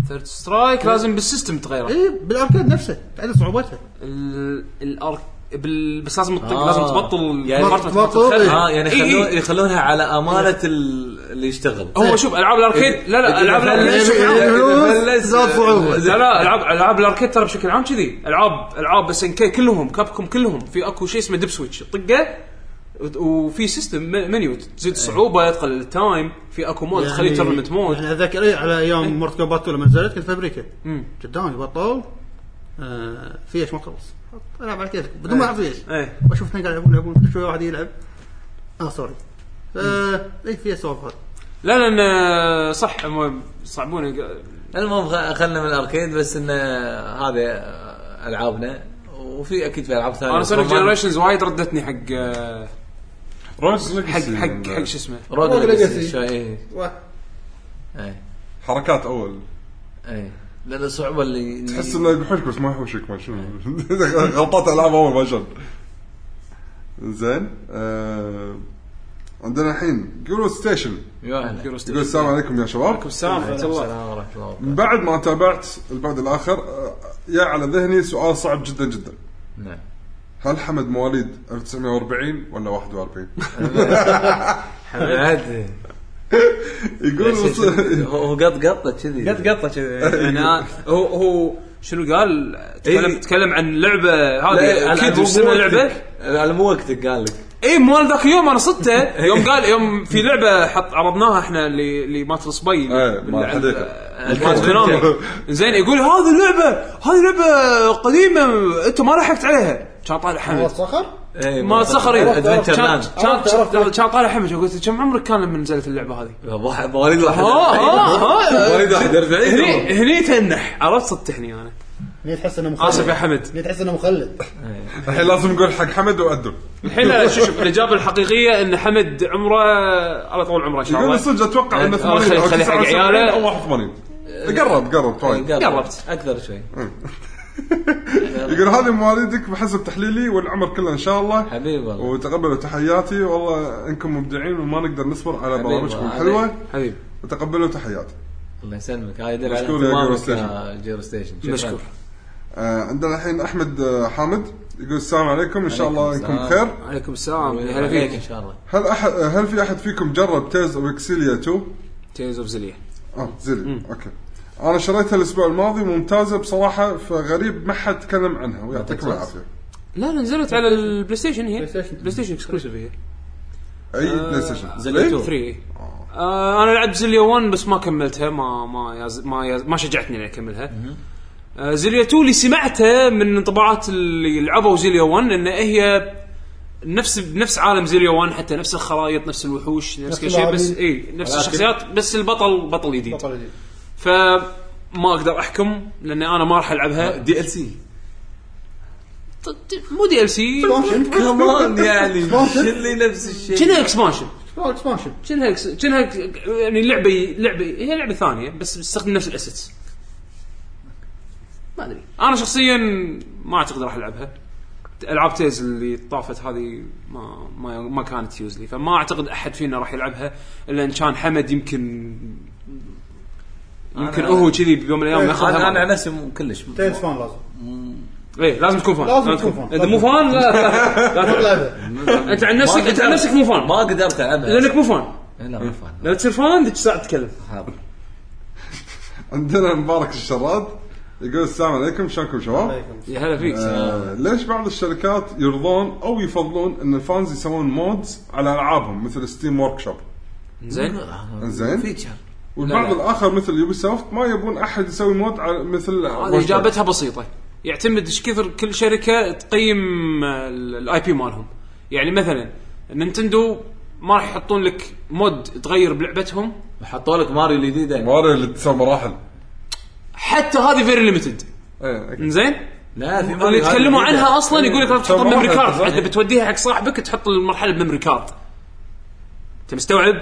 B: ثيرد سترايك لازم بالسيستم تغيره
C: اي بالاركيد نفسه تعدل صعوبته
B: ال- الارك بال- بس لازم تطق
E: آه.
B: لازم تبطل
E: يعني
B: مرة
C: تبطل،
B: تخلي- إيه،
E: اه يعني
B: إي، إي.
E: يخلون يخلونها على امانه ال- اللي يشتغل
B: هو شوف العاب
E: إيه.
B: الاركيد لا لا العاب الاركيد
C: إذا
B: شوف،
C: فلوس، زاد صعوبة.
B: لا لا العاب العاب الاركيد ترى بشكل عام كذي العاب العاب اس ان كي كلهم كابكم كلهم في اكو شيء اسمه دب سويتش طقه وت- وفي سيستم م- منيو تزيد
E: إيه.
B: الصعوبه تقلل التايم في اكو مود تخليه تورنمنت مود
C: يعني اتذكر إيه على ايام مورت كومبات لما نزلت كنت في امريكا
B: مم.
C: قدامي بطل آه فيش ما خلص حط، العب على كيفك بدون ما العب فيش
B: ايه
C: واشوف اثنين قاعد يلعبون يلعبون كل شوي واحد يلعب اه سوري آه اي فيها سوالف هذه.
B: لا لان آه، صح هم صعبون
E: المهم خ- خلنا من الاركيد بس انه هذا آه، العابنا وفي اكيد في العاب ثانيه
B: انا سونيك
E: طبعاً.
B: جنريشنز وايد ردتني حق آه،
D: روجز
B: حق
D: ليجاسي
B: حق حق شو اسمه
E: روج
C: Rogue Legacy.
E: ليجاسي اي اي
D: حركات اول
E: اي لان الصعوبه إيه. اللي
D: تحس انه يحوشك بس ما يحوشك ما شنو غلطات العاب اول ما شن زين آه، عندنا الحين جرو ستيشن
E: يا هلا
B: يورو
D: يقول
B: ستيشن.
D: السلام عليكم يا شباب
B: عليكم السلام ورحمه الله
E: السلام ورحمه الله وبركاته.
D: من بعد ما تابعت البعد الاخر آه، يا على ذهني سؤال صعب جدا جدا
E: نعم
D: هل حمد مواليد 1940 ولا 41
E: نعم. حمد
D: يقول وص-
E: هو هو قط قطه كذي
B: قط قطه كذا يعني أنا- هو هو شنو قال؟ تكلم تكلم عن لعبه
E: لا،
B: هذه
E: على-
B: كيد
E: على-
B: وسمى
E: مو
B: لعبه
E: وقتك. على مو وقتك قال لك
B: اي إيه، مو أنا ذاك اليوم انا صدته يوم قال يوم في لعبه حط عرضناها احنا اللي اللي مات الصبي
D: إيه، مال
B: باللعب-
D: الحديقة.
B: آه، مات كونامي زين يقول هذه لعبه هذه لعبه قديمه انت ما لحقت عليها كان طالع
C: هو
B: حمد
C: صخر؟
E: إيه،
B: ما صخر إيه.
E: Adventure
B: كان-
E: Man.
B: كان
C: عرفت، عرفت.
B: كان- كان طالع حمد قلت كم عمرك كان لما نزلت اللعبه هذه؟
E: ضح- مواليد واحد
B: ها ها ها
E: مواليد واحد إيه.
B: هني هني تنح عرفت صدتني انا
C: ليه تحس انه مخلد؟
B: اسف يا حمد
C: ليه تحس انه مخلد؟
D: الحين لازم نقول حق حمد وأدب
B: الحين لا، شو شوف الاجابه الحقيقيه ان حمد عمره الله طول عمره ان شاء
D: يقول
B: الله
D: صدق اتوقع انه
B: آه،
D: 80
B: خلي-
D: او
B: خلي حق
D: 79
B: عياله. أه،
D: او 81 قرب قرب طيب. وايد
B: قربت.
E: اكثر شوي
D: يقول هذه مواليدك بحسب تحليلي والعمر كله ان شاء الله
E: حبيب والله.
D: وتقبلوا تحياتي والله انكم مبدعين وما نقدر نصبر على
E: حبيب
D: برامجكم
E: والله.
D: الحلوه
B: حبيبي
D: وتقبلوا تحياتي
E: الله يسلمك هاي يدل على
D: مشكور يا جيرو
E: اهتمامك
D: ستيشن.
E: يا جيرو ستيشن شكراً.
B: مشكور
D: آه عندنا الحين احمد آه، حامد يقول السلام عليكم ان شاء الله
E: عليكم
D: انكم
E: السلام.
D: بخير
B: عليكم السلام يا هلا
E: هلا فيك ان
B: فيك
E: شاء الله
D: هل احد آه، هل في احد فيكم جرب تيز اوف اكسيليا 2
B: تيز اوف زليه
D: اه زلي اوكي انا شريتها الاسبوع الماضي ممتازه بصراحه فغريب ما حد تكلم عنها ويعطيكم العافيه
B: لا لا نزلت على البلاي ستيشن هي
C: ستيشن.
B: بلاي ستيشن اكسكلوسيف هي
D: اي بلاي ستيشن
E: زلي آه، تو.
B: 3 آه انا لعبت زليا 1 بس ما كملتها ما ما ياز ما ياز ما شجعتني اني اكملها آه زليا 2 اللي سمعته من انطباعات اللي لعبوا زليا 1 ان هي نفس نفس عالم زليا 1 حتى نفس الخرائط نفس الوحوش نفس
C: نفس
B: كل شيء بس
C: اللاعبين.
B: اي نفس الشخصيات بس البطل بطل جديد
C: بطل جديد.
B: فما اقدر احكم لان انا ما راح العبها
D: آه.
E: دي ال سي
B: ط- ط- مو دي ال سي
E: كمان يعني شلي نفس الشيء
B: كنا اكسبانشن
C: شلون اكسبانشن؟
B: كأنها كأنها يعني لعبه لعبه هي لعبه ثانيه بس بتستخدم نفس الاسيتس ما ادري انا شخصيا ما اعتقد راح العبها العاب تيز اللي طافت هذه ما ما ما كانت يوزلي فما اعتقد احد فينا راح يلعبها الا ان كان حمد يمكن يمكن
E: أنا-
B: هو كذي بيوم من الايام ياخذها
E: انا انا
B: معه.
E: عن نفسي مو- كلش
C: تيلز فان لازم
B: ايه لازم تكون فان
C: لازم تكون فان.
B: اذا مو فان لا, لا, لا, لا
C: لعبه
B: انت عن نفسك انت عن نفسك مو فان
E: ما قدرت العبها
B: لانك مو فان
E: لا ما فاهم
B: لو تصير فان ذيك الساعه تتكلم
E: حاضر.
D: عندنا مبارك الشراد يقول السلام عليكم شلونكم شباب؟
C: عليكم.
B: يا هلا فيك
D: آه، ليش بعض الشركات يرضون او يفضلون ان الفانز يسوون مودز على العابهم مثل ستيم ورك شوب
B: زين
D: زين
E: فيتشر
D: والبعض
B: لا.
D: الاخر مثل يوبي سوفت ما يبون احد يسوي مود على مثل
B: هذه اجابتها بسيطه يعتمد ايش كثر كل شركه تقيم الاي بي مالهم يعني مثلا نينتندو ما راح يحطون لك مود تغير بلعبتهم
E: حطوا لك ماريو الجديده
D: ماريو اللي تسوي مراحل
B: حتى هذه فيري ليمتد
D: إيه، أوكي.
B: زين
E: لا في
B: اللي يتكلموا عنها اصلا يقول لك لا تحطها
D: تمام،
B: بميموري كارد
D: صحيح.
B: انت بتوديها حق صاحبك تحط المرحله بميموري كارد انت مستوعب؟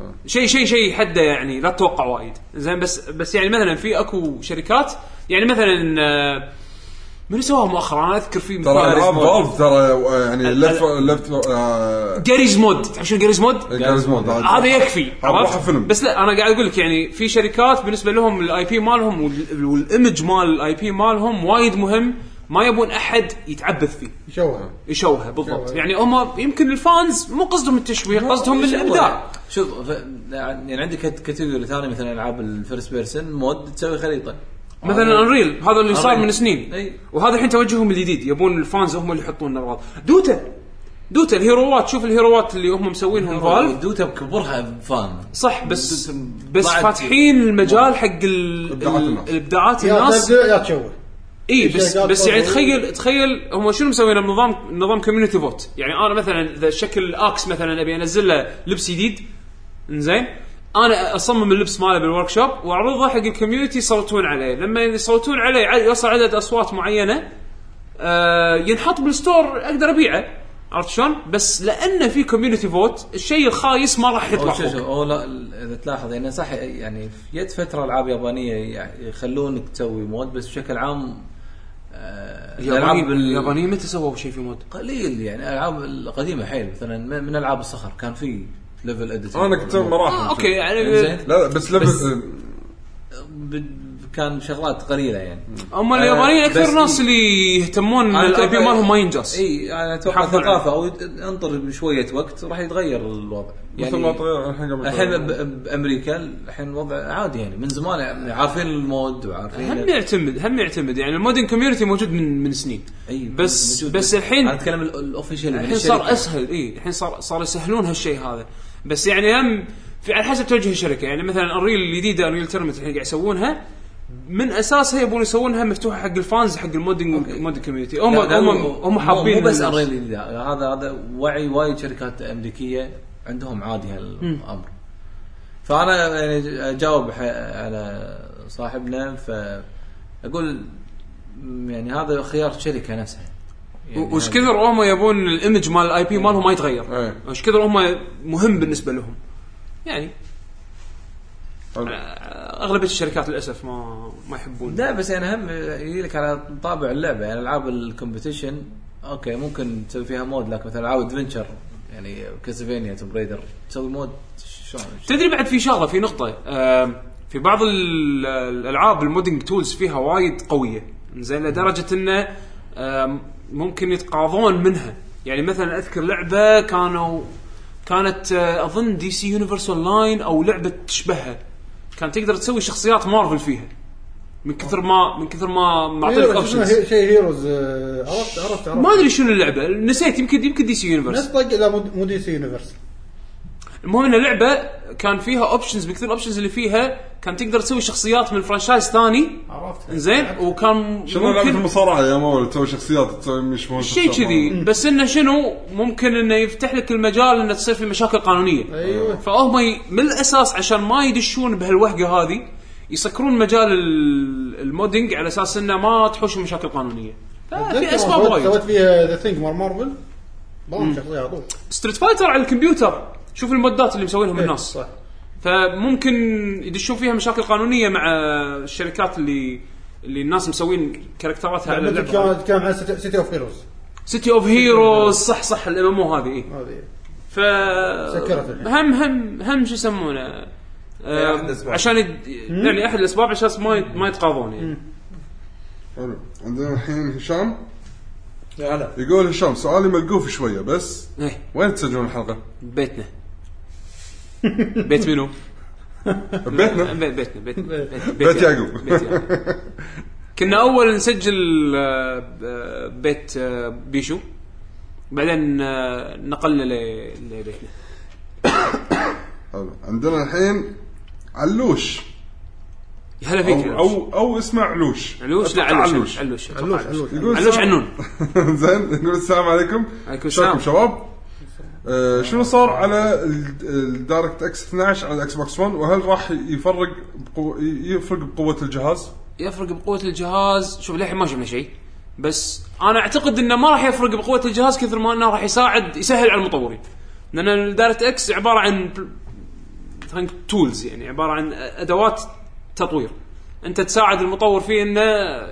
D: آه.
B: شيء شيء شيء حده يعني لا تتوقع وايد زين بس بس يعني مثلا في اكو شركات يعني مثلا آه، من سواها مؤخرا انا اذكر في
D: ترى
B: مثال-
D: العاب فالف ترى آه، يعني
B: ال-
D: لفت لفت آه،
B: جاريز مود تعرف شنو جاريز مود؟
D: جاريز مود
B: هذا يكفي
D: هذا
B: عرفت؟
D: روحه فيلم.
B: بس لا انا قاعد اقول لك يعني في شركات بالنسبه لهم الاي بي مالهم وال- والايمج مال الاي بي مالهم وايد مهم ما يبون احد يتعبث فيه
C: شوها
B: يشوهه بالضبط يعني هم يمكن الفانز مو قصدهم التشويه
E: إيه،
B: قصدهم الابداع
E: شوف ف- يعني عندك كت- كاتيجوري ثاني مثلا العاب الفيرست بيرسون مود تسوي خريطه
B: مثلا
E: آه.
B: انريل هذا اللي صار
E: أنريل.
B: من سنين
E: أي.
B: وهذا الحين توجههم الجديد يبون الفانز هم اللي يحطون الاغراض دوتا دوتا الهيروات شوف الهيروات اللي هم مسوينهم فالف
E: دوتا بكبرها فان
B: صح بس
E: دوتا
B: بس
E: طلعت-
B: فاتحين المجال حق ال-
D: إبداعات
B: ال-
D: الناس.
B: ابداعات
C: يا
B: الناس
C: تبدع يا تشوه
B: اي بس
C: شركات
B: بس يعني
C: فاضية.
B: تخيل تخيل هم شنو مسويين نظام نظام كوميونتي فوت يعني انا مثلا اذا شكل اكس مثلا ابي انزل له لبس جديد زين انا اصمم اللبس ماله بالورك شوب واعرضه حق الكوميونتي يصوتون عليه لما يصوتون عليه ع- يوصل عدد اصوات معينه آه ينحط بالستور اقدر ابيعه عرفت شلون؟ بس لانه في كوميونتي فوت الشيء الخايس ما راح يطلع
E: او شوف
B: فوق
E: شوف او لا ال- اذا تلاحظ انه صح يعني في يد فتره العاب يابانيه يعني يخلونك تسوي مود بس بشكل عام آه، الالعاب
B: اليابانيين
E: ال-
B: اليابانيين متى سووا شيء في مود؟
E: قليل يعني الالعاب القديمه حيل مثلا م- من العاب الصخر كان في ليفل اديت
D: انا كنت مراحل
B: اوكي يعني
E: زين
D: لا لا بس آه،
E: بس-
D: ليفل
E: ب- كان شغلات قليله يعني
B: هم اليابانيين
E: آه، بس
B: اكثر ناس اللي يهتمون
E: أنا إيه.
B: الاي بي
E: أتوقع-
B: مالهم ما ينجز
E: اي انا اتوقع
B: يحافظون عليه.
E: ثقافه او يت- انطر شويه وقت راح يتغير الوضع
B: يعني
E: يعني
D: مثل ما
B: طيب.
D: طير الحين قبل
E: الحين ب- بامريكا الحين الوضع عادي يعني من زمان يعني عارفين المود
B: هم
E: وعارفين
B: يعتمد هم يعتمد يعني المودين كوميونتي موجود من من سنين
E: أي
B: بس
E: إيه، موجود.
B: بس الحين
E: انا اتكلم ال- الاوفيشال
B: الحين صار اسهل اي الحين صار صار يسهلون هالشيء هذا بس يعني هم في على حسب توجه الشركه يعني مثلا الريل الجديده الريل تيرمت الحين قاعد يسوونها من اساسها يبون يسوونها مفتوحه حق الفانز حق المودنج المودنج كوميونتي هم هم هم حابين
E: يعني مو بس
B: الناس.
E: الريل لا، هذا هذا وعي وايد شركات امريكيه عندهم عادي هالامر فانا يعني اجاوب ح- على صاحبنا فاقول م- يعني هذا خيار الشركه نفسها يعني
B: و- وش
E: هذا-
B: كثر هم يبون الايمج مال الاي بي مالهم ما يتغير
D: إيه.
B: وش كثر هم مهم بالنسبه لهم يعني
D: حلو.
B: اغلبيه الشركات للاسف ما ما يحبون
E: لا بس يعني هم يجي لك على طابع اللعبه يعني العاب الكومبيتيشن اوكي ممكن تسوي فيها مود لكن مثلا العاب ادفنشر يعني كاسلفينيا توم بريدر تسوي مود شلون
B: تدري بعد في شغله في نقطه آم، في بعض ال- الالعاب المودنج تولز فيها وايد قويه زين لدرجه انه آم، ممكن يتقاضون منها يعني مثلا اذكر لعبه كانوا كانت آه، اظن دي سي يونيفرسال لاين او لعبه تشبهها كان تقدر تسوي شخصيات مارفل فيها من كثر ما من كثر ما معطيك
C: أيوة،
B: اوبشنز
C: شيء هيروز آه، عرفت عرفت عرفت
B: ما ادري شنو اللعبه نسيت يمكن يمكن دي سي
C: نفس
B: يونيفرس
C: طق لا مو- مو دي سي يونيفرس
B: المهم ان اللعبه كان فيها اوبشنز بكثير الاوبشنز اللي فيها كان تقدر تسوي شخصيات من فرانشايز ثاني
C: عرفت
B: زين وكان
D: شنو لعبه
B: ممكن
D: المصارعه يا مول تسوي شخصيات تسوي يشبهون
B: شيء
D: شخصيات بعض.
B: كذي بس انه شنو ممكن انه يفتح لك المجال انه تصير في مشاكل قانونيه
C: أيوة.
B: فهم ي- من الاساس عشان ما يدشون بهالوهقه هذه يسكرون مجال ال- المودنج على اساس انه ما تحوش مشاكل قانونيه آه، في اسباب
C: سويت
B: وايد
C: فيها ذا ثينج مال مارفل ضم شخصيه على طول
B: ستريت فايتر على الكمبيوتر شوف المودات اللي مسوينهم
C: إيه،
B: الناس
C: صح
B: فممكن يدشون فيها مشاكل قانونيه مع الشركات اللي اللي الناس مسوين كاركتراتها على
C: لعبتك
B: اللعبه
C: يعني كانت تتكلم عن سيتي اوف هيروز
B: سيتي اوف هيروز صح صح الام ام او هذه إيه.
C: هذه
B: ف
C: سكرت الحين.
B: هم هم هم شو يسمونه آه،
G: أحد الأسباب.
B: عشان يد... يعني احد الاسباب عشان ما يت- ما يتقاضون يعني
D: حلو عندنا الحين هشام
G: هلا
D: يقول هشام سؤالي ملقوف شويه بس
B: إيه،
D: وين تسجلون الحلقه؟
B: بيتنا بيت منو؟
D: ببيتنا
B: بي- بيتنا بيتنا بيت-
D: بيت يعقوب.
B: بيت يعقوب. كنا اول نسجل آه، ب- آه، بيت آه، بيشو بعدين آه، نقلنا ل- لبيتنا
D: حلو عندنا الحين علوش
B: يا هلا فيك
D: او او, أو اسمه علوش
B: علوش لا
D: أتوقع
B: علوش علوش
C: علوش
B: أتوقع
C: علوش
D: يقول
B: علوش
D: السلام-
B: عنون
D: زين نقول السلام عليكم
B: عليكم السلام.
D: شلونكم شباب؟ آه شنو صار على الدايركت اكس 12 على الاكس بوكس 1 وهل راح يفرق بقو... يفرق بقوه الجهاز؟
B: يفرق بقوه الجهاز شوف للحين ما شفنا شيء بس انا اعتقد انه ما راح يفرق بقوه الجهاز كثر ما انه راح يساعد يسهل على المطورين لان الدايركت اكس عباره عن تولز يعني عباره عن ادوات تطوير انت تساعد المطور فيه انه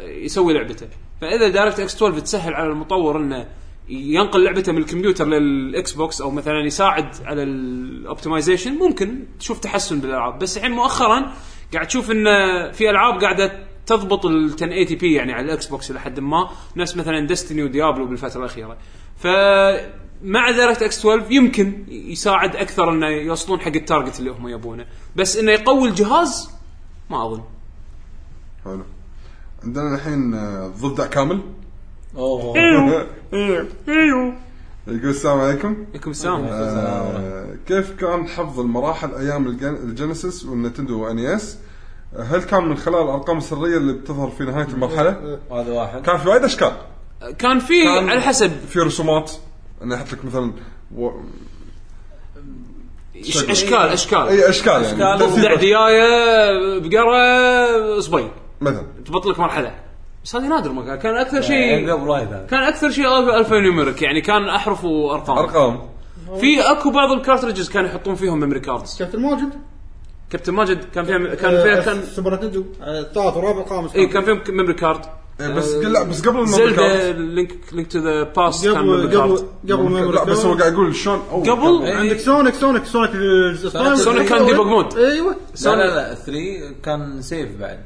B: يسوي لعبته فاذا دايركت اكس 12 تسهل على المطور انه ينقل لعبته من الكمبيوتر للاكس بوكس او مثلا يساعد على الاوبتمايزيشن ممكن تشوف تحسن بالالعاب بس الحين مؤخرا قاعد تشوف ان في العاب قاعده تضبط ال 1080 بي يعني على الاكس بوكس الى حد ما نفس مثلا ديستني وديابلو بالفتره الاخيره فمع دايركت اكس 12 يمكن يساعد اكثر انه يوصلون حق التارجت اللي هم يبونه بس انه يقوي الجهاز ما اظن
D: حلو عندنا الحين آه، ضفدع كامل
E: اوه
B: ايوه
D: يقول السلام عليكم
B: عليكم السلام
D: آه كيف كان حفظ المراحل ايام الجن- الجينيسيس والنتندو وان اس هل كان من خلال الارقام السريه اللي بتظهر في نهايه المرحله؟
E: هذا واحد
D: كان في وايد اشكال
B: كان في
D: كان-
B: على حسب
D: في رسومات انا احط لك مثلا و...
B: إش- اشكال اشكال
D: اي اشكال يعني
E: أشكال
D: ترتيب
B: ضفدع ديايه بقره صبي
D: مثلا
B: تبطلك مرحله بس هذه نادر ما كان كان اكثر
E: يعني
B: شيء
E: قبل وايد هذا
B: كان اكثر شيء ألف- الفانيوميريك يعني كان احرف وارقام
D: ارقام
B: في اكو بعض الكارترجز كانوا يحطون فيهم ميموري كاردز
C: كابتن ماجد
B: كابتن ماجد كان فيها كان
C: Uh,
B: فيها كان
C: سوبر نتندو آه، الثالث والرابع والخامس
B: اي كان فيهم ميموري كارد
D: إيه، بس لا بس قبل الميموري
B: زلدا
D: كارد
B: لينك لينك تو ذا باست كان ميموري
C: قبل قبل
B: كارد
C: قبل ما
D: لا بس هو قاعد يقول شلون أول
B: قبل؟
D: كان.
C: عندك سونيك سونيك سونيك الجزء الثاني
B: سونيك كان ديبوج مود.
C: ايوه
E: لا لا لا 3 كان سيف بعد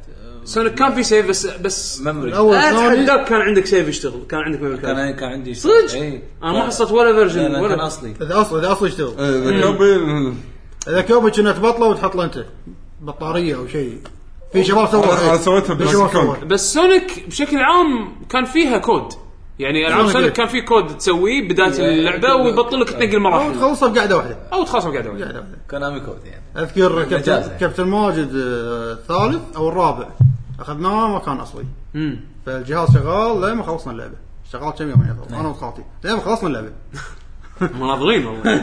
B: سونيك كان في سيف بس بس
E: ميموري
C: الاول ثاني
B: اتحداك كان عندك سيف يشتغل كان عندك ميموري كارد
E: كان كان عندي
B: صدق؟
E: إيه.
B: انا ما حصلت ولا
E: لا،
B: فيرجن
E: لا، كان
B: ولا
E: اصلي
C: اذا اصلا اذا اصلا يشتغل
D: إيه، ذا قبل
C: اذا كوبي كنا تبطله وتحط له انت بطاريه او شي في شباب
D: أنا-
C: سووا
D: أنا سويتها
C: في شباب
D: بلاستيك كونغ.
C: سووا
B: بس سونيك بشكل عام كان فيها كود يعني العاب
C: سونيك
B: سونيك
C: إيه.
B: كان في كود تسويه بدايه
E: إيه،
B: اللعبه ويبطل لك تنقل مراحل
C: تخلصها بقعده واحده
B: او تخلصها بقعده واحدة.
C: قعده واحده
E: كونامي كود يعني
C: اذكر
E: مجازة.
C: كابتن كابتن ماجد آه، الثالث او الرابع اخذناه ما كان اصلي
B: امم
C: فالجهاز شغال لين ما خلصنا اللعبه شغال كم يوم يعني انا وخالتي لين ما خلصنا اللعبه
B: مناظرين والله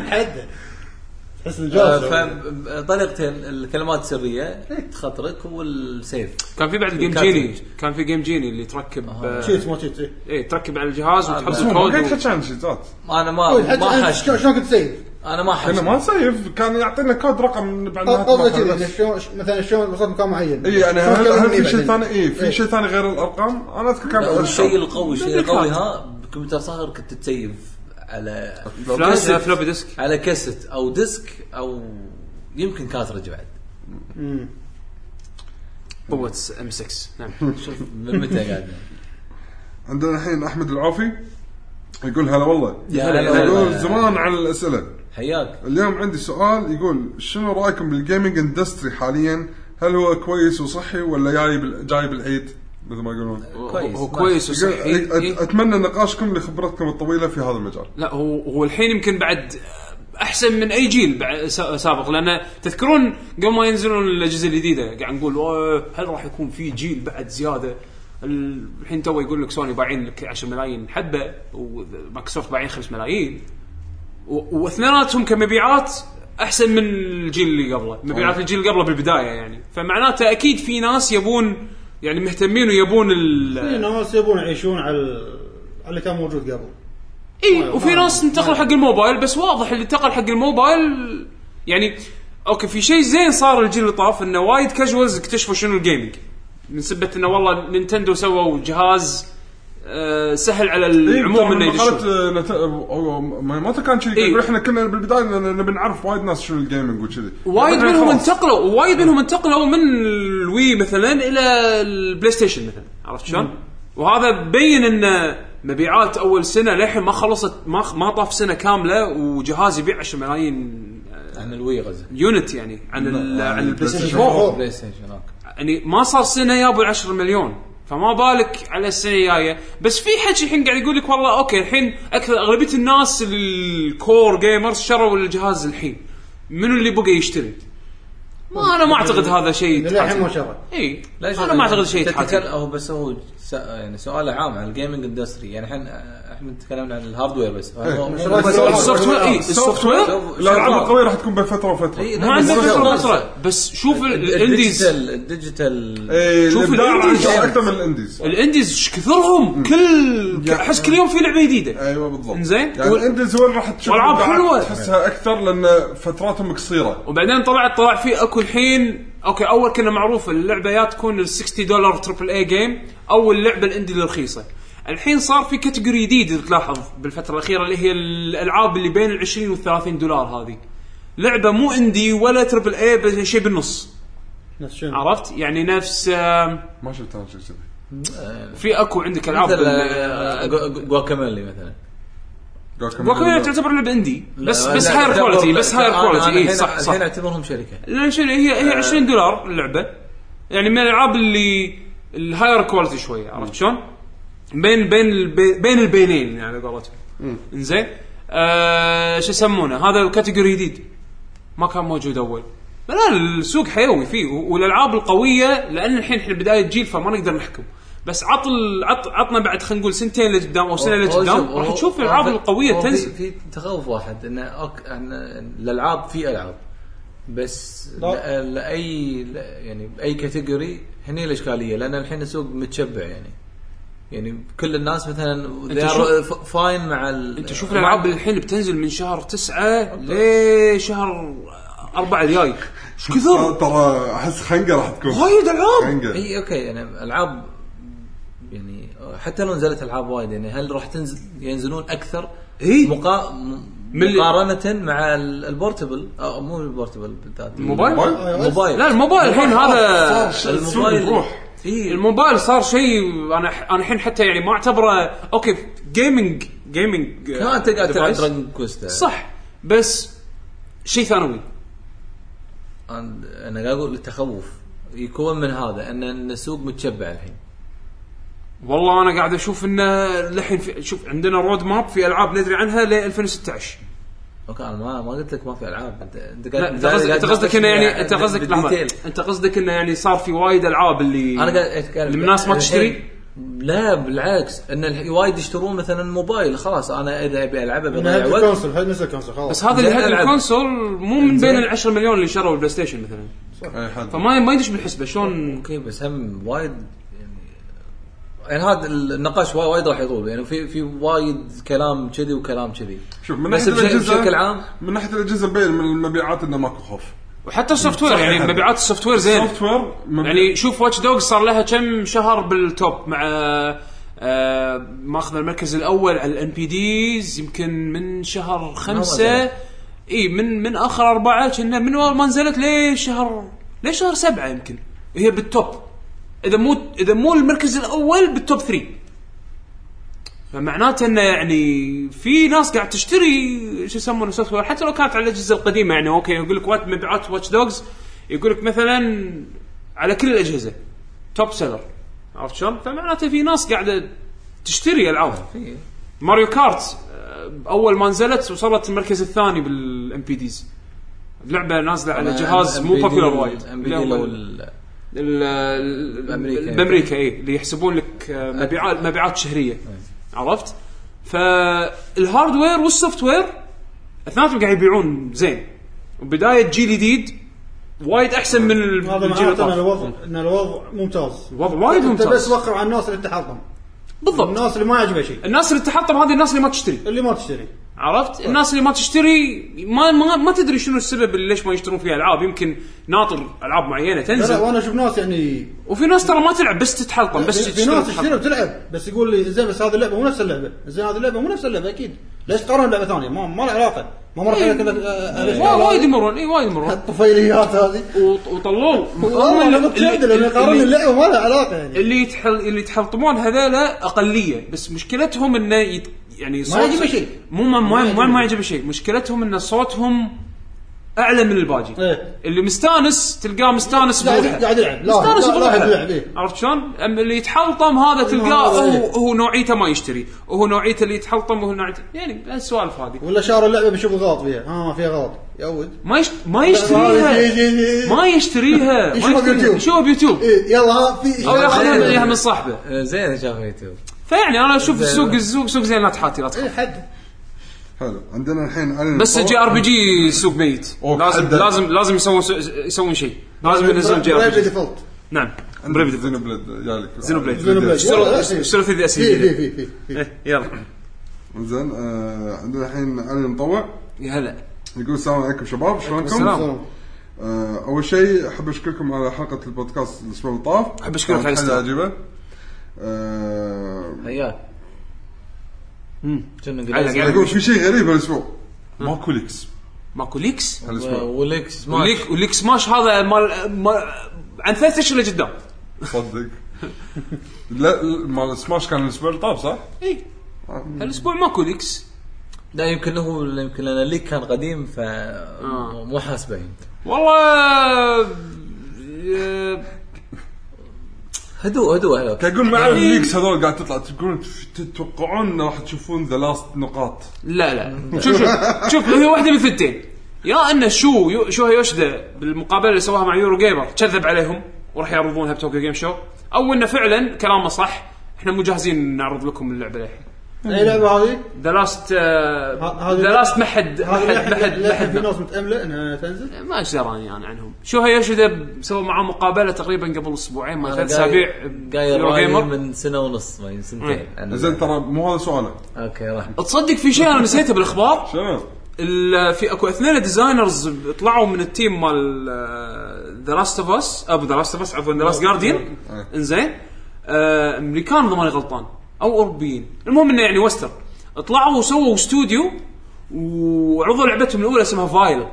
C: تحس
E: فطريقتين آه، الكلمات السريه خطرك والسيف
B: كان في بعد جيم جيني كان في جيم جيني اللي تركب
C: شيت ما شيت إيه.
B: اي تركب على الجهاز وتحط
E: آه، بس
D: مو ما
B: الكود
D: قاعد
B: و-
D: تحكي عن شيزات
E: انا ما
C: أول حاجة
E: ما
C: أنت
E: حش
C: شلون شلون كنت تسيف؟
E: انا ما
D: كنا
E: حش
D: ما نسيف كان يعطينا كود رقم بعد ما
C: قصدك
D: تبطل.
C: إنه شلون ش- مثلا شلون وصلت مكان معين
D: اي يعني هل
C: شلون
D: هل
C: كملني
D: في شيء
C: بعدين؟
D: ثاني اي
C: إيه.
D: في شيء ثاني غير الارقام انا اذكر كان
E: لا، الشيء القوي الشيء
B: بالكارت.
E: القوي ها بكمبيوتر صغر كنت تسيف على
B: فلاش
E: كاسيت-
B: فلوبي ديسك
E: على كاسيت او ديسك او يمكن كاترج بعد
B: قوه ام 6 نعم
E: شوف من متى قاعد
D: عندنا الحين احمد العوفي يقول هلا والله
E: يا هلا يا
D: يقول
E: هلا.
D: زمان عن الاسئله
E: حياك
D: اليوم عندي سؤال يقول شنو رايكم بالجيمنج اندستري حاليا؟ هل هو كويس وصحي ولا جاي بال- جاي بالعيد مثل ما يقولون؟
E: كويس
B: هو كويس
D: يقول
B: وصحي
D: أت-
B: إيه.
D: اتمنى نقاشكم لخبرتكم الطويله في هذا المجال.
B: لا هو هو الحين يمكن بعد احسن من اي جيل بع- سا- سابق لان تذكرون قبل ما ينزلون الاجهزه الجديده قاعد نقول "أوه، هل راح يكون في جيل بعد زياده ال- الحين تو يقول لك سوني بايعين لك 10 ملايين حبه ومايكروسوفت بايعين 5 ملايين و- واثنيناتهم كمبيعات احسن من الجيل اللي قبله مبيعات الجيل اللي قبله بالبدايه يعني فمعناته اكيد في ناس يبون يعني مهتمين ويبون
C: إيه.
F: في
B: ال
F: ناس يبون يعيشون على
C: على اللي كان موجود قبل
B: اي إيه، وفي ناس انتقلوا حق الموبايل بس واضح اللي انتقل حق الموبايل يعني اوكي في شيء زين صار الجيل اللي طاف انه وايد كاجوالز اكتشفوا شنو الجيمنج من سبه انه والله نينتندو سووا جهاز آه سهل على
D: إيه،
B: العموم انه
D: قالت
B: يدشون
D: متى كان شيء
B: إيه.
D: يقول احنا كنا بالبدايه ن- نبي نعرف وايد ناس شنو الجيمنج وكذي.
B: وايد
D: بعدين
B: منهم
D: خلاص.
B: انتقلوا وايد منهم انتقلوا من الوي مثلا الى البلاي ستيشن مثلا عرفت شلون؟ وهذا بين ان مبيعات اول سنه للحين ما خلصت ما ما طاف سنه كامله وجهاز يبيع 10 ملايين آه،
E: عن الوي غزه
B: يونت يعني عن ال- عن البلاي ستيشن 4
C: أوه.
E: بلاي ستيشن هناك
B: يعني ما صار سنه يابو 10 مليون فما بالك على السنه الجايه بس في حكي الحين قاعد يقول لك والله اوكي الحين اكثر اغلبيه الناس الكور جيمرز شروا الجهاز الحين منو اللي بقى يشتري؟ ما انا ما اعتقد هذا شيء
C: للحين ما
B: تحاتم.
C: شرى
B: اي
E: ليش
B: انا ما اعتقد شيء
E: تتكلم
B: تحاتم.
E: هو بس هو س... يعني سؤاله عام عن الجيمنج اندستري يعني احنا احنا تكلمنا عن الهاردوير إيه. بس هو- مو-
C: شباب،
E: بس-
C: شباب.
B: السوفت وير
D: إيه،
B: اي السوفت وير
E: شوف-
D: الالعاب
E: شوف-
D: القويه راح تكون بين فتره وفتره.
E: إيه، لا،
B: ما
E: بس
B: عندك
E: هو
B: فكره
E: شغال.
B: فترة، بس شوف ال- الانديز
E: الديجيتال الديجيتال
D: إيه،
B: شوف
D: الإبداع راح
B: الإنديز.
D: يكون اكثر من الانديز.
B: الانديز ايش كثرهم كل
D: يعني-
B: احس كل يوم في لعبه جديده
D: ايوه بالضبط.
B: إنزين.
D: يعني
B: وال-
D: الانديز وين راح تشوف
B: والألعاب
D: الإبداعات
B: حلوة.
D: تحسها اكثر لان فتراتهم قصيره.
B: وبعدين طلعت طلع في اكو الحين اوكي اول كنا معروف اللعبه يا تكون ال 60 دولار تربل اي جيم او اللعبه الاندي الرخيصه الحين صار في كاتيجوري جديد إذا تلاحظ بالفتره الاخيره اللي هي الالعاب اللي بين ال 20 وال 30 دولار هذه لعبه مو اندي ولا تربل اي بس شيء بالنص
F: نفس شنو
B: عرفت يعني نفس آم،
D: ما شفت انا شيء كذي.
B: في اكو عندك العاب
E: مثل
B: بال-
E: آه، جو- جو- جواكاميلي مثلا
D: جوكاميلي.
B: جواكاميلي يعني تعتبر لعبه اندي بس
E: آه، لا،
B: بس
E: لا،
B: هاير
E: لا،
B: كواليتي
E: لا،
B: بس
E: لا،
B: هاير
E: أنا- أنا
B: كواليتي اي
E: الحين-
B: صح صح
E: الحين اعتبرهم شركه
B: لان شنو هي
E: آه.
B: هي 20 دولار اللعبه يعني من الالعاب اللي الهاير كواليتي شويه عرفت شلون؟ بين بين البي بين البينين يعني على قولتهم انزين آه شو يسمونه هذا كاتيجوري جديد ما كان موجود اول لا السوق حيوي فيه و- والالعاب القويه لان الحين احنا بدايه جيل فما نقدر نحكم بس عطل عط عطنا بعد خلينا نقول سنتين لقدام او سنه
E: هو- هو شوف،
B: لقدام راح
E: هو-
B: تشوف
E: هو
B: الالعاب
E: في-
B: القويه
E: هو في-
B: تنزل
E: في تخوف واحد انه أوك احنا الالعاب في العاب بس
F: لا.
E: لا- لاي لا- يعني باي كاتيجوري هني الاشكاليه لان الحين السوق متشبع يعني يعني كل الناس مثلا they
B: شو-
E: are فاين مع ال-
B: انت شوف الالعاب اللي الحين بتنزل من شهر تسعة لشهر أربعة الجاي ايش
D: ترى-
B: كثر؟
D: آه، ترى احس خنقه راح تكون
B: وايد إيه. العاب
D: خنقه
E: اي اوكي يعني العاب يعني حتى لو نزلت العاب وايد يعني هل راح تنزل ينزلون اكثر
B: إي.
E: مقا...
B: من اللي-
E: مقارنه مع ال- البورتبل أو مو البورتبل بالذات
B: الموبايل؟
E: الموبايل
B: لا الموبايل الحين هذا
E: الموبايل
D: روح.
E: اي
B: الموبايل صار شيء انا انا الحين حتى يعني ما اعتبره اوكي جيمنج جيمنج
E: ما انت قاعد تلعب دراجون كويست
B: آه، صح بس شيء ثانوي
E: انا أنا قاعد اقول التخوف يكون من هذا ان ان السوق متشبع الحين
B: والله انا قاعد اشوف انه الحين في- شوف عندنا رود ماب في العاب ندري عنها ل 2016
E: اوكي انا ما ما قلت لك ما في العاب انت انت
B: لا انت قصدك انت قصدك انه يعني انت قصدك لحظه انت قصدك انه يعني صار في وايد العاب اللي
E: انا قاعد اتكلم
B: الناس ما تشتري؟
E: لا بالعكس ان الح- وايد يشترون مثلا موبايل خلاص انا اذا ابي العبها بضيع
C: نزل
E: وقت
C: كونسول نزل كونسول خلاص
B: بس هذا اللي
E: زين
B: هد
E: ألعب.
B: الكونسول مو من بين
E: زين.
B: ال 10 مليون اللي شروا البلاي ستيشن مثلا
D: اي حد
B: فما ما يدش بالحسبه شلون
E: اوكي بس هم وايد يعني يعني هذا النقاش وا- وايد راح يطول يعني في في وايد كلام كذي وكلام كذي
D: شوف من
E: بس
D: ناحيه
E: بش-
D: الاجهزه
E: بشكل عام
D: من ناحيه الاجهزه مبين من المبيعات انه ماكو خوف
B: وحتى السوفت وير
D: صح،
B: يعني
D: حد.
B: مبيعات السوفت وير زين
D: سوفت وير
B: إيه.
D: مب-
B: يعني شوف واتش دوجز صار لها كم شهر بالتوب مع آه، ماخذ المركز الاول على الان بي ديز يمكن من شهر خمسة
E: أول.
B: اي إيه، من من اخر اربعه كنا من أول ما نزلت لشهر لشهر سبعه يمكن هي بالتوب اذا مو اذا مو المركز الاول بالتوب 3 فمعناته انه يعني في ناس قاعد تشتري شو يسمونه سوفت وير حتى لو كانت على الاجهزه القديمه يعني اوكي يقول لك وات مبيعات واتش دوجز يقول لك مثلا على كل الاجهزه توب سيلر عرفت شلون؟ فمعناته في ناس قاعده تشتري العاب
E: في
B: ماريو كارت آه، اول ما نزلت وصلت المركز الثاني بالام بي ديز لعبه نازله على جهاز مو بوبيلر وايد اللي هو ال- ال- ال-
E: بأمريكا.
B: بامريكا اي اللي يحسبون لك آه، مبيعات مبيعات شهريه عرفت؟ فالهاردوير والسوفت وير اثنيناتهم قاعد يبيعون زين وبدايه جيل جديد وايد احسن من ال-
F: هذا
B: الجيل
F: معناته ان
B: الطاف
F: الوضع ان الوضع ممتاز
B: الوضع وايد
C: انت بس
B: ممتاز
C: وقع على الناس اللي تحطم
B: بالضبط
C: الناس اللي ما يعجبها شيء
B: الناس اللي تحطم هذه الناس اللي ما تشتري
C: اللي ما تشتري
B: عرفت؟ الناس اللي ما تشتري ما ما, ما تدري شنو السبب اللي ليش ما يشترون فيها العاب يمكن ناطر العاب معينه
C: لا لا
B: تنزل
C: وانا اشوف ناس يعني
B: وفي ناس ترى ما تلعب بس تتحلطم بس
C: في ناس
B: تشتري
C: تشتري وتلعب بس يقول لي زين بس هذه اللعبه مو نفس اللعبه زين هذه اللعبه مو نفس اللعبه اكيد ليش تقارن لعبه ثانيه ما ما له علاقه ما مرت عليك إلا- آه،
B: تتحطم. وا-
C: آه،
B: إيه. وايد
C: آه،
B: يمرون اي وايد يمرون
C: الطفيليات هذه
B: وط- وطلوه
C: والله
B: اللي-
C: انا متشد لما يقارن
B: اللي,
C: اللعبه ما لها علاقه يعني
B: اللي يتحل اللي يتحلطمون هذولا اقليه بس مشكلتهم انه يت... يعني صوت
C: يعجبه شيء.
B: مو ما ما ما,
C: يعجبه.
B: ما يعجبه شيء مشكلتهم ان صوتهم اعلى من الباجي
C: إيه.
B: اللي مستانس تلقاه مستانس
C: قاعد
B: بروحه.
C: قاعد يلعب لا
B: مستانس
C: لا- لا-
B: بروحه
C: يلعب إيه.
B: عرفت شلون؟ اما اللي يتحلطم هذا تلقاه
C: هذا
B: هو
C: إيه.
B: هو نوعيته ما يشتري، وهو نوعيته اللي يتحلطم وهو نوعيته يعني السوالف هذه
C: ولا شار اللعبه بيشوف غلط فيها ها فيها غلط يعود
B: ما يشت... ما يشتريها
C: إيه، إيه، إيه، إيه.
B: ما يشتريها ما
C: يشوفها
B: يشتريها.
C: بيوتيوب.
B: يشوفها بيوتيوب
C: إيه، يلا ها، في
B: او ياخذها
E: إيه.
B: اياها من صاحبه
E: زين شاف يوتيوب
B: فيعني انا اشوف
E: زين.
B: السوق السوق سوق زين لا تحاتي لا تخاف
C: إيه، حد
D: حلو عندنا الحين ألين
B: بس
D: فور.
B: الجي ار بي جي سوق ميت
D: أوه،
B: لازم
D: حدا.
B: لازم لازم يسوون يسوون شيء لازم ينزلون جي ار بي
C: برايفت
B: جي
C: ديفولت
B: نعم
D: عندنا
B: بريف
D: زينو بليد جالك
B: زينو بليد.
C: زينو بليد. إيه،
B: اشتروا
C: يلا،
B: اشتروا في ذي
C: في في
B: اسئله
C: في في في
B: يلا
D: زين آه، عندنا الحين علي مطوع
B: يا هلا
D: يقول السلام عليكم شباب شلونكم؟
B: السلام.
C: سلام.
D: آه، اول شيء احب اشكركم على حلقه البودكاست الاسبوع اللي طاف
B: أحب أشكرك
D: كانت
B: على
D: حلقه
B: الاستضافة.
D: عجيبه آه،
E: هياك كنا
B: علق، علق.
E: قلنا
D: يقول في شيء غريب هالاسبوع ماكو ليكس
B: ماكو ليكس
D: هالاسبوع
E: وليك سماش
B: وليك وليك سماش هذا مال مال- عن ثلاث اشهر لقدام
D: صدق لا لا، مال سماش كان الاسبوع اللي طاف صح؟
B: اي
C: آه.
B: هالاسبوع إيه. ماكو ليكس
E: لا يمكن هو يمكن لان الليك كان قديم ف
B: آه.
E: مو حاسبه يمكن.
B: والله آه،
E: هدوء هدوء هلا
D: قاعد يقول مع يعني الليكس هذول قاعد تطلع تقولون تتوقعون إن راح تشوفون ذا لاست نقاط
B: لا لا شوف شوف شوف هي واحده من الثنتين يا ان شو يو- شو هيوشدا بالمقابله اللي سواها مع يورو جيمر كذب عليهم وراح يعرضونها بتوكيو جيم شو او انه فعلا كلامه صح احنا مو جاهزين نعرض لكم اللعبه الحين
F: اي لعبه هذه
B: ذا لاست آه،
F: ه- هذه-
B: ذا لاست ما حد ما
F: هذه
B: حد ما
F: للحين-
B: حد ما
F: للحين في
B: حد
F: ناس متامله انها تنزل
B: ما ايش دراني انا عنهم شو هي يوشيدا سووا معاه مقابله تقريبا قبل اسبوعين ما ثلاث اسابيع
E: قايل
B: يورو
E: رايي
B: جيمر
E: من سنه ونص ما يمكن
B: إيه.
E: سنتين عن-
D: زين ترى مو هذا سؤاله
E: اوكي راح
B: تصدق في شيء انا نسيته بالاخبار
D: شنو؟
B: ال- في اكو اثنين ديزاينرز طلعوا من التيم مال آه، ذا لاست اوف اس ابو ذا لاست اوف اس عفوا ذا لاست جارديان انزين آه، امريكان اذا ماني غلطان او اوروبيين المهم انه يعني وستر طلعوا وسووا استوديو وعرضوا لعبتهم الاولى اسمها فايل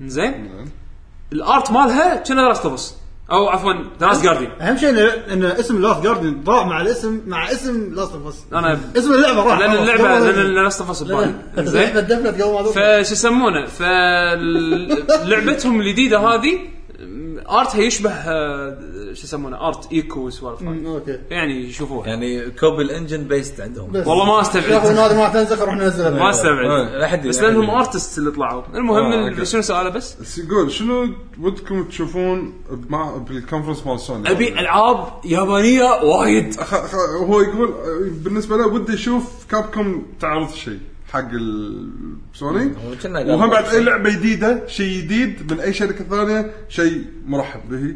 B: انزين الارت مالها كان ذا لاست اوف اس او عفوا ذا لاست جارديان
F: اهم شيء ان إن اسم لاست جاردن ضاع مع الاسم مع اسم لاست اوف اس
B: انا
F: اسم اللعبه راح
B: لان
F: خلاص.
B: اللعبه
F: قبل-
B: لان لاست اوف اس ببالي
C: زين
B: انزين
C: دفنت قبل ما توصل.
B: فشو يسمونه فلعبتهم الجديده هذه م، ارتها يشبه آه، شو يسمونه ارت ايكو والسوالف هذه.
C: أمم، اوكي
B: يعني شوفوها
E: يعني كوبي الانجن بيست عندهم
C: بس.
B: والله ما
C: شافوا
B: استبعد
C: نادي ما تنزل خلينا نروح ننزلها
B: ما
E: آه، لا
B: استبعد
E: حد-
B: بس
E: لا حد
B: لانهم
E: يدري.
B: ارتست اللي طلعوا المهم
D: آه،
B: ال-
D: أوكي.
B: شنو سؤاله بس
D: بس يقول شنو ودكم تشوفون بمع... بالكونفرنس مال سوني؟
B: ابي العاب يابانيه وايد
D: خ- خ- هو يقول آه، بالنسبه له ودي يشوف كابكم تعرض شيء حق ال- سوني
E: هو كنا قال-
D: وهم بعد اي لعبه جديده شيء جديد من اي شركه ثانيه شيء مرحب به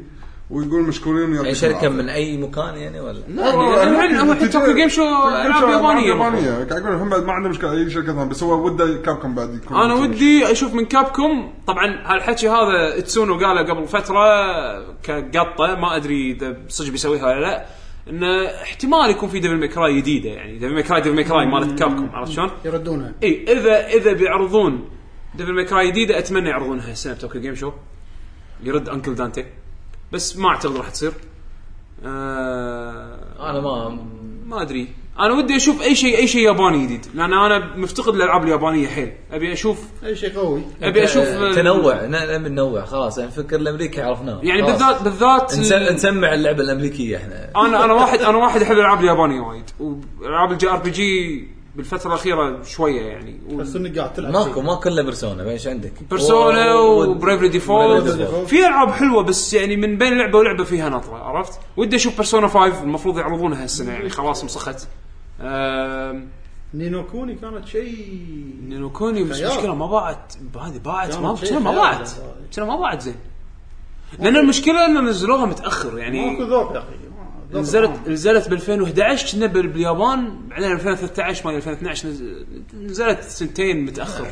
D: ويقول مشكورين ويعطيكم
E: اي شركه
D: العافية.
E: من اي مكان يعني
D: نعم.
E: ولا
B: يعني الحين هو حتى توكيو جيم شو العاب يابانيه
D: يابانيه قاعد يقول هم بعد ما عنده مشكله اي شركه ثانيه بس هو وده كابكم بعد يكون
B: انا ودي اشوف من كابكم طبعا هالحكي هذا تسونو قاله قبل فتره كقطه ما ادري اذا صدق بيسويها ولا لا انه احتمال يكون في دبل ميكراي جديده يعني دبل ميكراي دبل ميكراي مالت كابكم عرفت شلون؟
C: يردونها
B: اي اذا اذا بيعرضون دبل ميكراي جديده اتمنى يعرضونها السنه بتوكيو جيم شو يرد انكل دانتي بس ما اعتقد راح تصير آه
E: انا ما
B: ما ادري انا ودي اشوف اي شيء اي شيء ياباني جديد لان انا مفتقد الالعاب اليابانيه حيل ابي اشوف
C: اي شيء قوي
B: ابي اشوف
E: تنوع نبي ننوع خلاص يعني الفكر الامريكي عرفناه
B: يعني بالذات
E: خلاص.
B: بالذات
E: نس-
B: ال-
E: نسمع اللعبه الامريكيه احنا
B: انا انا واحد انا واحد احب الالعاب اليابانيه وايد والعاب الجي ار بي جي بالفتره الاخيره شويه يعني و-
F: بس انك قاعد تلعب
E: ماكو ما كله بيرسونا ايش عندك؟
B: بيرسونا
E: و- و-
B: وبريفلي
E: Bravely
B: ديفولت
E: Default.
B: في العاب حلوه بس يعني من بين لعبه ولعبه فيها نطره عرفت؟ ودي اشوف بيرسونا 5 المفروض يعرضونها هالسنه يعني خلاص مسخت أم،
F: نينو كوني كانت شيء
B: نينو كوني بس
F: خيال.
B: مشكله ما باعت هذه باعت ما
F: كانت شيء
B: كنا ما
F: خيال.
B: باعت كنا ما باعت زين لان المشكله ان نزلوها متاخر يعني
F: ماكو ذوق يا اخي ما- ذوق
B: نزلت
F: الطعام.
B: نزلت ب 2011 كنا بال- باليابان بعدين 2013 ما 2012 نز- نزلت سنتين متاخر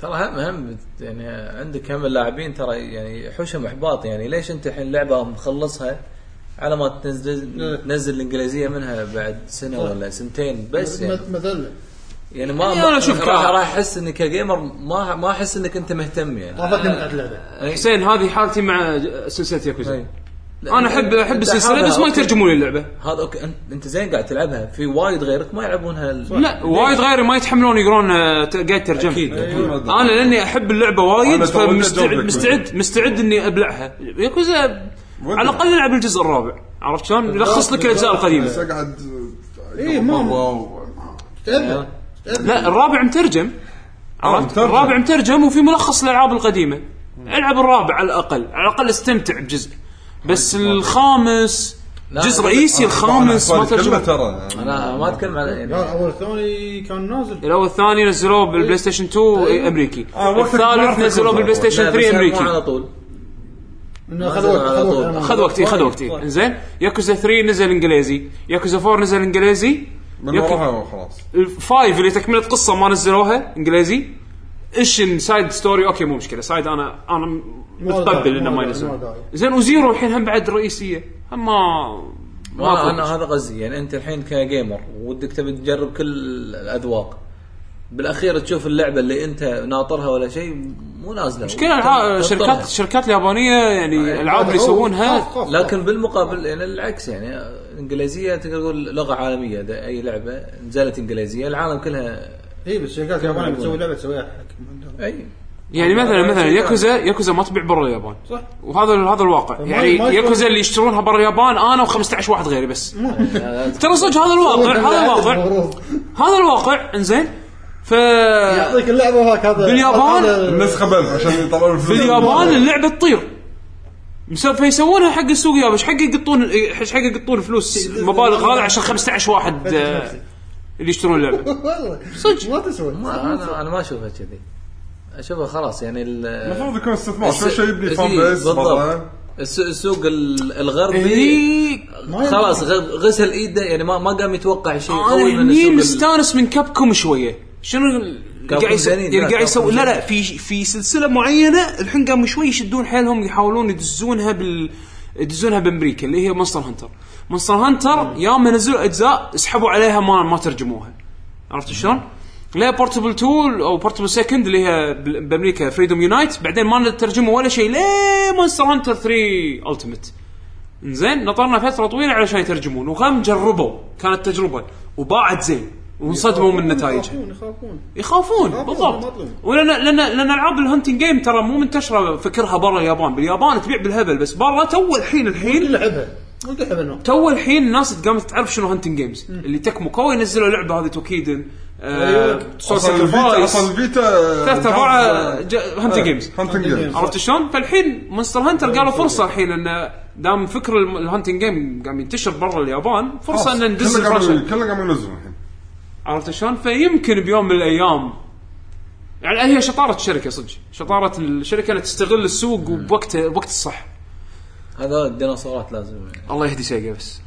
E: ترى هم هم يعني عندك هم اللاعبين ترى يعني حوشهم احباط يعني ليش انت الحين لعبه مخلصها على ما تنزل تنزل الانجليزيه منها بعد سنه ولا سنتين بس يعني,
C: مذ- مذله
E: يعني ما
B: يعني أنا أشوف
E: راح
B: كا-
E: راح احس انك كجيمر ما ما احس انك انت مهتم يعني
C: اعطتني متعه اللعبه
B: حسين هذه حالتي مع سلسله ياكوزا
E: أي.
B: انا احب احب السلسله بس ما يترجمون لي اللعبه
E: هذا اوكي أنت- انت زين قاعد تلعبها في وايد غيرك ما يلعبونها ال-
B: لا وايد غيري ما يتحملون يقرون آه، ت- قاعد ترجمه
E: أكيد، أكيد.
B: انا لاني احب اللعبه وايد
D: أنا تو ودي أجرب
B: فمستعد
D: ياكوزا.
B: مستعد مستعد اني ابلعها ياكوزا
D: ودي.
B: على الاقل العب الجزء الرابع عرفت شلون؟ يلخص لك الاجزاء القديمه
D: بس اقعد
F: إيه، ما-
D: واو
F: إيه.
C: تبلع.
B: لا الرابع مترجم عرفت؟
D: آه، مترجم.
B: الرابع مترجم وفي ملخص الالعاب القديمه العب الرابع على الاقل على الاقل استمتع بجزء بس
D: طيب.
B: الخامس
E: لا،
B: جزء
E: لا،
B: رئيسي الخامس ما
D: ترجمه
B: ترجم
D: ترى
E: انا ما اتكلم عن يعني
F: لا اول ثاني كان نازل
B: الاول الثاني نزلوه بالبلاي ستيشن 2 امريكي
D: آه، وقتك ما
B: الثالث
D: عرفت
B: نزلوه
D: يكون
B: بالبلاي
D: صعب.
B: ستيشن
E: لا، بس
B: 3
E: مو
B: امريكي
E: على طول
C: انه خذ وقت خذ وقت
B: خذ وقتي خذ
D: طيب،
B: وقتي
F: وايد.
B: انزين ياكوزا 3 نزل انجليزي ياكوزا 4 نزل انجليزي
D: من
B: ياكو-
D: وراها خلاص
B: الفايف اللي تكمله قصه ما نزلوها انجليزي اشن سايد ستوري اوكي مو مشكله سايد انا انا متقبل
C: داعي،
B: انه ما
C: ما داعي، ما
B: ينزل
C: داعي.
B: زين وزيرو الحين هم بعد رئيسيه هم ما
E: ما
B: أفضل.
E: انا هذا قصدي يعني انت الحين كجيمر ودك تبي تجرب كل الاذواق بالاخير تشوف اللعبه اللي انت ناطرها ولا شيء مو نازله
B: مشكله الع-
E: تنطرها.
B: الشركات الشركات اليابانيه يعني الالعاب اللي
C: هذا هو.
B: يسوونها
C: خاف- خاف.
E: لكن بالمقابل يعني العكس يعني انجليزيه تقدر تقول لغه عالميه ده اي لعبه نزلت انجليزيه العالم كلها
F: اي إيه، بس شركات اليابانيه بتسوي لعبه تسويها حق
E: اي
B: يعني مثلا مثلا ياكوزا ياكوزا ما تبيع برا اليابان
F: صح.
B: وهذا هذا الواقع يعني
F: ما يكون-
B: ياكوزا اللي يشترونها برا اليابان انا و15 واحد غيري بس ترى صدق هذا الواقع طيب، هذا الواقع
C: المفروض.
B: هذا الواقع انزين ف
C: يعطيك اللعبه وهاك هذا
B: باليابان؟
C: هذا-
D: النسخه بس عشان يطلعون الفلوس
B: باليابان اللعبه تطير مسو- فيسوونها حق السوق يابش حق يقطون إيش حق يقطون فلوس مبالغ هذا عشان 15 واحد آه، اللي يشترون اللعبه
C: والله
B: صدق.
C: ما تسوى
E: ما انا انا ما اشوفها كذي اشوفها خلاص يعني ال-
D: المفروض يكون استثمار شو شيء يبني
E: إيه،
D: فان بيس
E: بالضبط
D: برا
E: الس- السوق ال-
B: إيه.
E: الغربي
B: هني
E: خلاص غ- غسل ايده يعني ما ما قام يتوقع شيء قوي
B: انا
E: من
B: هني
E: السوق ال-
B: مستانس من كابكم شويه شنو ال-
E: كابكوم
B: قاعد يسوي
E: زينين، لا،
B: قاعد يسوي
E: كابكوم
B: لا لا في في سلسله معينه الحين قاموا شوي يشدون حيلهم يحاولون يدزونها بال يدزونها بامريكا اللي هي مونستر هانتر مونستر هانتر يا ما نزلوا اجزاء سحبوا عليها ما ما ترجموها عرفت شلون؟ لا بورتبل 2 او بورتبل سكند اللي هي بال- بامريكا فريدوم يونايت بعدين ما ترجموا ولا شيء ليه مونستر هانتر 3 التيمت زين نطرنا فتره طويله علشان يترجمون وهم جربوا كانت تجربه وباعت زين وانصدموا من نتائجها
C: يخافون يخافون
B: يخافون بالضبط
C: مطلوب.
B: ولان لان لان العاب الهنتنج جيم ترى مو منتشره فكرها برا اليابان باليابان تبيع بالهبل بس برا تو الحين
C: اللي
B: الحين
C: لعبها مو اللي لعبها نوع.
B: تو الحين الناس قامت تعرف شنو هنتنج جيمز اللي تكمو كوي نزلوا لعبه هذه توكيدن
D: أيوة.
B: آه سول
D: اصلا الفيتا اصلا
B: ساكرفايس
D: الفيتا آه،
B: ثلاث ارباع هنتنج جيمز
D: هانتنج جيمز
B: عرفت شلون؟ فالحين مونستر هانتر قالوا فرصه الحين انه دام فكر الم- الهانتنج جيم قام ينتشر برا اليابان فرصه ان ندز
D: كله
B: الفراشة.
D: قام كله قام ينزل الحين
B: عرفت شلون؟ فيمكن بيوم من الايام يعني هي شطاره الشركه صدق، شطاره الشركه انها تستغل السوق وبوقته بوقت الصح.
E: هذا الديناصورات لازم
B: الله يهدي سيجا بس.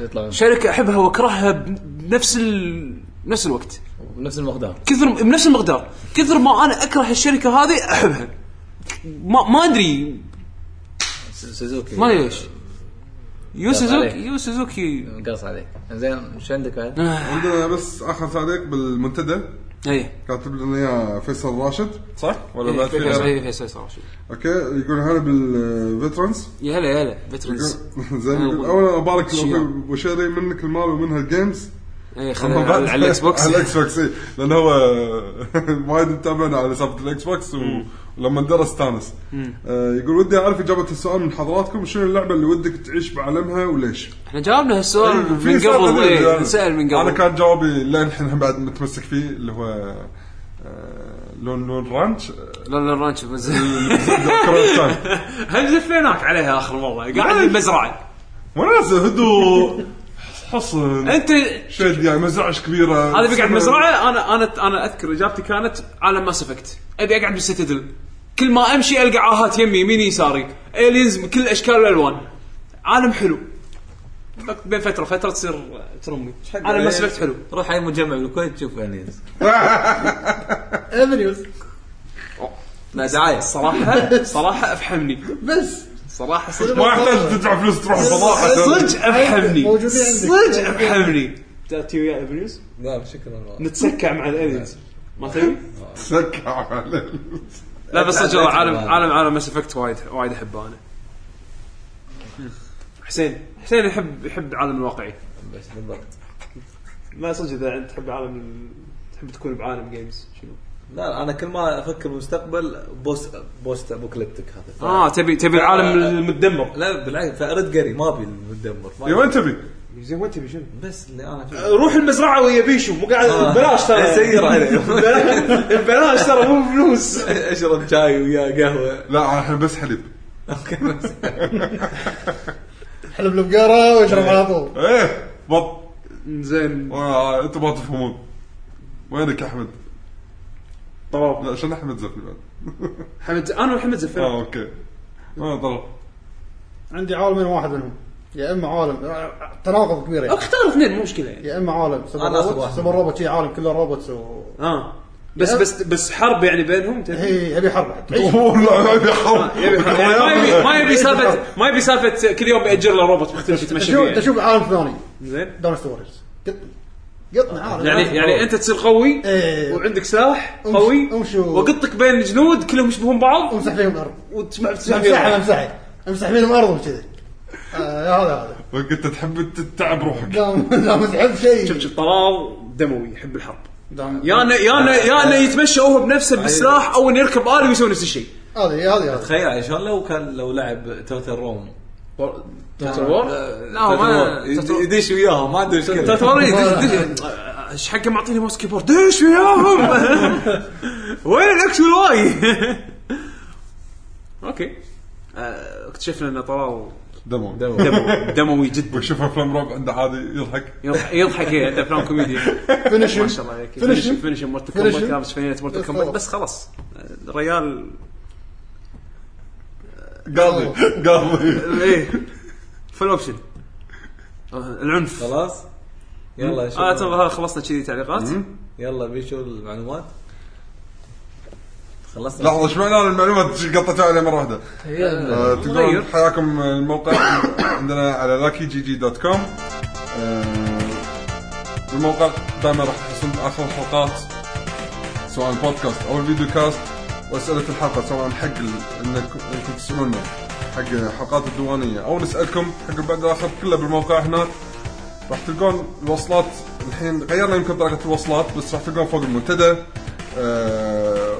E: يطلعون
B: شركه احبها واكرهها بن- بنفس ال... بنفس الوقت،
E: بنفس المقدار
B: كثر بنفس المقدار، كثر ما انا اكره الشركه هذه احبها. ما ما ادري
E: س- سوزوكي
B: ما ادري ليش. يو
E: قاس
B: سوزوكي
E: عليك.
B: يو سوزوكي
E: قص عليك زين شو عندك بعد؟
D: عندنا بس اخر تعليق بالمنتدى
B: اي
D: كاتب لنا اياه فيصل راشد صح ولا بعد في غيره؟
B: اي إيه، فيصل صار شيء.
D: اوكي يقول هلا بالفيترنز
B: يا هلا يا هلا فيترنز
D: زين يقول اولا ابارك لأخوي وشيري منك المال ومنها الجيمز
B: اي إيه، خلينا على- على الاكس بوكس
D: على الاكس بوكس إي، لان هو وايد متابعنا على سالفه الاكس بوكس و- ولما درس تانس آه، يقول ودي اعرف اجابه السؤال من حضراتكم شنو اللعبه اللي ودك تعيش بعالمها وليش؟
B: احنا جاوبنا هالسؤال
D: في
B: آه، من
D: سؤال
B: قبل
D: غريب
B: إيه،
D: يعني.
B: نسال من
D: انا
B: قبل
D: كان جوابي للحين بعد متمسك فيه اللي هو آه، لون لون رانش آه،
B: لا لا رانش بنزل.
D: كرة تايم
B: هم زفيناك عليها اخر مره قاعد بالمزرعه
D: وناس هدوء حصن
B: انت
D: شد يعني مزرعه كبيره
B: هذا بقعد مزرعه انا انا انا اذكر اجابتي كانت عالم ما سفكت ابي اقعد بالسيتدل كل ما امشي القى عاهات يمي يميني يساري الينز بكل الاشكال والالوان عالم حلو بين فتره فتره تصير ترمي عالم ما
D: إيه؟
B: سفكت حلو
E: روح اي مجمع بالكويت تشوف انيز
C: افنيوز
E: لا دعايه
B: صراحه صراحه افحمني
C: بس
B: صراحه صدق
D: ما يحتاج تدفع فلوس تروح الفضاء
B: صدق افحمني
C: موجودين عندك.
B: صدق افحمني تاتي ويا ابنيوس
E: لا شكرا نعم، والله
B: نتسكع مع الالينز ما تبي؟
D: تسكع
B: لا بس صدق والله عالم
E: بعد.
B: عالم عالم ماس افكت وايد وايد احبه انا حسين حسين يحب يحب العالم الواقعي
E: بس بالضبط
B: ما صدق اذا انت تحب عالم تحب تكون بعالم جيمز شنو
E: لا انا كل ما افكر بالمستقبل بوست بوست ابوكليبتك هذا ف-
B: اه تبي تبي العالم المتدمر
E: لا بالعكس فارد قري ما ابي المدمر ما
D: يا وين تبي؟
B: زين وين تبي شنو؟
E: بس اللي انا فيه
B: روح المزرعه ويا بيشو مو قاعد
E: آه.
B: ببلاش ترى
E: سير عليه.
B: ببلاش- ببلاش ترى مو فلوس
E: اشرب شاي ويا قهوه
D: لا احنا بس حليب
E: اوكي بس
C: حلب البقاره واشرب على طول
D: ايه بط
B: زين
D: آه، انتم ما تفهمون وينك احمد؟
B: طبعا
D: لا عشان احمد زفني بعد
B: حمد انا وحمد زفير
D: اه اوكي ما ضرب
C: عندي عالمين واحد منهم يا اما عالم تناقض كبير يعني
B: اختار اثنين مو مشكله يعني
C: يا اما عالم سوبر
E: أنا آخذ
C: روبوت
E: واحد.
C: سوبر روبوت شي عالم كله روبوتس و
B: اه بس بس بس حرب يعني بينهم تبي؟
C: هي ابي حرب تعيش
D: والله يبي حرب
B: يبي- ما يبي ما يبي سالفه ما يبي سالفه كل يوم بيأجر له روبوت مختلف يتمشى
C: تشوف
B: فيه يعني.
C: تشوف عالم ثاني
B: زين
C: دون ستوريز قطنا عالم
B: يعني يعني انت تصير قوي
C: إيه.
B: وعندك سلاح
C: أمش-
B: قوي
C: أمشي و-
B: وقطك بين جنود كلهم يشبهون بعض
C: امسح فيهم الارض
B: وتسمع تسمع
C: امسحها
B: فيهم.
C: امسحها امسح فيهم الارض وكذي آه، يا هذا هذا
D: انت تحب تتعب روحك
C: دام دام تحب
B: شوف
C: شيء
B: شوف طلال دموي يحب الحرب
C: دام-
B: يا انه يا انه يا انه يتمشى هو
E: أيوه.
B: بنفسه بالسلاح او انه يركب آلي ويسوي نفس الشيء
C: هذه هذه هذه
E: تخيل يعني شلون لو كان لو لعب توتال روم
B: توتر وور؟ لا
E: توتال
B: ما
E: وور. يد- آه، يدش وياهم ما عنده مشكله
B: توتر وور يدش- يدش- ايش حقه معطيني ماوس كيبورد دش وياهم وين الاكس والواي اوكي آه، اكتشفنا ان طلال
D: دمو
B: دموي دموي جدا
D: وشوف افلام رعب عنده هذا يضحك
B: يضحك- يضحك إيه، عنده افلام كوميديا
C: Finishing.
B: ما شاء الله عليك فينش
C: Finishing.
B: فينش مورتل
C: Finishing.
B: كومبات لابس فينيت مورتل كومبات بس خلاص الريال
D: قاضي قاضي
B: ايه فل اوبشن العنف
E: خلاص يلا شوف
B: اه ترى خلصنا كذي تعليقات
E: يلا بيشو المعلومات خلصنا
D: لحظه ايش معنى المعلومات قطيتها عليه مره واحده
E: يلا.
D: آه،
B: غير.
D: تقدرون حياكم الموقع عندنا على لاكي جي جي دوت كوم آه، الموقع دائما راح تحصلون اخر الحلقات سواء البودكاست او الفيديو كاست واسئله الحلقه سواء حق ال- انكم إنكم تسالونا حق حلقات الديوانيه او نسالكم حق البعد الاخر كله بالموقع هناك راح تلقون الوصلات الحين غيرنا يمكن طريقه الوصلات بس راح تلقون فوق المنتدى آه،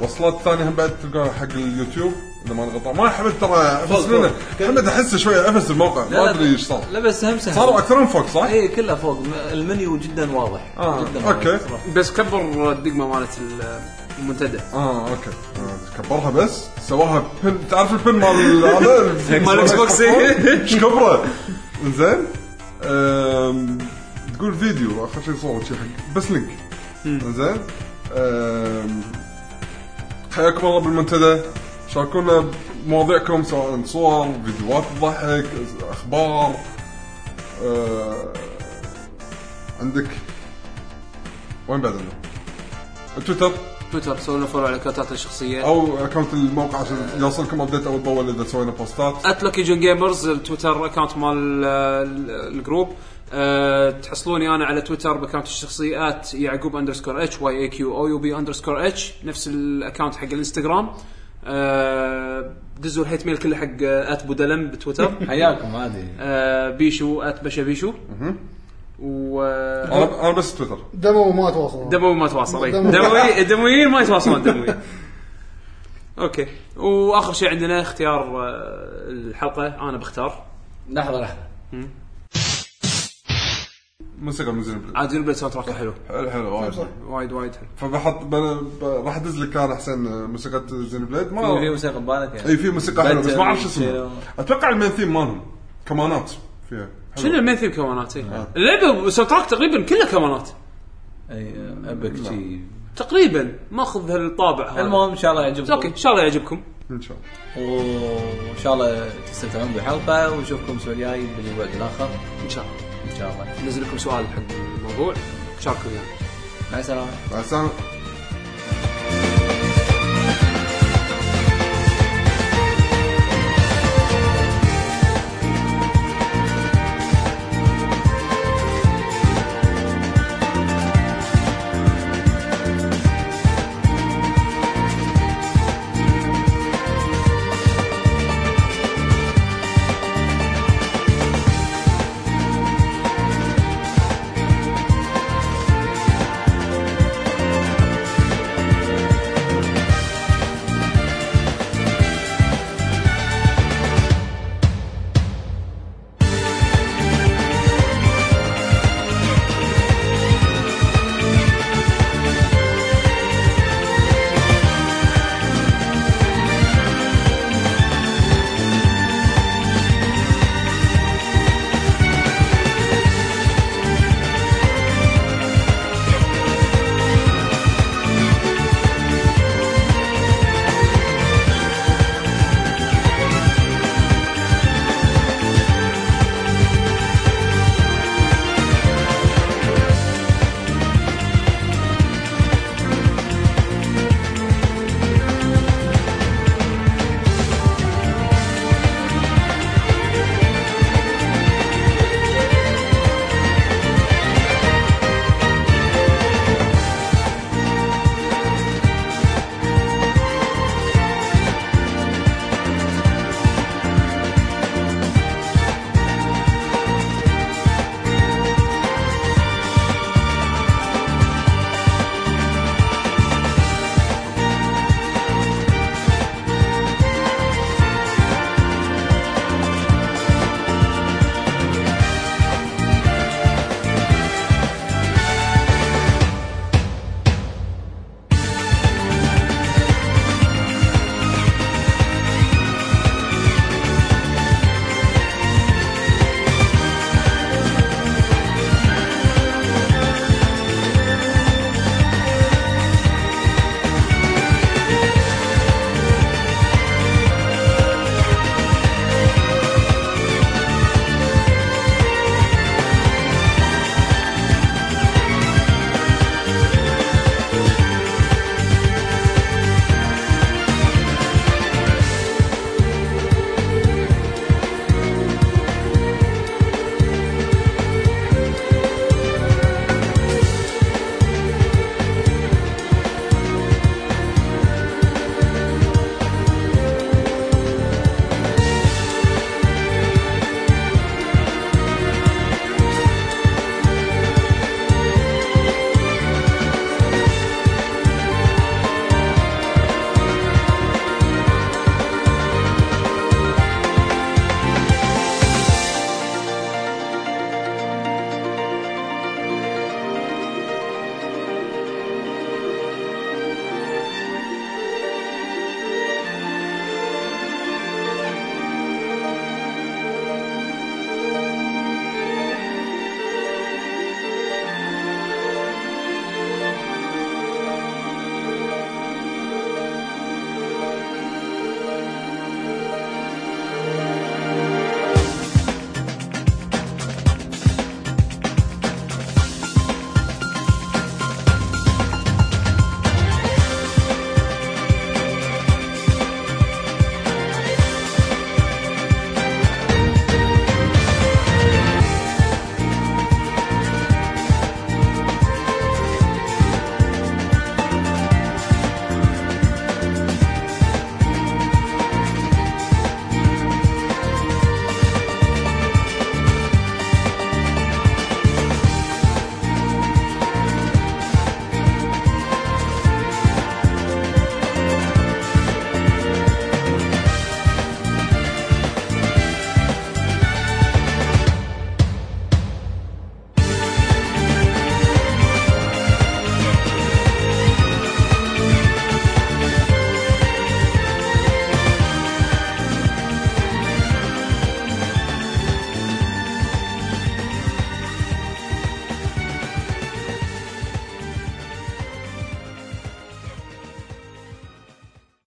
D: وصلات ثانيه هم بعد تلقاها حق اليوتيوب اذا ما غلطان ما حمد ترى افس
E: فوق.
D: منه حمد احسه شويه افس الموقع
E: لا،
D: ما
E: لا.
D: ادري ايش صار
E: لا بس هم سهل
D: صاروا اكثرهم فوق صح؟
E: اي كلها فوق المنيو جدا واضح
D: آه،
E: جدا
D: أوكي.
E: واضح. صراحة.
B: بس كبر الدقمه مالت ال- المنتدى
D: اه اوكي آه، كبرها بس سواها بن تعرف البن مال هذا
B: مال إكس بوكس، إيه.
D: ايش كبره زين أم، تقول فيديو اخر شيء صور شيء حق بس لينك زين أم، حياكم الله بالمنتدى شاركونا بمواضيعكم سواء صور فيديوهات تضحك اخبار أه، عندك وين بعد عندنا؟ تويتر
B: تويتر سووا لنا فولو على كاتات الشخصيه
D: او اكونت الموقع عشان يوصلكم ابديت اول باول اذا سوينا بوستات
B: اتلوكي جون جيمرز التويتر اكونت مال ال- ال- الجروب أه تحصلوني انا على تويتر باكونت الشخصي ات يعقوب اندرسكور اتش واي اي كيو او يو بي اندرسكور اتش نفس الاكونت حق الانستغرام أه دزوا الهيت ميل كله حق ات بودلم بتويتر
E: حياكم عادي
B: أه بيشو ات بشا بيشو و آه،
D: انا انا بس تويتر
C: دمو ما تواصلون
B: دموي ما تواصل إي.
C: دموي.
B: دموي الدمويين ما يتواصلون دموي اوكي واخر شيء عندنا اختيار آه، الحلقه انا بختار
E: لحظه لحظه
D: موسيقى من زين
B: عاد ينبل ساوند تراك حلو
D: حلو حلو وايد.
B: وايد وايد حلو
D: فبحط ب- ب- راح ادز لك انا احسن موسيقى زين بليد
E: في في
D: ما
E: موسيقى ببالك يعني
D: اي في موسيقى حلوه بس ما اعرف شو
E: بدل-
D: اسمها اتوقع المين ثيم مالهم كمانات فيها حلو.
B: شنو المين ثيم كمانات إي. اللعبه إيه. ساوند تراك تقريبا كلها كمانات
E: اي ابك شي
B: تقريبا ماخذ هالطابع هذا
E: المهم ان شاء الله يعجبكم
B: اوكي ان شاء الله يعجبكم
D: ان شاء الله
E: وان شاء الله تستمتعون بالحلقه ونشوفكم الاسبوع الجاي بالبعد الاخر
B: ان شاء الله
E: ان شاء الله
B: نزل لكم سؤال حق الموضوع شاركوا ويانا
E: مع السلامه
D: مع السلامه